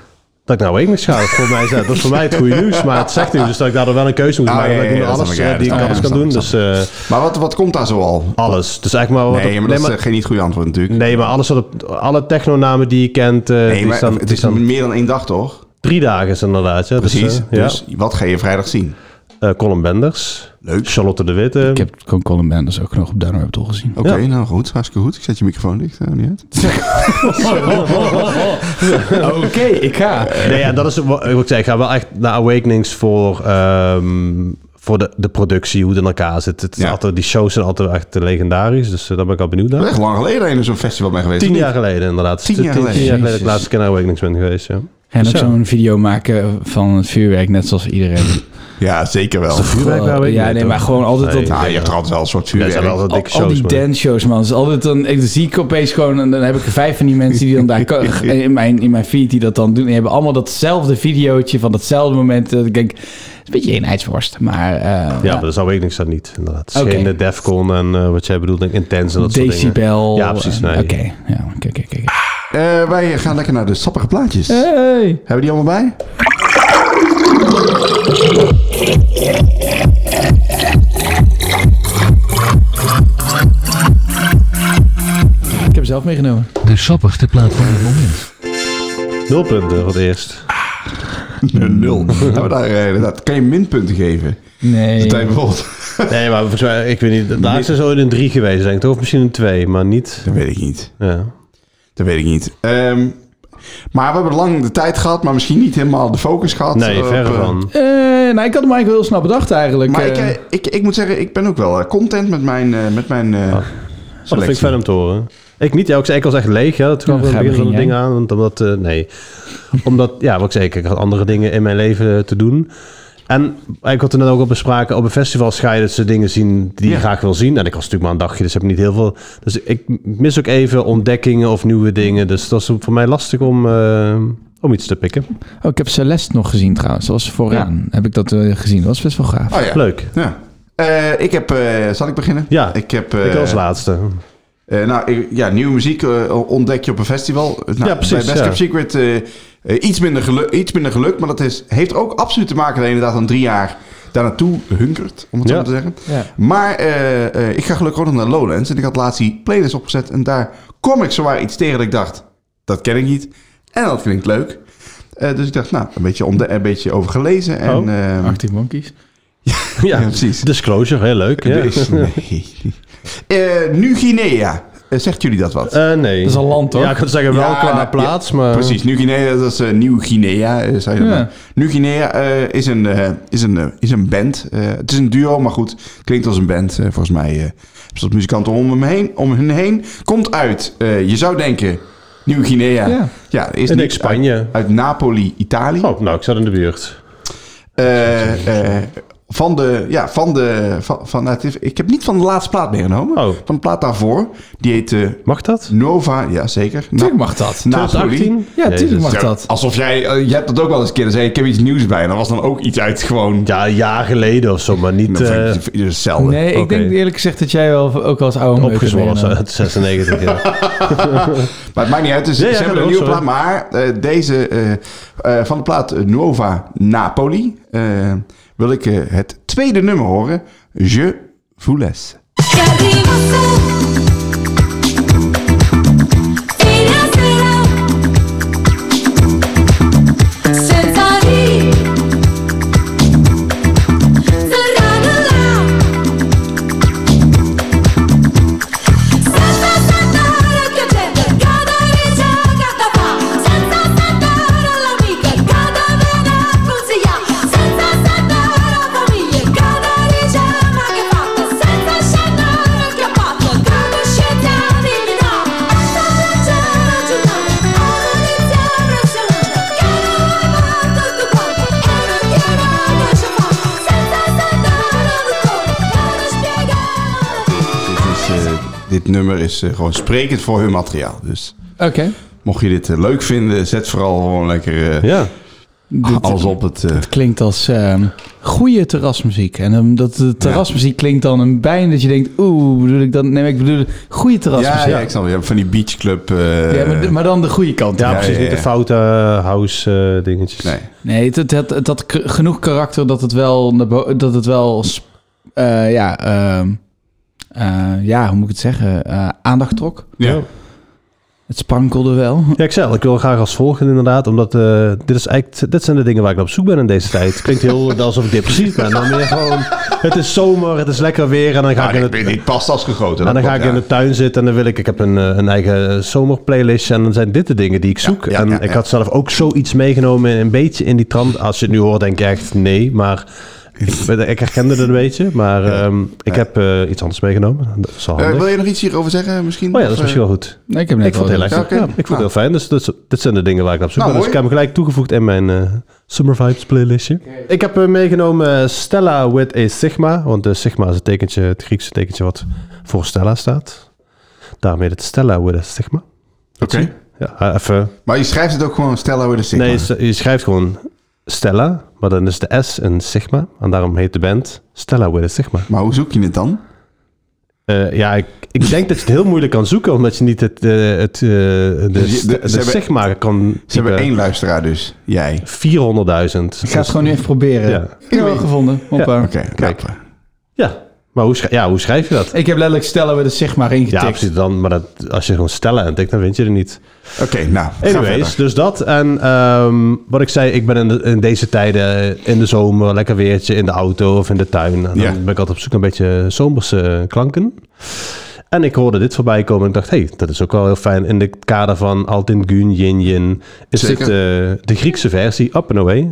Speaker 4: Dat ik naar Awakenings ga, voor mij is dat, dat is voor mij het goede nieuws. Maar het zegt nieuws dus dat ik daardoor wel een keuze moet
Speaker 3: Ah,
Speaker 4: maken.
Speaker 3: ja,
Speaker 4: dat ik
Speaker 3: ja,
Speaker 4: niet
Speaker 3: ja, dat
Speaker 4: alles
Speaker 3: snap ik, ja,
Speaker 4: eh, die ik
Speaker 3: dat
Speaker 4: anders kan
Speaker 3: snap ik,
Speaker 4: doen.
Speaker 3: dat
Speaker 4: Dus
Speaker 3: snap
Speaker 4: eh,
Speaker 3: Maar wat, wat komt daar zoal?
Speaker 4: alles. Dus eigenlijk maar... wat
Speaker 3: Nee,
Speaker 4: op-
Speaker 3: maar dat is eh, geen niet goede antwoord natuurlijk.
Speaker 4: nee, maar alles wat op, alle technonamen die je kent, eh,
Speaker 3: Nee,
Speaker 4: die
Speaker 3: maar
Speaker 4: staan,
Speaker 3: het
Speaker 4: die
Speaker 3: is
Speaker 4: staan
Speaker 3: meer dan één dag toch?
Speaker 4: drie dagen is inderdaad. Ja.
Speaker 3: Precies.
Speaker 4: Dus,
Speaker 3: Dus,
Speaker 4: eh, ja.
Speaker 3: wat ga je vrijdag zien?
Speaker 4: Eh, Colin Benders,
Speaker 3: Leuk.
Speaker 4: Charlotte de Witte.
Speaker 2: Ik heb gewoon Colin Benders ook nog op Down Rabbit Hole gezien.
Speaker 3: Oké,
Speaker 4: Ja.
Speaker 3: nou goed, hartstikke goed. Ik zet je microfoon dicht, hou niet uit.
Speaker 2: Oké, ik ga.
Speaker 4: Nee, ja, dat is wat ik zei. Ik ga wel echt naar Awakenings voor, ehm, voor de, de productie, hoe het in elkaar zit. Het is
Speaker 3: Ja.
Speaker 4: altijd, die shows zijn altijd echt legendarisch, dus eh, daar ben ik al benieuwd
Speaker 3: Dat
Speaker 4: naar.
Speaker 3: is echt lang geleden dat je in zo'n festival bent geweest.
Speaker 4: Tien jaar geleden inderdaad.
Speaker 3: Tien jaar geleden.
Speaker 4: dat ik
Speaker 2: Jezus.
Speaker 4: laatste keer naar Awakenings ben geweest, ja.
Speaker 2: En ook
Speaker 4: Zo.
Speaker 2: zo'n video maken van het vuurwerk, net zoals iedereen.
Speaker 3: Ja, zeker wel.
Speaker 4: Vuurwerk waar we in
Speaker 2: ja, nee,
Speaker 4: zitten.
Speaker 2: maar gewoon altijd
Speaker 4: Nee.
Speaker 2: dat-
Speaker 3: Nou, je hebt er altijd wel een soort
Speaker 4: Ja, het zijn
Speaker 3: vuurwerk.
Speaker 4: wel altijd
Speaker 2: Al,
Speaker 4: dikke
Speaker 2: al
Speaker 4: shows,
Speaker 2: die
Speaker 4: man.
Speaker 2: danshows, man. Dus altijd dan, ik, dan zie ik opeens gewoon... en dan heb ik er vijf van die mensen die dan daar... ko- in, mijn, in mijn feed die dat dan doen. Die hebben allemaal datzelfde videootje van datzelfde moment. Dat ik denk, het is een beetje eenheidsworst. Maar eh,
Speaker 4: Ja,
Speaker 2: ja,
Speaker 4: maar dat is Awakenings dan niet, inderdaad. Het is
Speaker 2: Oké.
Speaker 4: geen eh, Defcon en eh, wat jij bedoelt, denk ik, Intense en dat soort dingen.
Speaker 2: decibel.
Speaker 4: Ja, precies, nee.
Speaker 2: eh, Oké, ja, oké, oké, oké.
Speaker 3: Eh, wij gaan lekker naar de sappige plaatjes.
Speaker 4: Eh?
Speaker 2: Hey.
Speaker 3: Hebben die allemaal bij?
Speaker 2: Ik heb hem zelf meegenomen.
Speaker 6: De sappigste plaat van het moment.
Speaker 4: Nul punten voor het eerst.
Speaker 3: nul. nou, daar, eh, dat kan je minpunten geven.
Speaker 2: Nee.
Speaker 3: Tijd bijvoorbeeld.
Speaker 4: Nee, maar volgens mij, ik weet niet, daar is er zo in een drie geweest, denk ik. Of misschien een twee, maar niet...
Speaker 3: Dat weet ik niet.
Speaker 4: Ja.
Speaker 3: Dat weet ik niet. Ehm, maar we hebben lang de tijd gehad, maar misschien niet helemaal de focus gehad.
Speaker 4: Nee,
Speaker 3: op,
Speaker 4: verre
Speaker 3: eh,
Speaker 4: van.
Speaker 2: Eh, nou, ik had hem eigenlijk heel snel bedacht eigenlijk.
Speaker 3: Maar ik,
Speaker 2: Eh,
Speaker 3: eh, ik, ik moet zeggen, ik ben ook wel eh, content met mijn, eh, met mijn eh,
Speaker 4: Oh, dat vind
Speaker 3: selectie.
Speaker 4: ik fijn om te horen. Ik niet, ja, ook, ik was echt leeg. Ja, dat kwam
Speaker 2: Ja,
Speaker 4: van het
Speaker 2: ga
Speaker 4: begin van
Speaker 2: begin
Speaker 4: de
Speaker 2: jij.
Speaker 4: dingen aan. Want omdat, eh, nee. Omdat, ja, wat ik zei, ik had andere dingen in mijn leven eh, te doen. En ik had er net ook al bespraken, op een festival ga je dat soort dingen zien die
Speaker 3: Ja.
Speaker 4: je graag wil zien. En ik was natuurlijk maar een dagje, dus heb ik niet heel veel. Dus ik mis ook even ontdekkingen of nieuwe dingen. Dus dat is voor mij lastig om, eh, om iets te pikken.
Speaker 2: Oh, ik heb Celeste nog gezien trouwens. Dat was vooraan. Heb ik dat eh, gezien. Dat was best wel gaaf.
Speaker 3: Oh ja.
Speaker 4: Leuk.
Speaker 3: Ja. Eh, ik heb... eh, zal ik beginnen?
Speaker 4: Ja,
Speaker 3: Ik heb... eh,
Speaker 4: ik als laatste.
Speaker 3: Eh, nou, ik- ja, nieuwe muziek eh, ontdek je op een festival. Eh, nou,
Speaker 4: Ja, precies,
Speaker 3: Bij Best
Speaker 4: ja.
Speaker 3: Kept Secret eh, eh, iets, minder geluk, iets minder geluk. Maar dat is, heeft ook absoluut te maken dat je inderdaad aan drie jaar daar naartoe hunkert. Om het zo
Speaker 4: Ja.
Speaker 3: maar te zeggen.
Speaker 2: Ja.
Speaker 3: Maar eh, eh, ik ga gelukkig ook nog naar Lowlands. En ik had laatst die playlist opgezet. En daar kom ik zowaar iets tegen dat ik dacht, dat ken ik niet. En dat klinkt leuk. Eh, dus ik dacht, nou, een beetje, ontde- een beetje over gelezen. En,
Speaker 4: Oh,
Speaker 3: ehm,
Speaker 2: Arctic Monkeys.
Speaker 4: Ja,
Speaker 3: precies.
Speaker 4: Disclosure, heel leuk. Ja.
Speaker 3: dus- nee. Eh, nu Guinea. Eh, zegt jullie dat wat?
Speaker 4: Eh, nee.
Speaker 2: Dat is een land, toch?
Speaker 4: Ja, ik kan zeggen wel
Speaker 3: Ja,
Speaker 4: qua
Speaker 3: nou,
Speaker 4: plaats, maar...
Speaker 3: Precies, Nieuw-Guinea, dat is eh, Nieuw-Guinea, eh, zei je
Speaker 2: Eh, Ja.
Speaker 3: dat. maar. Nieuw-Guinea eh, is, een, eh, is, een, eh, is een band. Eh, het is een duo, maar goed, klinkt als een band. Eh, volgens mij eh hebben ze wat muzikanten om, hem heen, om hun heen. Komt uit, eh, je zou denken, Nieuw-Guinea.
Speaker 2: Ja.
Speaker 3: Ja. is
Speaker 4: Ik denk
Speaker 3: niet
Speaker 4: Spanje.
Speaker 3: Uit, uit Napoli, Italië.
Speaker 4: Oh, nou, ik zat in de buurt.
Speaker 3: Eh, eh, van de, ja, van de, van, van het is- ik heb niet van de laatste plaat meegenomen.
Speaker 4: Oh.
Speaker 3: Van de plaat daarvoor. Die heet eh,
Speaker 4: Mag dat?
Speaker 3: Nova, ja zeker.
Speaker 2: Tuurlijk mag dat.
Speaker 3: Napoli.
Speaker 2: Ja, tuurlijk mag
Speaker 3: Ja,
Speaker 2: dat.
Speaker 3: Alsof jij, eh, je hebt dat ook wel eens een keer gezegd, ik heb iets nieuws bij. En dat was dan ook iets uit gewoon...
Speaker 4: Ja, een jaar geleden of zo, maar niet eh
Speaker 3: Dat is hetzelfde.
Speaker 2: Nee, ik
Speaker 4: Oké.
Speaker 2: denk eerlijk gezegd dat jij wel ook wel als oude meuk
Speaker 4: opgezwollen
Speaker 2: bent.
Speaker 4: uit 96. Ja.
Speaker 3: Maar het maakt niet uit. Dus
Speaker 4: Ja, ja,
Speaker 3: ze hebben
Speaker 4: dat
Speaker 3: een nieuwe
Speaker 4: wel,
Speaker 3: plaat. Maar eh, deze eh, eh, van de plaat Nuova Napoli eh, wil ik eh, het tweede nummer horen. Je vous laisse.
Speaker 7: Senza di Serrano là Senza santoro che prende Cada regia carta fa Senza santoro l'amica Cada vena consiglia Senza santoro famiglia Cada regia ma che fatta Senza santoro che ha fatto Cada scelta di no Senza regia ragionare Analizia razionale Cada amato tu quanto Era chiara lascia fa Senza santoro ancora Cada spiegare
Speaker 3: Dit is eh, dit nummer is eh, gewoon sprekend voor hun materiaal. Dus
Speaker 2: Oké.
Speaker 3: mocht je dit eh, leuk vinden, zet vooral gewoon lekker eh,
Speaker 4: Ja.
Speaker 2: Dit-
Speaker 3: alles op het... eh,
Speaker 2: Klinkt als ehm goede terrasmuziek. En ehm, dat de terrasmuziek klinkt dan een bijna dat je denkt, oeh, bedoel ik dat? Nee, maar ik bedoel goede
Speaker 3: ja,
Speaker 2: terrasmuziek.
Speaker 3: ja, ik snap het. Ja, Van die beachclub... eh,
Speaker 2: Ja, maar, maar dan de goede kant.
Speaker 4: Ja,
Speaker 3: Ja,
Speaker 4: precies.
Speaker 3: ja,
Speaker 4: Niet de
Speaker 3: ja.
Speaker 4: foute house eh, dingetjes.
Speaker 3: Nee.
Speaker 2: Nee, het, het, het, het had k- genoeg karakter dat het wel, naar bo- dat het wel sp- eh, ja, ehm, eh, ja, hoe moet ik het zeggen, Eh, aandacht trok.
Speaker 3: Ja.
Speaker 2: Het sprankelde wel.
Speaker 4: Ja, ik zei al, ik wil graag als volgende inderdaad, omdat eh, dit, is eigenlijk, dit zijn de dingen waar ik naar op zoek ben in deze tijd. Het klinkt heel alsof ik depressief ben, maar meer gewoon, het is zomer, het is lekker weer en dan ga
Speaker 3: Ja,
Speaker 4: ik in
Speaker 3: dit,
Speaker 4: het...
Speaker 3: dit- dit past als gegoten.
Speaker 4: En dan
Speaker 3: dat
Speaker 4: ga ik
Speaker 3: klopt,
Speaker 4: in
Speaker 3: ja.
Speaker 4: de tuin zitten en dan wil ik, ik heb een, eh, een eigen zomerplaylist en dan zijn dit de dingen die ik zoek.
Speaker 3: ja,
Speaker 4: en
Speaker 3: ja,
Speaker 4: ik
Speaker 3: ja.
Speaker 4: had zelf ook zoiets meegenomen, een beetje in die trant. Als je het nu hoort, denk ik echt nee, maar ik, ben- ik herkende het een beetje. Maar ehm, ik heb eh, iets anders meegenomen. Dat is al
Speaker 3: Eh,
Speaker 4: handig.
Speaker 3: wil je nog iets hierover zeggen misschien?
Speaker 4: Oh ja, dat
Speaker 3: Of,
Speaker 4: is
Speaker 3: eh,
Speaker 4: misschien wel goed.
Speaker 2: Nee, ik heb net
Speaker 4: Ik vond het
Speaker 2: wel-
Speaker 4: heel lekker.
Speaker 3: Ja, oké.
Speaker 4: Ja, ik vond het
Speaker 3: Nou.
Speaker 4: heel fijn. Dus, dus dit zijn de dingen waar ik naar op zoek
Speaker 3: Nou,
Speaker 4: ben. Dus ik heb
Speaker 3: mooi.
Speaker 4: hem gelijk toegevoegd in mijn eh, Summer Vibes playlistje. Ik heb eh, meegenomen eh, Stella with a Sigma. Want eh, Sigma is het, tekentje, het Griekse tekentje wat voor Stella staat. Daarmee het Stella with a Sigma.
Speaker 3: Oké.
Speaker 4: Ja, eh, even.
Speaker 3: Maar je schrijft het ook gewoon Stella with a Sigma.
Speaker 4: Nee, je- je schrijft gewoon Stella, maar dan is de S een Sigma. En daarom heet de band Stella with a Sigma.
Speaker 3: Maar hoe zoek je het dan?
Speaker 4: Eh, ja, ik, ik denk dat je het heel moeilijk kan zoeken, omdat je niet het, eh, het, eh, de,
Speaker 3: Dus je- de-
Speaker 4: st- de
Speaker 3: ze hebben-
Speaker 4: Sigma kan
Speaker 3: Ze hebben
Speaker 4: typen.
Speaker 3: één luisteraar dus. Jij.
Speaker 4: 400.000.
Speaker 2: Ik ga het gewoon nu even proberen.
Speaker 4: Ja.
Speaker 2: Ik heb wel gevonden. Hoppa.
Speaker 3: Oké, nou, eh, kijk.
Speaker 4: Ja, maar hoe schrijf, ja, hoe schrijf je dat?
Speaker 2: Ik heb letterlijk stellen we de Sigma erin
Speaker 4: Ja,
Speaker 2: getikt.
Speaker 4: precies. Dan, maar dat, als je gewoon stellen en tikt, dan vind je er niet.
Speaker 3: Oké, nou. ga
Speaker 4: Anyways,
Speaker 3: verder.
Speaker 4: dus dat. En ehm, wat ik zei, ik ben in, de- in deze tijden in de zomer, lekker weertje, in de auto of in de tuin. En dan
Speaker 3: Ja.
Speaker 4: ben ik altijd op zoek naar een beetje zomerse eh, klanken. En ik hoorde dit voorbij komen en ik dacht, hé, hey, dat is ook wel heel fijn. In het kader van Altin Gun, Yin Yin, is
Speaker 3: Zeker.
Speaker 4: dit eh, de Griekse versie, Up and Away.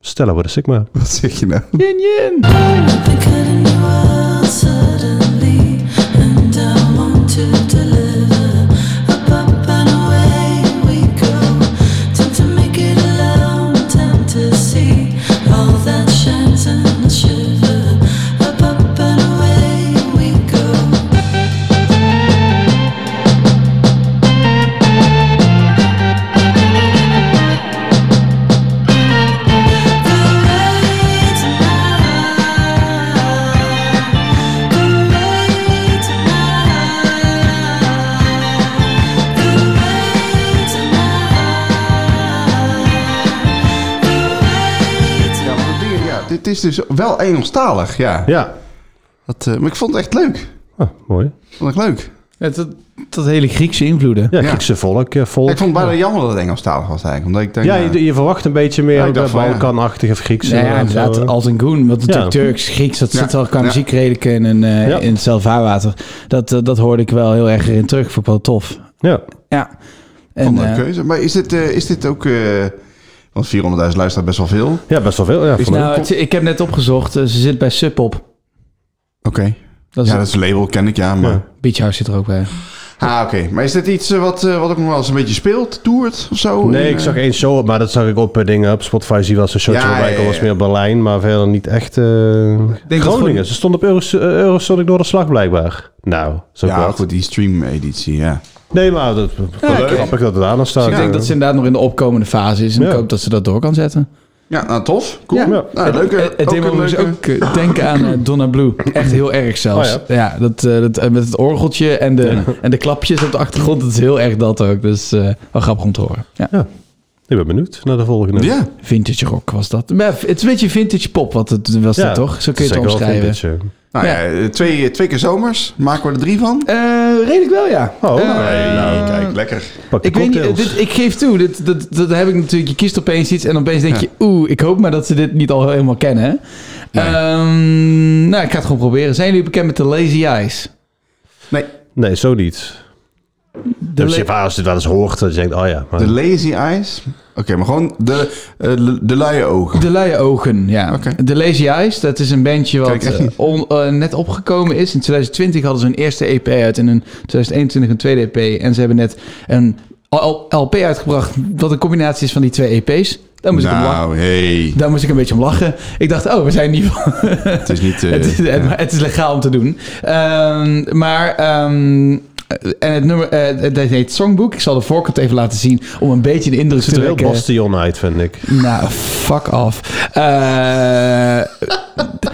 Speaker 4: Stella with a Sigma.
Speaker 3: Wat zeg je nou?
Speaker 2: Yin, yin.
Speaker 3: Ja, maar dat ding- ja, dit is dus wel Engelstalig, ja.
Speaker 4: Ja,
Speaker 3: Dat, eh, maar ik vond het echt leuk.
Speaker 4: Ah, mooi.
Speaker 3: Ik vond het leuk.
Speaker 2: Ja, dat, dat hele Griekse invloeden.
Speaker 4: Ja,
Speaker 3: Ja.
Speaker 4: Griekse volk, eh, volk.
Speaker 3: Ik vond het bijna jammer dat het Engelstalig was eigenlijk. Omdat ik denk,
Speaker 4: Ja,
Speaker 3: eh,
Speaker 4: je, je verwacht een beetje meer
Speaker 3: Ja, ik
Speaker 4: ook
Speaker 3: dacht
Speaker 4: dat
Speaker 3: van, ja.
Speaker 4: Balkanachtig of Grieks.
Speaker 2: Nou ja,
Speaker 4: en eh, zo.
Speaker 2: inderdaad, als een goen. Want natuurlijk Turks, Grieks, dat
Speaker 3: Ja.
Speaker 2: zit al qua
Speaker 3: Ja.
Speaker 2: muziek redelijk in, een, eh,
Speaker 4: Ja.
Speaker 2: in hetzelfde vaarwater. Dat, eh, dat hoorde ik wel heel erg in terug. Vond ik wel tof.
Speaker 4: ja.
Speaker 2: Ja.
Speaker 3: ik
Speaker 2: En,
Speaker 3: vond het een
Speaker 2: eh,
Speaker 3: keuze. Maar is dit, eh, is dit ook... eh, want 400.000 luisteraars best wel veel. Oké.
Speaker 4: ja, best wel veel. Ja, van-
Speaker 2: nou, het- ik heb net opgezocht. eh, Ze zit bij Subpop. Dat is
Speaker 3: Ja, dat is een label, ken ik, ja. Maar...
Speaker 4: Ja.
Speaker 2: Beach House zit er ook bij.
Speaker 3: Ah, oké. Maar is dit iets eh, wat, eh, wat ook nog wel eens een beetje speelt, toert of zo?
Speaker 4: nee,
Speaker 3: In,
Speaker 4: ik
Speaker 3: eh,
Speaker 4: zag één show, maar dat zag ik op eh, dingen. Op Spotify zie je wel zo'n showtje
Speaker 3: Ja,
Speaker 4: voorbij
Speaker 3: ja,
Speaker 4: komen, was
Speaker 3: ja.
Speaker 4: meer Berlijn, maar verder niet echt eh,
Speaker 2: dat
Speaker 4: Groningen.
Speaker 2: gewoon-
Speaker 4: Ze stond op Euros- eh, Eurosonic door de slag blijkbaar. Nou, zo
Speaker 3: Ja,
Speaker 4: ja,
Speaker 3: goed, die stream-editie, ja.
Speaker 4: Nee, maar dat, wel
Speaker 2: oké.
Speaker 4: grappig dat het aan nog staat. eh.
Speaker 2: ik denk
Speaker 4: Ja.
Speaker 2: dat ze inderdaad nog in de opkomende fase is. En ik
Speaker 4: Ja.
Speaker 2: hoop dat ze dat door kan zetten.
Speaker 3: Ja, nou, tof. Cool.
Speaker 4: Ja.
Speaker 3: Ja. Nou, leuke,
Speaker 2: Het, het
Speaker 3: ook
Speaker 2: deed me
Speaker 3: een
Speaker 2: overigens
Speaker 3: leuke-
Speaker 2: ook eh, denken aan eh, Donna Blue. Echt heel erg zelfs.
Speaker 4: Oh
Speaker 2: ja, dat, eh, dat, eh, met het orgeltje en de, en de klapjes op de achtergrond. Dat is heel erg dat ook. Dus eh, wel grappig om te horen. Ja.
Speaker 4: Ik ben benieuwd naar de volgende.
Speaker 3: Ja,
Speaker 2: Vintage rock was dat. Maar het is een beetje vintage pop wat het was
Speaker 4: Ja,
Speaker 2: dat toch? Zo kun je het
Speaker 4: zeker wel
Speaker 2: omschrijven.
Speaker 4: vintage, eh.
Speaker 3: nou
Speaker 2: Ja.
Speaker 3: ja, eh, twee, twee keer zomers. Maken we er drie van?
Speaker 2: Eh, redelijk wel, ja.
Speaker 4: Oh,
Speaker 2: Eh,
Speaker 4: nee, nou,
Speaker 3: kijk, lekker.
Speaker 4: Pak de
Speaker 2: Ik, weet niet, eh,
Speaker 4: cocktails.
Speaker 2: dit, ik geef toe, dit, dat, dat heb ik natuurlijk. Je kiest opeens iets en opeens denk je, oeh, ik hoop maar dat ze dit niet al helemaal kennen.
Speaker 3: Nee.
Speaker 2: Eh, Ehm, nou, ik ga het gewoon proberen. Zijn jullie bekend met de Lazy Eyes?
Speaker 3: Nee,
Speaker 4: Nee, zo niet.
Speaker 2: De la-
Speaker 4: Dus je- als je dit wel eens hoort, dat je denkt, oh ja. Maar,
Speaker 3: de lazy eyes. Oké, maar gewoon de, eh, de- de luie ogen.
Speaker 2: De luie ogen, ja.
Speaker 3: Oké.
Speaker 2: De Lazy Eyes, dat is een bandje wat
Speaker 3: Kijk, echt
Speaker 2: eh,
Speaker 3: niet.
Speaker 2: on- eh, net opgekomen is. In 2020 hadden ze hun eerste EP uit en in 2021 een tweede E EP. En ze hebben net een L- LP uitgebracht wat een combinatie is van die twee EP's. Daar moest, ik, om lachen.
Speaker 3: Nou, hey.
Speaker 2: Daar moest ik een beetje om lachen. Ik dacht, oh, we zijn in ieder geval...
Speaker 3: Het is niet... eh,
Speaker 2: het, is, het-
Speaker 3: ja.
Speaker 2: het is legaal om te doen. Ehm, maar... ehm, en het nummer, eh, het heet Songbook. Ik zal de voorkant even laten zien om een beetje de indruk te
Speaker 4: ziet er heel
Speaker 2: trekken.
Speaker 4: bastion uit, vind ik.
Speaker 2: Nou, fuck off. Eh,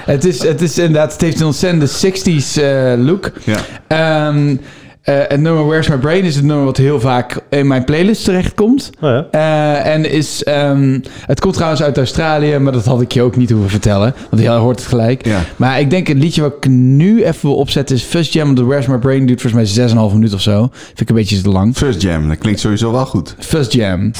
Speaker 2: het, is, het is inderdaad, het heeft een ontzettende 60s eh, look.
Speaker 3: Ja.
Speaker 2: Ehm, eh, het nummer Where's My Brain is het nummer wat heel vaak in mijn playlist terechtkomt.
Speaker 4: Oh ja.
Speaker 2: Eh, en is, ehm, het komt trouwens uit Australië, maar dat had ik je ook niet hoeven vertellen. Want jij hoort het gelijk.
Speaker 3: Ja.
Speaker 2: Maar ik denk het liedje wat ik nu even wil opzetten is First Jam op de Where's My Brain. Duurt volgens mij 6,5 minuten of zo. Vind ik een beetje te lang.
Speaker 3: First Jam, dat klinkt sowieso wel goed.
Speaker 2: First Jam.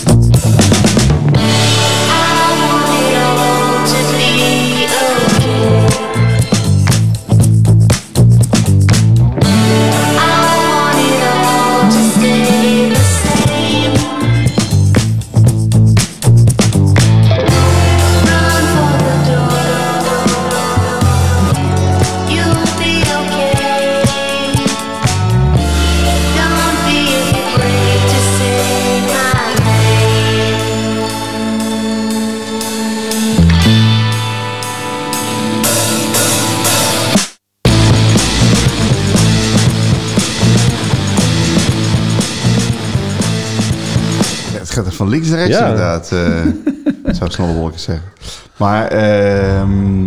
Speaker 3: Ja, het gaat er van links naar rechts
Speaker 4: Ja.
Speaker 3: inderdaad. eh, zou snel wolken zeggen. Maar ehm,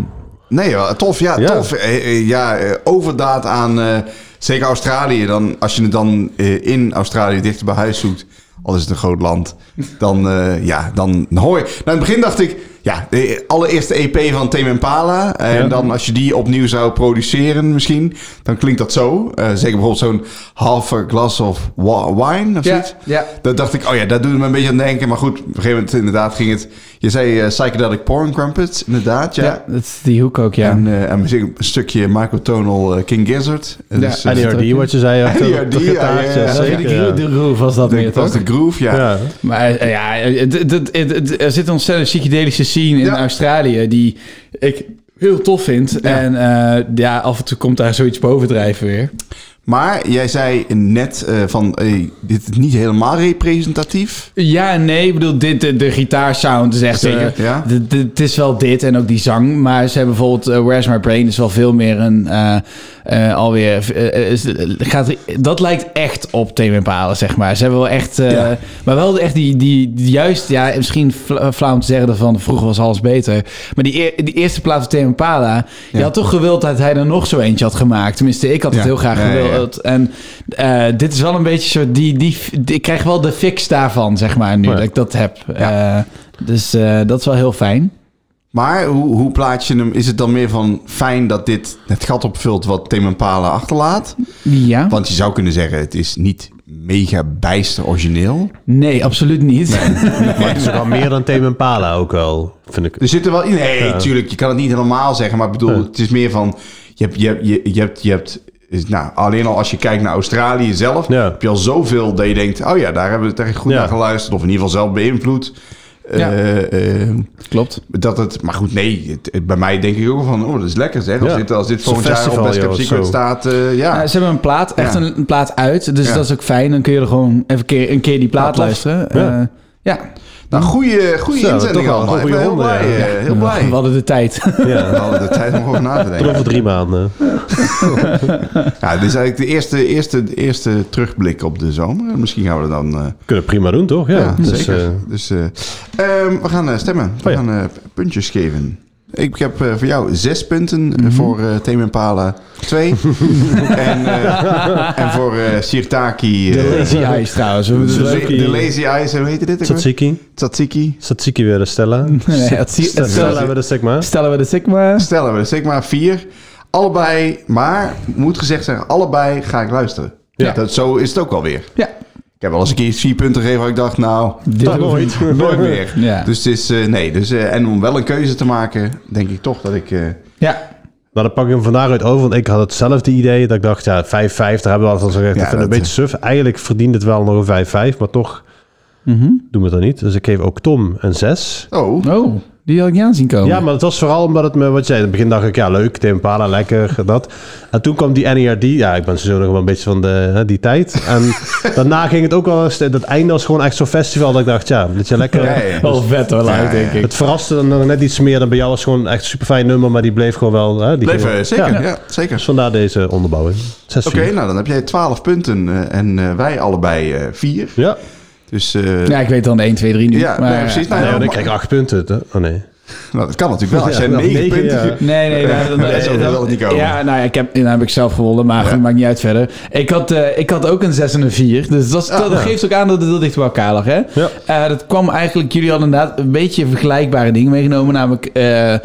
Speaker 3: nee, wel, tof. Ja,
Speaker 4: Ja.
Speaker 3: tof. Eh, eh, ja, eh, overdaad aan eh, zeker Australië. Dan, als je het dan eh, in Australië dichter bij huis zoekt, al is het een groot land, dan, eh, ja, dan hoor je. Nou, in het begin dacht ik, ja, de allereerste EP van Tame Impala. En
Speaker 4: Ja.
Speaker 3: dan als je die opnieuw zou produceren misschien, dan klinkt dat zo. Eh, zeker bijvoorbeeld zo'n half a glass of wa- wine of
Speaker 2: Ja,
Speaker 3: zoiets.
Speaker 2: ja.
Speaker 3: Dat dacht ik, oh ja, dat doet me een beetje aan denken. Maar goed, op een gegeven moment inderdaad ging het... Je zei eh, Psychedelic Porn Crumpets, inderdaad, ja.
Speaker 2: Ja, dat is die hoek ook, ja.
Speaker 3: En, eh, en we zingen een stukje microtonal eh, King Gizzard. En
Speaker 2: Ja,
Speaker 3: dus, eh,
Speaker 2: en die-
Speaker 3: dat-
Speaker 4: NERD, wat je zei. ja,
Speaker 3: NERD,
Speaker 4: toch een
Speaker 3: ja,
Speaker 4: taartje,
Speaker 3: ja, ja.
Speaker 2: Zeker.
Speaker 4: zeker,
Speaker 2: De,
Speaker 4: ja.
Speaker 2: de groove was dat
Speaker 3: dat
Speaker 2: meer, toch?
Speaker 3: was de groove, ja.
Speaker 4: Ja.
Speaker 2: Maar eh, ja, het, het, het- het- er zit een ontzettend psychedelische scene in
Speaker 3: Ja.
Speaker 2: Australië die ik heel tof vind. En eh, ja, af en toe komt daar zoiets bovendrijven weer.
Speaker 3: Maar jij zei net eh, van, hey, dit is niet helemaal representatief.
Speaker 2: Ja, en nee, ik bedoel, dit, de, de gitaarsound is echt...
Speaker 3: Zeker,
Speaker 2: eh,
Speaker 3: ja.
Speaker 2: de- de- Het is wel dit en ook die zang. Maar ze hebben bijvoorbeeld eh, Where's My Brain is wel veel meer een... eh, eh, alweer... eh, is- gaat, dat lijkt echt op Tame Impala, zeg maar. Ze hebben wel echt... eh,
Speaker 3: Ja.
Speaker 2: Maar wel echt die, die, die juist... Ja, misschien fla- eh, flauw om te zeggen van vroeger was alles beter. Maar die, eer- die eerste plaat van Tame Impala... Je
Speaker 3: Ja.
Speaker 2: had toch gewild dat hij er nog zo eentje had gemaakt. Tenminste, ik had het
Speaker 3: Ja.
Speaker 2: heel graag
Speaker 3: Ja, ja, ja.
Speaker 2: gewild. En eh, dit is wel een beetje zo. Die, die, die- ik krijg wel de fix daarvan, zeg maar, nu
Speaker 4: Ja.
Speaker 2: dat ik dat heb. Eh, dus eh, dat is wel heel fijn.
Speaker 3: Maar hoe, hoe plaats je hem? Is het dan meer van fijn dat dit het gat opvult wat Tim Pala achterlaat?
Speaker 2: Ja.
Speaker 3: Want je zou kunnen zeggen, het is niet mega bijster origineel.
Speaker 2: Nee, absoluut niet.
Speaker 4: Maar het is ook wel meer dan Tame Impala ook wel, vind ik.
Speaker 3: Er zitten wel... Nee, tuurlijk, je kan het niet helemaal zeggen. Maar ik bedoel, het is meer van... Je hebt... Je hebt, je, je hebt, je hebt is- nou, alleen al als je kijkt naar Australië zelf...
Speaker 4: Ja.
Speaker 3: heb je al zoveel dat je denkt... oh ja, daar hebben we het echt goed
Speaker 4: Ja.
Speaker 3: naar geluisterd. Of in ieder geval zelf beïnvloed.
Speaker 2: Ja.
Speaker 3: Eh, eh,
Speaker 2: Klopt.
Speaker 3: dat het, maar goed, nee. het- het- bij mij denk ik ook van, oh, dat is lekker zeg. Als
Speaker 4: Ja.
Speaker 3: dit, als dit
Speaker 4: Zo'n
Speaker 3: volgend jaar op
Speaker 4: festival,
Speaker 3: Best Cap
Speaker 4: joh,
Speaker 3: Secret
Speaker 4: zo.
Speaker 3: staat, eh, ja.
Speaker 2: Eh, ze hebben een plaat, echt
Speaker 3: Ja.
Speaker 2: een, een plaat uit. Dus
Speaker 3: Ja.
Speaker 2: dat is ook fijn. Dan kun je er gewoon even keer, een keer die plaat
Speaker 4: tof.
Speaker 2: luisteren.
Speaker 4: Ja.
Speaker 2: Eh, ja.
Speaker 3: nou, goede, goede
Speaker 4: Zo, toch
Speaker 3: inzending
Speaker 4: wel een
Speaker 3: allemaal. Ik ben
Speaker 4: goede
Speaker 3: heel
Speaker 4: ronde,
Speaker 3: blij.
Speaker 4: ja.
Speaker 3: eh, Heel blij.
Speaker 2: We hadden de tijd.
Speaker 3: We
Speaker 4: Ja.
Speaker 3: hadden de tijd om over na te
Speaker 4: Tot
Speaker 3: denken.
Speaker 4: over drie maanden.
Speaker 3: Ja, dit is eigenlijk de eerste, eerste, eerste terugblik op de zomer. Misschien gaan we er dan... eh,
Speaker 4: Kunnen we prima doen, toch? Ja,
Speaker 3: ja,
Speaker 4: dus,
Speaker 3: zeker.
Speaker 4: eh,
Speaker 3: dus, eh, ehm, we gaan eh, stemmen. We
Speaker 4: Oh ja.
Speaker 3: gaan eh, puntjes geven. Ik heb eh, voor jou zes punten. eh,
Speaker 4: Mhm.
Speaker 3: Voor eh Thema Impala twee. en, eh, en voor eh Sirtaki...
Speaker 2: De
Speaker 3: eh,
Speaker 2: Lazy Eyes trouwens. We
Speaker 3: de,
Speaker 2: moeten
Speaker 3: la-
Speaker 4: Suzuki.
Speaker 3: de Lazy Eyes, hoe heette dit? ook alweer?
Speaker 4: Tsatsiki.
Speaker 3: Tzatziki.
Speaker 4: Tsatsiki weer de Stella.
Speaker 2: Nee, het-
Speaker 4: Stella,
Speaker 2: het-
Speaker 4: Stella weer de Sigma.
Speaker 2: Stellen we de Sigma.
Speaker 3: Stellen we, zeg maar vier. Allebei, maar moet gezegd zijn, allebei ga ik luisteren.
Speaker 4: Ja.
Speaker 3: Dat, zo is het ook alweer.
Speaker 2: Ja.
Speaker 3: Ik heb wel eens een keer vier punten gegeven waar ik dacht, nou,
Speaker 2: Dit
Speaker 4: Dat
Speaker 2: hoeft
Speaker 4: nooit.
Speaker 2: niet.
Speaker 3: nooit meer.
Speaker 2: Ja.
Speaker 3: Dus het is, eh, nee, dus, eh, en om wel een keuze te maken, denk ik toch dat ik... eh,
Speaker 2: Ja.
Speaker 4: Maar dan pak ik hem van daaruit over, want ik had hetzelfde idee. Dat ik dacht, ja, 5-5, daar hebben we al van gezegd.
Speaker 3: Ja,
Speaker 4: ik vind het een
Speaker 3: dat, eh,
Speaker 4: beetje suf. Eigenlijk verdient het wel nog een 5-5, maar toch
Speaker 2: Mhm.
Speaker 4: doen we het dan niet. Dus ik geef ook Tom een 6.
Speaker 3: oh,
Speaker 2: Oh, die had ik niet aan zien komen.
Speaker 4: Ja, maar het was vooral omdat het me, wat je zei, in het begin dacht ik, ja, leuk, Tim Pala, E lekker, dat. En toen kwam die NERD, ja, ik ben sowieso nog wel een beetje van de, hè, die tijd. En Daarna ging het ook wel eens... Dat einde was gewoon echt zo'n festival dat ik dacht, ja, dat je lekker...
Speaker 3: Ja, ja.
Speaker 2: Wel vet hoor, live,
Speaker 3: Ja,
Speaker 2: denk
Speaker 3: ja.
Speaker 2: ik.
Speaker 4: Het verraste dan nog net iets meer dan bij jou. was gewoon echt een super fijn nummer, maar die bleef gewoon wel... Hè, die
Speaker 3: Bleef,
Speaker 4: ging-
Speaker 3: eh, zeker, ja.
Speaker 4: Ja.
Speaker 3: zeker.
Speaker 4: Dus vandaar deze onderbouwing. 6-4.
Speaker 3: Oké, nou dan heb jij 12 punten eh, en eh, wij allebei eh 4.
Speaker 4: Ja,
Speaker 3: Dus eh,
Speaker 2: Ja, ik weet dan de 1, 2, 3 nu.
Speaker 3: Ja,
Speaker 2: maar, eh,
Speaker 3: nee, precies. Nou,
Speaker 4: nee,
Speaker 3: ja,
Speaker 4: dan
Speaker 3: maar-
Speaker 4: kreeg ik 8 punten. hè? Oh nee.
Speaker 3: nou, dat kan natuurlijk wel. Als jij
Speaker 4: Ja,
Speaker 3: 9
Speaker 4: negen,
Speaker 3: punten...
Speaker 4: ja.
Speaker 2: Nee, nee, dat,
Speaker 3: Dat is ook wel niet komen.
Speaker 2: Ja, nou, ja, ik heb, nou heb ik zelf gewonnen, maar goed, maakt niet uit verder. Ik had, eh, ik had ook een 6 en een 4. Dus dat,
Speaker 3: Ah,
Speaker 2: was- dat geeft ook aan dat het heel dicht bij elkaar lag, hè?
Speaker 4: Ja.
Speaker 2: Eh, dat kwam eigenlijk, jullie hadden inderdaad een beetje vergelijkbare dingen meegenomen, namelijk... eh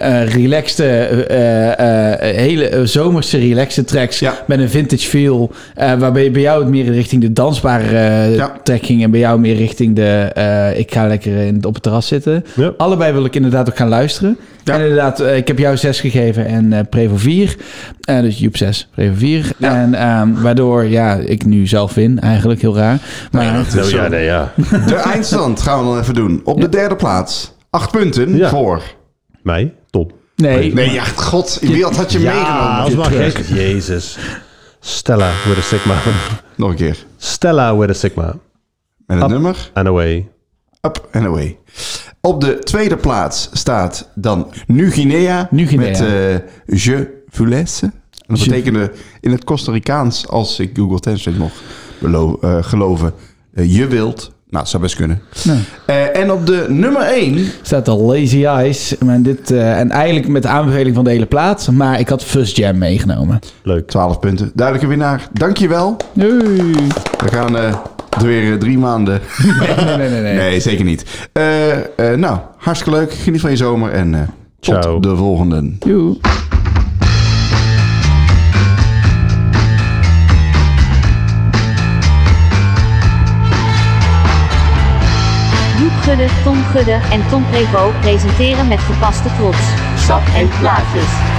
Speaker 2: eh relaxte, eh, eh, hele eh, zomerse relaxte tracks
Speaker 3: Ja.
Speaker 2: met een vintage feel. eh, waarbij bij jou het meer richting de dansbare eh,
Speaker 3: Ja.
Speaker 2: track ging en bij jou meer richting de eh, ik ga lekker in, op het terras zitten.
Speaker 4: Ja.
Speaker 2: Allebei wil ik inderdaad ook gaan luisteren. En inderdaad, eh, ik heb jou 6 gegeven en eh Prevo 4. Eh, dus Joep 6, Prevo 4.
Speaker 3: Ja.
Speaker 2: En ehm, waardoor ja, ik nu zelf win, eigenlijk heel raar. Maar
Speaker 3: Nou ja, dat is
Speaker 4: ja,
Speaker 3: zo.
Speaker 4: nee, ja.
Speaker 3: De eindstand gaan we dan even doen. Op de derde plaats. 8 punten
Speaker 4: Ja.
Speaker 3: voor...
Speaker 4: Mij? Top.
Speaker 2: nee,
Speaker 3: Nee, ja, god. Wie had, had je
Speaker 4: Ah,
Speaker 3: meegenomen?
Speaker 4: als maar
Speaker 2: terug.
Speaker 4: gek. Jezus. Stella with a sigma.
Speaker 3: Nog een keer.
Speaker 4: Stella with a sigma.
Speaker 3: Met het
Speaker 4: Up.
Speaker 3: nummer.
Speaker 4: And away.
Speaker 3: Up and away. Op de tweede plaats staat dan Nu Guinea.
Speaker 2: Nu Guinea.
Speaker 3: Met eh, Je Vulesse. En dat
Speaker 2: Je-
Speaker 3: betekende in het Costa Ricaans, als ik Google Translate nog belo- eh, geloven, eh, je wilt. Nou, zou best kunnen. Eh, en op de nummer 1
Speaker 2: staat al Lazy Eyes. Maar dit, eh, en eigenlijk met de aanbeveling van de hele plaats. Maar ik had Fuzz Jam meegenomen.
Speaker 4: Leuk.
Speaker 3: 12 punten. Duidelijke winnaar. Dankjewel.
Speaker 2: Nee.
Speaker 3: We gaan eh, er weer eh, drie maanden.
Speaker 2: Nee, nee, nee. nee.
Speaker 3: Nee, zeker niet. Eh, eh, nou, hartstikke leuk. Geniet van je zomer en eh, tot
Speaker 4: Ciao.
Speaker 3: de volgende.
Speaker 2: Joe.
Speaker 1: Joep Gudde, Tom Gudde en Tom Prevo presenteren met gepaste trots. Sap en plaatjes.